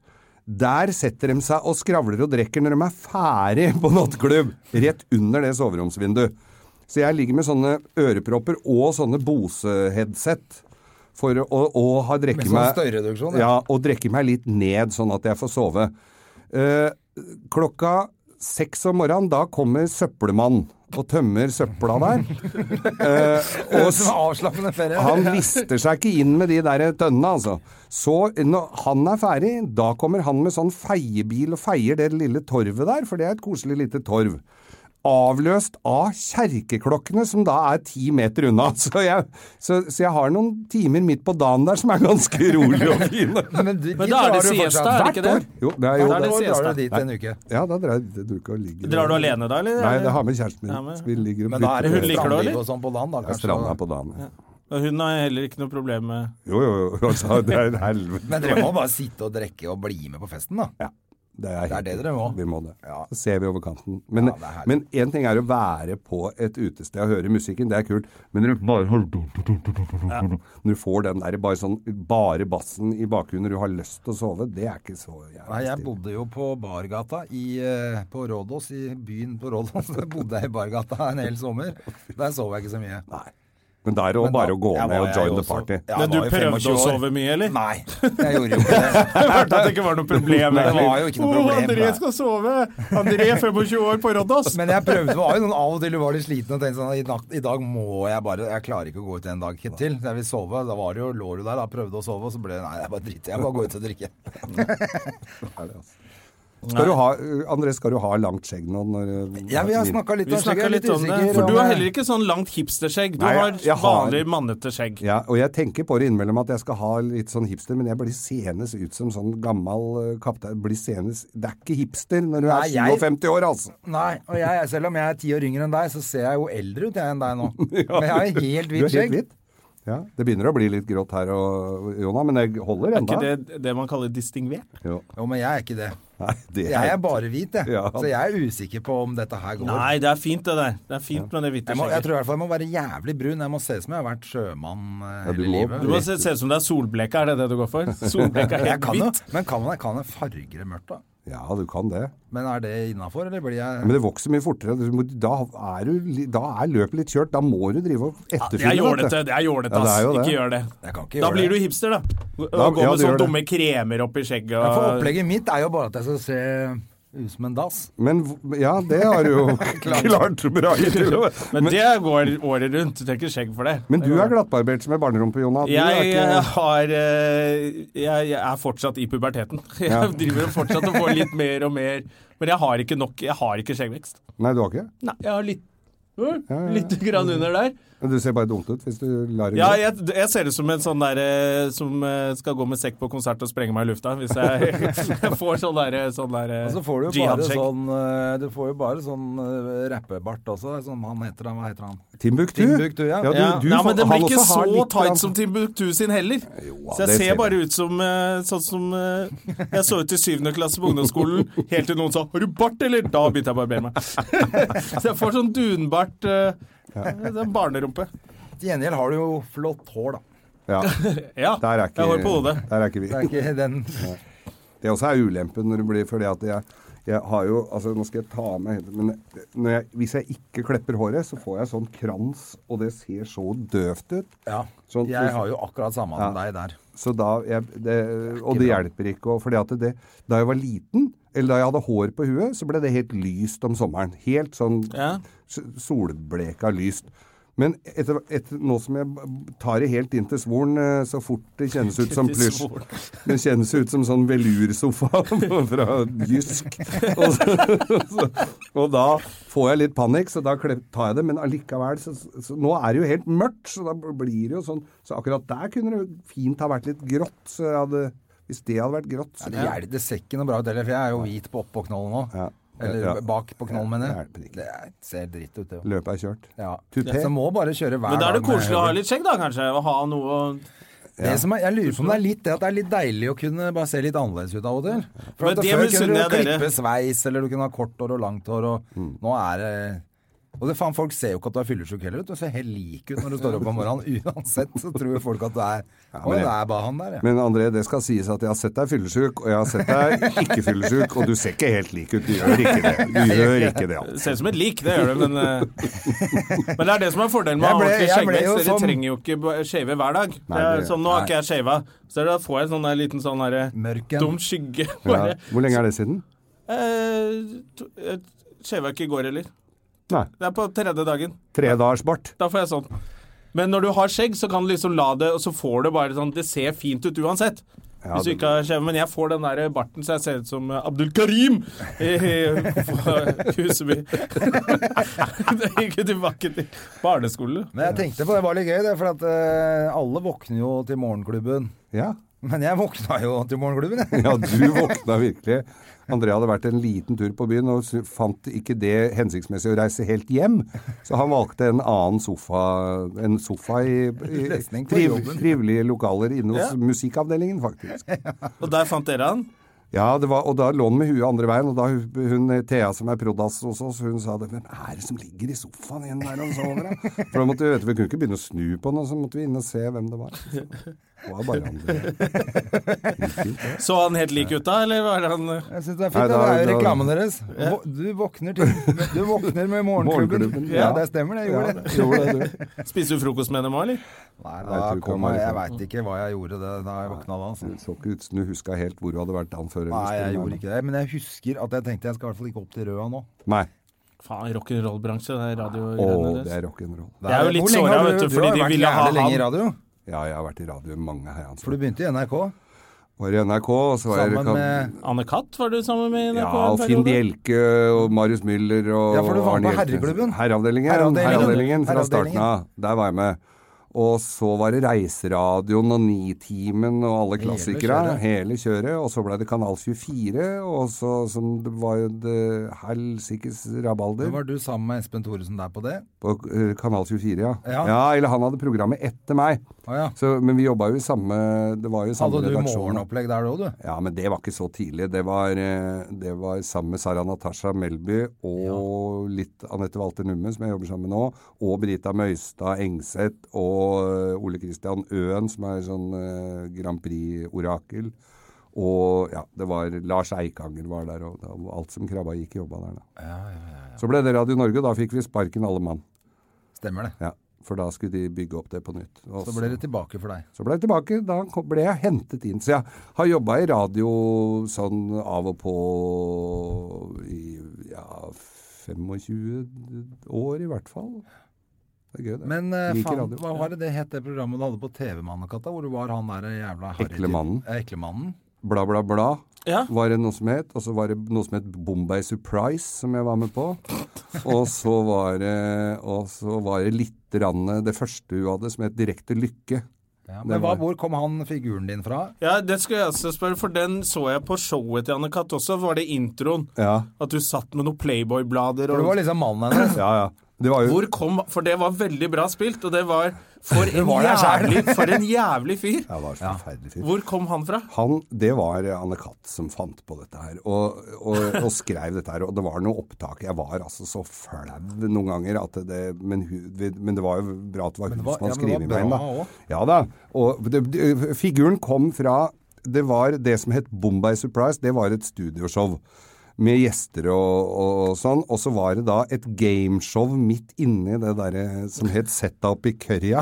[SPEAKER 3] Der setter de seg og skravler og drikker når de er ferdig på nattklubb, rett under det soveromsvinduet. Så jeg ligger med sånne ørepropper og sånne Bose-headset for å, og, og har
[SPEAKER 2] Med
[SPEAKER 3] drukket
[SPEAKER 2] sånn
[SPEAKER 3] meg
[SPEAKER 2] støyreduksjon, ja.
[SPEAKER 3] ja, og drikke meg litt ned, sånn at jeg får sove. Eh, klokka seks om morgenen, da kommer søppelmann og tømmer søpla der. Eh, og s-
[SPEAKER 2] Som (laughs) avslappende ferie.
[SPEAKER 3] han lister seg ikke inn med de der tønnene, altså. Så når han er ferdig, da kommer han med sånn feiebil og feier det lille torvet der, for det er et koselig lite torv. Avløst av kjerkeklokkene, som da er ti meter unna. (laughs) Så jeg, så, så jeg har noen timer midt på dagen der som er ganske rolig og fine.
[SPEAKER 2] Men, du,
[SPEAKER 1] Men da (laughs) er det siesta, er det ikke det?
[SPEAKER 3] Jo, det er
[SPEAKER 1] Da
[SPEAKER 3] jo
[SPEAKER 1] er
[SPEAKER 2] Hvert
[SPEAKER 1] det
[SPEAKER 2] år
[SPEAKER 1] siesta.
[SPEAKER 2] drar du dit en uke.
[SPEAKER 3] Ja, da drar jeg du ikke og ligger
[SPEAKER 1] Drar du alene da, eller?
[SPEAKER 3] Nei, det har med kjæresten min.
[SPEAKER 1] Ja, men-
[SPEAKER 3] Så Vi ligger og
[SPEAKER 2] Men da er det
[SPEAKER 1] Hun liker det,
[SPEAKER 2] strandliv
[SPEAKER 1] eller?
[SPEAKER 2] og sånn på land, da.
[SPEAKER 3] på
[SPEAKER 2] kanskje.
[SPEAKER 3] stranda på dagen. ja.
[SPEAKER 1] Hun har heller ikke noe problem
[SPEAKER 2] (laughs)
[SPEAKER 1] med
[SPEAKER 3] Jo, jo, jo. Altså, det er helvete.
[SPEAKER 2] Men dere må bare sitte og drikke og bli med på festen, da.
[SPEAKER 3] Ja, det
[SPEAKER 2] Det
[SPEAKER 3] er,
[SPEAKER 2] er
[SPEAKER 3] helt-
[SPEAKER 2] det dere må.
[SPEAKER 3] Vi må det.
[SPEAKER 2] Ja.
[SPEAKER 3] Så ser vi over kanten. Men
[SPEAKER 2] det er herlig.
[SPEAKER 3] men én ting er å være på et utested og høre musikken, det er kult. Men når du bare Når du får den der bare, sånn, bare bassen i bakgrunnen når du har lyst til å sove, det er ikke så
[SPEAKER 2] Nei,
[SPEAKER 3] jævlig
[SPEAKER 2] jeg
[SPEAKER 3] stilig.
[SPEAKER 2] bodde jo på Bargata i, eh, på Rådås, i byen på (laughs) Rådås. Jeg bodde jeg i Bargata en hel sommer. Der sov jeg ikke så mye.
[SPEAKER 3] Nei. Men da er det jo
[SPEAKER 2] Men da-
[SPEAKER 3] bare å gå
[SPEAKER 2] jeg
[SPEAKER 3] ned
[SPEAKER 2] var
[SPEAKER 3] og
[SPEAKER 2] jeg
[SPEAKER 3] join
[SPEAKER 2] jo
[SPEAKER 3] the
[SPEAKER 2] også-
[SPEAKER 3] party.
[SPEAKER 2] Ja,
[SPEAKER 1] Men du
[SPEAKER 2] var jo
[SPEAKER 1] prøvde
[SPEAKER 2] 25
[SPEAKER 1] å
[SPEAKER 2] år.
[SPEAKER 1] sove mye, eller?
[SPEAKER 2] Nei, jeg gjorde jo ikke det.
[SPEAKER 1] (laughs) Jeg hørte at det ikke var noe problem.
[SPEAKER 2] Nei, det var jo ikke noe
[SPEAKER 1] Å,
[SPEAKER 2] problem,
[SPEAKER 1] André
[SPEAKER 2] nei.
[SPEAKER 1] skal sove! André,
[SPEAKER 2] (laughs)
[SPEAKER 1] 25 år, på Rådås.
[SPEAKER 2] Men jeg prøvde, det var jo noen av og til var litt sliten og tenkte sånn I, natt, I dag må jeg bare Jeg klarer ikke å gå ut en dag til. Jeg vil sove. Da var det jo, lå du der da, prøvde å sove, og så ble det Nei, jeg bare driter. Jeg bare går ut og drikker.
[SPEAKER 3] altså. Skal du ha, André, skal du ha langt skjegg nå? Når,
[SPEAKER 2] (laughs)
[SPEAKER 3] eh,
[SPEAKER 2] Ja, vi har snakka litt
[SPEAKER 1] Vi
[SPEAKER 2] om skjegget.
[SPEAKER 1] snakka
[SPEAKER 2] jeg er
[SPEAKER 1] litt om det.
[SPEAKER 2] usikker
[SPEAKER 1] For du har
[SPEAKER 2] jeg-
[SPEAKER 1] heller ikke sånn langt hipsterskjegg. Du
[SPEAKER 3] Nei,
[SPEAKER 1] har
[SPEAKER 3] jeg- jeg har-
[SPEAKER 1] vanlig mannete skjegg.
[SPEAKER 3] Ja, og jeg tenker på det innimellom at jeg skal ha litt sånn hipster, men jeg blir seende ut som sånn gammal eh, kaptein. Blir seende Det er ikke hipster når du
[SPEAKER 2] Nei,
[SPEAKER 3] er
[SPEAKER 2] jeg-
[SPEAKER 3] 57 år,
[SPEAKER 2] (laughs)
[SPEAKER 3] altså!
[SPEAKER 2] Nei, og jeg, selv om jeg er ti år yngre enn deg, så ser jeg jo eldre ut jeg enn (laughs) deg nå. Men jeg har jo helt
[SPEAKER 3] Du er
[SPEAKER 2] hvitt
[SPEAKER 3] helt
[SPEAKER 2] skjegg.
[SPEAKER 3] hvit. Ja, det begynner å bli litt grått her, og, Jona, men jeg holder
[SPEAKER 1] Er
[SPEAKER 3] ennå.
[SPEAKER 1] ikke det det man kaller distingvert?
[SPEAKER 3] Jo.
[SPEAKER 2] Jo, men jeg er ikke det.
[SPEAKER 3] Nei, det
[SPEAKER 2] Jeg er bare hvit, jeg.
[SPEAKER 3] Ja.
[SPEAKER 2] Så jeg er usikker på om dette her går.
[SPEAKER 1] Nei, det er fint det der. Det er fint med det hvite
[SPEAKER 2] Jeg, må, jeg
[SPEAKER 1] skjegget.
[SPEAKER 2] tror i hvert fall jeg må være jævlig brun. Jeg må se ut som jeg har vært sjømann eh,
[SPEAKER 3] Ja, du
[SPEAKER 2] hele
[SPEAKER 3] må-
[SPEAKER 2] livet.
[SPEAKER 1] Du må se, se ut som det er solbleka, er det det du går
[SPEAKER 3] (laughs)
[SPEAKER 1] for? Solbleka er
[SPEAKER 2] Jeg
[SPEAKER 1] helt
[SPEAKER 2] kan jo,
[SPEAKER 1] hvitt.
[SPEAKER 2] men kan man kan jeg farge det mørkt, da?
[SPEAKER 3] Ja, du kan det.
[SPEAKER 2] Men er det innafor, eller blir jeg
[SPEAKER 3] Men det vokser mye fortere. Du må- Da er, du, li- da er løpet litt kjørt. Da må du drive og
[SPEAKER 1] Det er
[SPEAKER 3] etterfylle. vet du.
[SPEAKER 1] jålete, det er jålete,
[SPEAKER 3] Ja, det
[SPEAKER 1] ass.
[SPEAKER 3] er jo det.
[SPEAKER 1] Ikke gjør det.
[SPEAKER 2] Jeg kan ikke
[SPEAKER 1] Da
[SPEAKER 2] gjøre
[SPEAKER 1] blir
[SPEAKER 2] det.
[SPEAKER 1] du hipster, da. Og
[SPEAKER 3] Da-
[SPEAKER 1] går
[SPEAKER 3] ja,
[SPEAKER 1] med
[SPEAKER 3] du gjør
[SPEAKER 1] sånne
[SPEAKER 3] det.
[SPEAKER 1] dumme kremer oppi skjegget.
[SPEAKER 2] Ja, For
[SPEAKER 1] Og...
[SPEAKER 2] opplegget mitt er jo bare at jeg skal se ut som en dass.
[SPEAKER 3] Men v- ja, det har du
[SPEAKER 1] (laughs)
[SPEAKER 3] jo (laughs) klart. bra til å
[SPEAKER 1] Men det går året rundt. Du trenger ikke skjegg for det.
[SPEAKER 3] Men
[SPEAKER 1] Det
[SPEAKER 3] du
[SPEAKER 1] går
[SPEAKER 3] er glattbarbert som en barnerumpe, Jonna. Du er
[SPEAKER 1] Jeg, jeg
[SPEAKER 3] ikke...
[SPEAKER 1] har eh, Jeg jeg er fortsatt i puberteten. (laughs) Jeg
[SPEAKER 3] Ja.
[SPEAKER 1] driver og fortsatt og får litt mer og mer. Men jeg har ikke nok, jeg har ikke skjeggvekst.
[SPEAKER 3] Nei, du har ikke det?
[SPEAKER 1] Nei, jeg har litt Litt grann under der.
[SPEAKER 3] Men du ser bare dumt ut hvis du lar det
[SPEAKER 1] Ja,
[SPEAKER 3] gå.
[SPEAKER 1] jeg, jeg ser ut som en sånn derre som eh, skal gå med sekk på konsert og sprenge meg i lufta, hvis jeg, jeg (laughs) får sånn derre sånn der, eh,
[SPEAKER 3] Altså,
[SPEAKER 2] Og så får du jo bare
[SPEAKER 1] jihad-skjegg.
[SPEAKER 2] sånn eh, Du får jo bare sånn eh, rappebart også, som han heter. han- Hva heter han?
[SPEAKER 3] Timbuktu?
[SPEAKER 2] Timbuktu, ja.
[SPEAKER 3] du,
[SPEAKER 1] ja.
[SPEAKER 3] du
[SPEAKER 1] ja,
[SPEAKER 3] får-
[SPEAKER 1] men den
[SPEAKER 3] han
[SPEAKER 1] blir ikke
[SPEAKER 3] også har
[SPEAKER 1] så
[SPEAKER 3] litt grann-
[SPEAKER 1] tight som Timbuktu sin heller.
[SPEAKER 3] ja,
[SPEAKER 1] så jeg
[SPEAKER 3] det
[SPEAKER 1] ser
[SPEAKER 3] ser
[SPEAKER 1] bare
[SPEAKER 3] jeg.
[SPEAKER 1] ut som eh, sånn som eh, jeg så ut i syvende klasse på ungdomsskolen,
[SPEAKER 3] (laughs)
[SPEAKER 1] helt til noen sa 'har du bart', eller? Da begynte jeg å barbere meg. (laughs) så jeg får sånn dunbart eh, Det er en barnerumpe.
[SPEAKER 2] Til gjengjeld har du jo flott hår, da.
[SPEAKER 3] Ja,
[SPEAKER 1] Ja,
[SPEAKER 3] der er
[SPEAKER 1] (laughs)
[SPEAKER 3] ikke,
[SPEAKER 1] jeg har på hodet.
[SPEAKER 3] Der er ikke vi.
[SPEAKER 2] Det er ikke den
[SPEAKER 3] (laughs) Det også er ulempen når det blir fordi at jeg, jeg har jo Altså, nå skal jeg ta med hendene, Men når jeg, hvis jeg ikke klepper håret, så får jeg sånn krans, og det ser så døvt ut.
[SPEAKER 2] Ja.
[SPEAKER 3] Sånn-
[SPEAKER 2] Jeg har jo akkurat samme som
[SPEAKER 3] Ja.
[SPEAKER 2] deg der.
[SPEAKER 3] Så da jeg, det, og det hjelper ikke. Og fordi at det, da jeg var liten, eller da jeg hadde hår på huet, så ble det helt lyst om sommeren. Helt sånn
[SPEAKER 1] Ja.
[SPEAKER 3] s- solbleka lyst. Men etter, etter, nå som jeg b- tar det helt inn til svoren, eh, så fort det kjennes ut som
[SPEAKER 1] Til
[SPEAKER 3] plysj
[SPEAKER 1] svoren.
[SPEAKER 3] Det kjennes ut som sånn velursofa (laughs) fra Jysk. Og, så, så, og da får jeg litt panikk, så da klep- tar jeg det. Men allikevel så, så Nå er det jo helt mørkt, så da blir det jo sånn. Så akkurat der kunne det jo fint ha vært litt grått. Så jeg hadde, hvis det hadde vært grått, så
[SPEAKER 2] Det, hjelper- det ser ikke noe bra ut heller, for jeg er jo hvit på oppå knollen nå.
[SPEAKER 3] Ja.
[SPEAKER 2] Eller
[SPEAKER 3] Ja.
[SPEAKER 2] bak på knollen, mener
[SPEAKER 3] Ja, det hjelper
[SPEAKER 2] jeg.
[SPEAKER 3] ikke.
[SPEAKER 2] Det er- ser dritt ut, det jo.
[SPEAKER 3] løpet er kjørt.
[SPEAKER 2] Ja.
[SPEAKER 3] Tupé.
[SPEAKER 2] Så må bare kjøre hver
[SPEAKER 1] Men da er det
[SPEAKER 2] dag med
[SPEAKER 1] koselig å ha
[SPEAKER 2] høvel.
[SPEAKER 1] litt skjegg, da, kanskje? Å ha noe å
[SPEAKER 2] Det som er, jeg lurer på om det er litt det at det er litt deilig å kunne bare se litt annerledes ut av og til. For
[SPEAKER 1] Men
[SPEAKER 2] at det
[SPEAKER 1] det
[SPEAKER 2] før kunne
[SPEAKER 1] misunner
[SPEAKER 2] du
[SPEAKER 1] jeg dere.
[SPEAKER 2] klippe sveis, eller du kunne ha kort hår og langt hår, og
[SPEAKER 3] Mm.
[SPEAKER 2] nå er det og det faen, Folk ser jo ikke at du er fyllesyk heller. vet Du Du ser helt lik ut når du står opp om morgenen. (laughs) Uansett så tror jo folk at du er Å,
[SPEAKER 3] men jeg-
[SPEAKER 2] det er bare han der, ja.
[SPEAKER 3] Men André, det skal sies at jeg har sett deg fyllesyk, og jeg har sett deg ikke fyllesyk, og du ser ikke helt lik ut. Du gjør ikke det. Du gjør ikke det, altså.
[SPEAKER 1] Ser ut som et lik, det gjør det, men
[SPEAKER 2] (laughs)
[SPEAKER 1] eh, Men det er det som er fordelen med å
[SPEAKER 2] Jeg
[SPEAKER 1] ha
[SPEAKER 2] ble-
[SPEAKER 1] ordentlig
[SPEAKER 2] jeg ble
[SPEAKER 1] skjeggvekst.
[SPEAKER 2] jo sånn-
[SPEAKER 1] Dere
[SPEAKER 2] som-
[SPEAKER 1] trenger jo ikke ba- shave hver dag.
[SPEAKER 3] Nei,
[SPEAKER 1] Det er
[SPEAKER 3] det-
[SPEAKER 1] sånn, nå har ikke jeg shava, så da får jeg sånn der liten sånn derre
[SPEAKER 2] Mørken.
[SPEAKER 1] dum skygge. (laughs)
[SPEAKER 3] Ja.
[SPEAKER 1] Bare.
[SPEAKER 3] Hvor lenge er det siden?
[SPEAKER 1] Eh, to- jeg shava ikke i går heller.
[SPEAKER 3] Nei.
[SPEAKER 1] Det er på tredje dagen.
[SPEAKER 3] Tre dagers bart.
[SPEAKER 1] Da får jeg sånn. Men når du har skjegg, så kan du liksom la det, og så får du bare sånn Det ser fint ut uansett.
[SPEAKER 3] Ja,
[SPEAKER 1] Hvis du
[SPEAKER 3] det-
[SPEAKER 1] ikke har skjeve, Men jeg får den der barten så jeg ser ut som eh, Abdul Karim i i Huseby. (laughs) Det gikk jo tilbake til barneskolen.
[SPEAKER 2] Men jeg tenkte på det, det var litt gøy, det, for at eh, alle våkner jo til morgenklubben.
[SPEAKER 3] Ja.
[SPEAKER 2] Men jeg våkna jo til morgenklubben, jeg.
[SPEAKER 3] Ja, du våkna virkelig. André hadde vært en liten tur på byen og sy- fant ikke det hensiktsmessig å reise helt hjem, så han valgte en annen sofa, en sofa i, i
[SPEAKER 2] Lesning på
[SPEAKER 3] triv,
[SPEAKER 2] jobben.
[SPEAKER 3] trivelige lokaler inne hos
[SPEAKER 1] Ja.
[SPEAKER 3] musikkavdelingen, faktisk.
[SPEAKER 1] Og der fant dere han.
[SPEAKER 3] Ja, det var, og da lå han med huet andre veien, og da hu- hun, Thea som er prodas hos oss, hun sa det, hvem er det som ligger i sofaen igjen der og sover? da?» For da måtte vi vite, vi kunne ikke begynne å snu på den, og så måtte vi inn og se hvem det var. Så, det var bare André.
[SPEAKER 1] Så han helt lik ut da, eller var han eh,
[SPEAKER 2] Jeg synes det er
[SPEAKER 3] Nei,
[SPEAKER 2] fint.
[SPEAKER 3] da-
[SPEAKER 2] det er jo
[SPEAKER 3] da-
[SPEAKER 2] reklamen deres. Vå- Du våkner, til, du våkner med morgenklubben.
[SPEAKER 3] Morgenklubben,
[SPEAKER 2] Ja,
[SPEAKER 3] ja.
[SPEAKER 2] det stemmer, det. Jeg gjorde det.
[SPEAKER 3] Gjorde det, du.
[SPEAKER 1] Spiser du frokost med dem òg, eller?
[SPEAKER 2] Nei, da
[SPEAKER 3] Jeg tror ikke han
[SPEAKER 2] kom
[SPEAKER 3] var
[SPEAKER 2] jeg Jeg
[SPEAKER 3] liksom- Mm.
[SPEAKER 2] veit ikke hva jeg gjorde det, da jeg våkna da. Altså.
[SPEAKER 3] Du så ikke ut som du huska helt hvor du hadde vært dagen før. eller
[SPEAKER 2] Nei, jeg
[SPEAKER 3] skulle
[SPEAKER 2] gjorde
[SPEAKER 3] være.
[SPEAKER 2] ikke det. Men jeg husker at jeg tenkte jeg skal i hvert fall ikke opp til Røa nå.
[SPEAKER 3] Nei.
[SPEAKER 1] Faen, rock'n'roll-bransje, det er
[SPEAKER 3] Å,
[SPEAKER 1] radiogreiene
[SPEAKER 3] det
[SPEAKER 1] deres.
[SPEAKER 3] er rock'n'roll.
[SPEAKER 1] Jeg er jo litt
[SPEAKER 2] Hvor lenge
[SPEAKER 1] såret,
[SPEAKER 2] har
[SPEAKER 1] vet du,
[SPEAKER 2] har
[SPEAKER 1] fordi de
[SPEAKER 2] vært
[SPEAKER 1] ville ha
[SPEAKER 2] jævlig lenge i
[SPEAKER 1] han.
[SPEAKER 2] radio.
[SPEAKER 3] Ja, jeg har vært i radio i mange herrens
[SPEAKER 2] For
[SPEAKER 3] år.
[SPEAKER 2] du begynte i NRK.
[SPEAKER 3] Var i NRK, og så var jeg
[SPEAKER 2] Sammen
[SPEAKER 3] kan-
[SPEAKER 2] med
[SPEAKER 1] Anne Katt var du sammen med i NRK?
[SPEAKER 3] Ja,
[SPEAKER 1] en
[SPEAKER 3] og
[SPEAKER 1] periode.
[SPEAKER 3] Finn Bjelke og Marius Müller og
[SPEAKER 2] Ja, for du var
[SPEAKER 3] Arne
[SPEAKER 2] på
[SPEAKER 3] Hjeltnes.
[SPEAKER 2] herreklubben.
[SPEAKER 3] Herreavdelingen.
[SPEAKER 2] Herreavdelingen.
[SPEAKER 3] Herreavdelingen fra
[SPEAKER 2] Herreavdelingen.
[SPEAKER 3] starten av. Der var jeg med. Og så var det Reiseradioen og Nitimen og alle
[SPEAKER 2] kjøret.
[SPEAKER 3] klassikere. Hele kjøret. Og så ble det Kanal 24, og så som det var jo det helsikes
[SPEAKER 2] Da
[SPEAKER 3] rabalder.
[SPEAKER 2] var du sammen med Espen Thoresen der på det.
[SPEAKER 3] På eh, Kanal 24, ja.
[SPEAKER 2] Ja.
[SPEAKER 3] Eller han hadde programmet etter meg.
[SPEAKER 2] Å ja.
[SPEAKER 3] Så, men vi jobba jo i samme Det var jo samme
[SPEAKER 2] Hadde du
[SPEAKER 3] redaksjon.
[SPEAKER 2] morgenopplegg der òg, du?
[SPEAKER 3] Ja, men det var ikke så tidlig. Det var, eh, det var sammen med Sara Natasha Melby og litt Anette Walter Numme, som jeg jobber sammen med nå, og Brita Møystad Engseth og eh, Ole Kristian Øen, som er sånn eh, Grand Prix-orakel. Og ja, det var Lars Eikanger var der, og, og alt som krabba gikk, jobba der. Da. Så ble det Radio Norge, og da fikk vi sparken alle mann.
[SPEAKER 2] Stemmer det.
[SPEAKER 3] Ja, for da skulle de bygge opp det på nytt. Og
[SPEAKER 2] Så ble det tilbake for deg.
[SPEAKER 3] så ble jeg tilbake. Da kom- ble jeg hentet inn. Så jeg har jobba i radio sånn av og på i ja, 25 år i hvert fall. Det er gøy, det.
[SPEAKER 2] Men eh,
[SPEAKER 3] Liker
[SPEAKER 2] faen,
[SPEAKER 3] radio.
[SPEAKER 2] hva var det det het det programmet du hadde på TV, Mannekatta? Hvor du var han der jævla harry-
[SPEAKER 3] Eklemannen.
[SPEAKER 2] Ja, Eklemannen.
[SPEAKER 3] Bla, bla, bla
[SPEAKER 1] Ja.
[SPEAKER 3] var det noe som het. Og så var det noe som het Bombay Surprise, som jeg var med på. Og så var det, og så var det litt grann det første hun hadde, som het Direkte lykke.
[SPEAKER 2] Ja,
[SPEAKER 3] Det
[SPEAKER 2] men hva,
[SPEAKER 3] var-
[SPEAKER 2] hvor kom han figuren din fra?
[SPEAKER 1] Ja, det skulle jeg også spørre, for den så jeg på showet til Anne Katt også, var det introen.
[SPEAKER 3] Ja,
[SPEAKER 1] At du satt med noen Playboy-blader
[SPEAKER 2] For du var
[SPEAKER 1] og
[SPEAKER 2] liksom mannen hennes.
[SPEAKER 3] ja. ja. Det
[SPEAKER 2] Eh.
[SPEAKER 3] var jo
[SPEAKER 1] Hvor kom For det var veldig bra spilt, og det var
[SPEAKER 2] (laughs)
[SPEAKER 1] For en,
[SPEAKER 2] var der selv.
[SPEAKER 1] jævlig, for
[SPEAKER 2] (laughs)
[SPEAKER 1] en jævlig fyr!
[SPEAKER 3] Ja, det var så forferdelig fyr.
[SPEAKER 1] Hvor kom han fra?
[SPEAKER 3] Han, det var Anne Katt som fant på dette her, og, og, og skrev dette her. Og det var noe opptak. Jeg var altså så flau noen ganger at det Men, hu, men det var jo bra at det var
[SPEAKER 2] det
[SPEAKER 3] hun
[SPEAKER 2] var-
[SPEAKER 3] som hadde
[SPEAKER 2] ja, men
[SPEAKER 3] skrevet
[SPEAKER 2] det
[SPEAKER 3] meg
[SPEAKER 2] var
[SPEAKER 3] inn,
[SPEAKER 2] bra også.
[SPEAKER 3] da. Ja da. Og det, det- figuren kom fra Det var det som het Bombay Surprise. Det var et studioshow. Med gjester og, og sånn. Og så var det da et gameshow midt inni det derre som het Set Up i Kørja.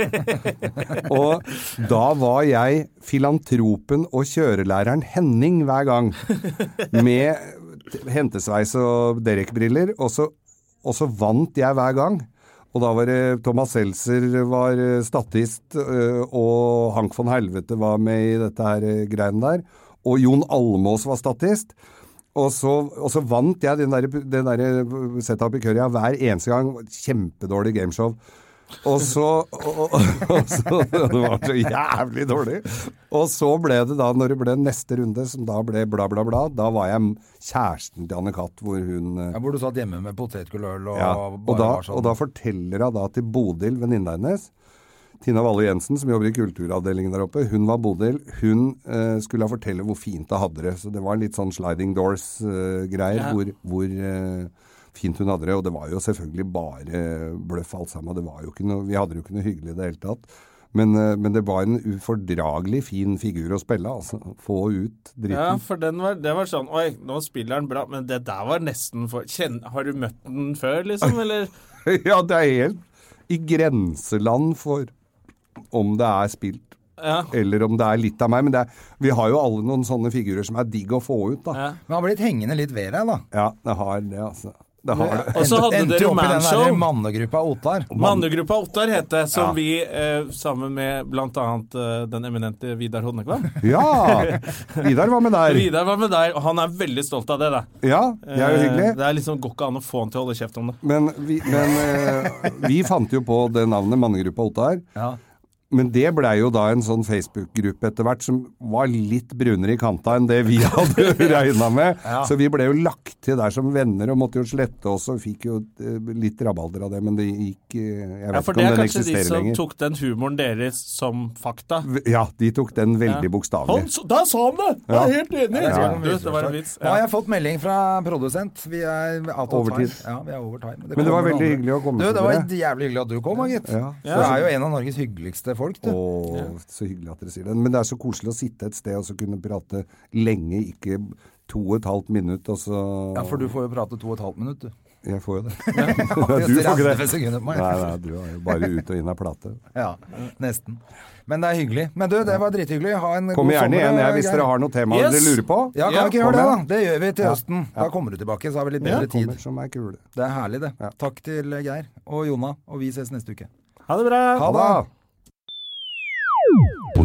[SPEAKER 3] (laughs) Og da var jeg filantropen og kjørelæreren Henning hver gang. Med t- hentesveis og Derek-briller. Og, så- og så vant jeg hver gang. Og da var det Thomas Seltzer var eh, statist, eh, og Hank von Helvete var med i dette her eh, greiene der. Og Jon Almås var statist. Og så, og så vant jeg den der, den der setup i Kørja hver eneste gang. Kjempedårlig gameshow. Og så, og, og, og så Det var så jævlig dårlig. Og så ble det da, når det ble neste runde, som da ble bla, bla, bla, da var jeg kjæresten til Anne Katt, hvor hun eh,
[SPEAKER 2] Ja, hvor du satt hjemme med potetgulløl og
[SPEAKER 3] ja, og,
[SPEAKER 2] bare
[SPEAKER 3] da,
[SPEAKER 2] var sånn.
[SPEAKER 3] og da forteller hun da til Bodil, venninna hennes, Tina Valle Jensen, som jobber i kulturavdelingen der oppe, hun var Bodil. Hun eh, skulle da fortelle hvor fint hun hadde det. Så det var litt sånn sliding doors-greier,
[SPEAKER 1] Ja.
[SPEAKER 3] hvor, hvor eh, fint hun hadde det. Og det var jo selvfølgelig bare bløff alt sammen. Det var jo ikke noe, vi hadde det jo ikke noe hyggelig i det hele tatt. Men, eh, men det var en ufordragelig fin figur å spille, altså. Få ut dritten.
[SPEAKER 1] Ja, for den var, det var sånn Oi, nå spiller han bra, men det der var nesten for kjenn, Har du møtt den før,
[SPEAKER 2] (laughs)
[SPEAKER 1] liksom? Eller
[SPEAKER 3] (laughs) ja, det er helt i grenseland for om det er spilt
[SPEAKER 1] Ja.
[SPEAKER 3] eller om det er litt av meg. Men det er, vi har jo alle noen sånne figurer som er digg å få ut, da.
[SPEAKER 1] Ja.
[SPEAKER 3] Ja,
[SPEAKER 2] Men han har blitt hengende litt ved deg, da.
[SPEAKER 3] det har det, altså. Det har det.
[SPEAKER 1] Og så
[SPEAKER 2] Endte-
[SPEAKER 1] hadde
[SPEAKER 2] endte
[SPEAKER 1] dere
[SPEAKER 2] jo opp i den
[SPEAKER 1] manshow.
[SPEAKER 2] der mannegruppa Ottar.
[SPEAKER 1] Mannegruppa Ottar het det, som
[SPEAKER 3] Ja.
[SPEAKER 1] vi, eh, sammen med blant annet eh, den eminente Vidar
[SPEAKER 2] (laughs)
[SPEAKER 1] Hodnekvam
[SPEAKER 3] Ja! Vidar var med der.
[SPEAKER 1] Vidar var med der, og han er veldig stolt av det, da.
[SPEAKER 3] Ja, det er jo
[SPEAKER 1] Eh,
[SPEAKER 3] hyggelig.
[SPEAKER 1] Det er liksom går ikke an å få han til å holde kjeft om det.
[SPEAKER 3] Men vi, men, eh, vi fant jo på det navnet Mannegruppa Ottar.
[SPEAKER 2] Ja.
[SPEAKER 3] Men det blei jo da en sånn Facebook-gruppe etter hvert som var litt brunere i kanta enn det vi (laughs) hadde regna med. Så vi ble jo lagt til der som venner og måtte jo slette oss og fikk jo eh, litt rabalder av det. Men det gikk eh, Jeg vet
[SPEAKER 1] Ja, for
[SPEAKER 3] ikke
[SPEAKER 1] det
[SPEAKER 3] om
[SPEAKER 1] er
[SPEAKER 3] den
[SPEAKER 1] kanskje de
[SPEAKER 3] eksisterer
[SPEAKER 1] som
[SPEAKER 3] lenger.
[SPEAKER 1] tok den humoren deres som fakta.
[SPEAKER 3] V- Ja, de tok den
[SPEAKER 1] Han,
[SPEAKER 3] veldig bokstavelig.
[SPEAKER 1] så- der sa han det! Jeg er helt enig!
[SPEAKER 2] Ja.
[SPEAKER 1] Du, det var en vits.
[SPEAKER 2] Nå har
[SPEAKER 1] Ja.
[SPEAKER 2] jeg fått melding fra produsent. Vi er out of
[SPEAKER 3] Overtid.
[SPEAKER 2] time. Ja, vi er over time.
[SPEAKER 3] Men det var
[SPEAKER 2] kommer
[SPEAKER 3] veldig
[SPEAKER 2] noen
[SPEAKER 3] hyggelig å komme
[SPEAKER 2] andre.
[SPEAKER 3] til
[SPEAKER 2] Du, det var
[SPEAKER 3] dere.
[SPEAKER 2] jævlig hyggelig at du kom, da, gitt.
[SPEAKER 3] Ja.
[SPEAKER 2] Du er jo en av Norges hyggeligste folk, du.
[SPEAKER 3] Og så hyggelig at dere sier det. Men det er så koselig å sitte et sted og så kunne prate lenge, ikke to og et halvt minutt, og så
[SPEAKER 2] Ja, for du får jo prate to og et halvt minutt, du.
[SPEAKER 3] Jeg får jo det. (laughs) du får
[SPEAKER 2] 30
[SPEAKER 3] ikke det.
[SPEAKER 2] sekunder på meg.
[SPEAKER 3] Nei, nei, du er jo bare ut og inn av
[SPEAKER 2] (laughs)
[SPEAKER 3] plate.
[SPEAKER 2] Ja, nesten. Men det er hyggelig. Men du, det var drithyggelig. Ha en
[SPEAKER 3] Kom
[SPEAKER 2] god
[SPEAKER 3] gjerne
[SPEAKER 2] sommer. eh,
[SPEAKER 3] igjen jeg, hvis
[SPEAKER 2] Geir.
[SPEAKER 3] dere har noen temaer
[SPEAKER 1] Yes!
[SPEAKER 3] dere lurer på.
[SPEAKER 2] Ja, kan
[SPEAKER 1] Ja,
[SPEAKER 2] vi ikke gjøre
[SPEAKER 3] kom
[SPEAKER 2] det, da?
[SPEAKER 3] igjen.
[SPEAKER 2] Det gjør vi til høsten. Da kommer du tilbake, så har vi litt bedre tid.
[SPEAKER 3] Kommer som er kule.
[SPEAKER 2] Det er herlig, det. Takk til Geir og Jonna, og vi ses neste uke.
[SPEAKER 1] Ha det bra!
[SPEAKER 3] Ha det!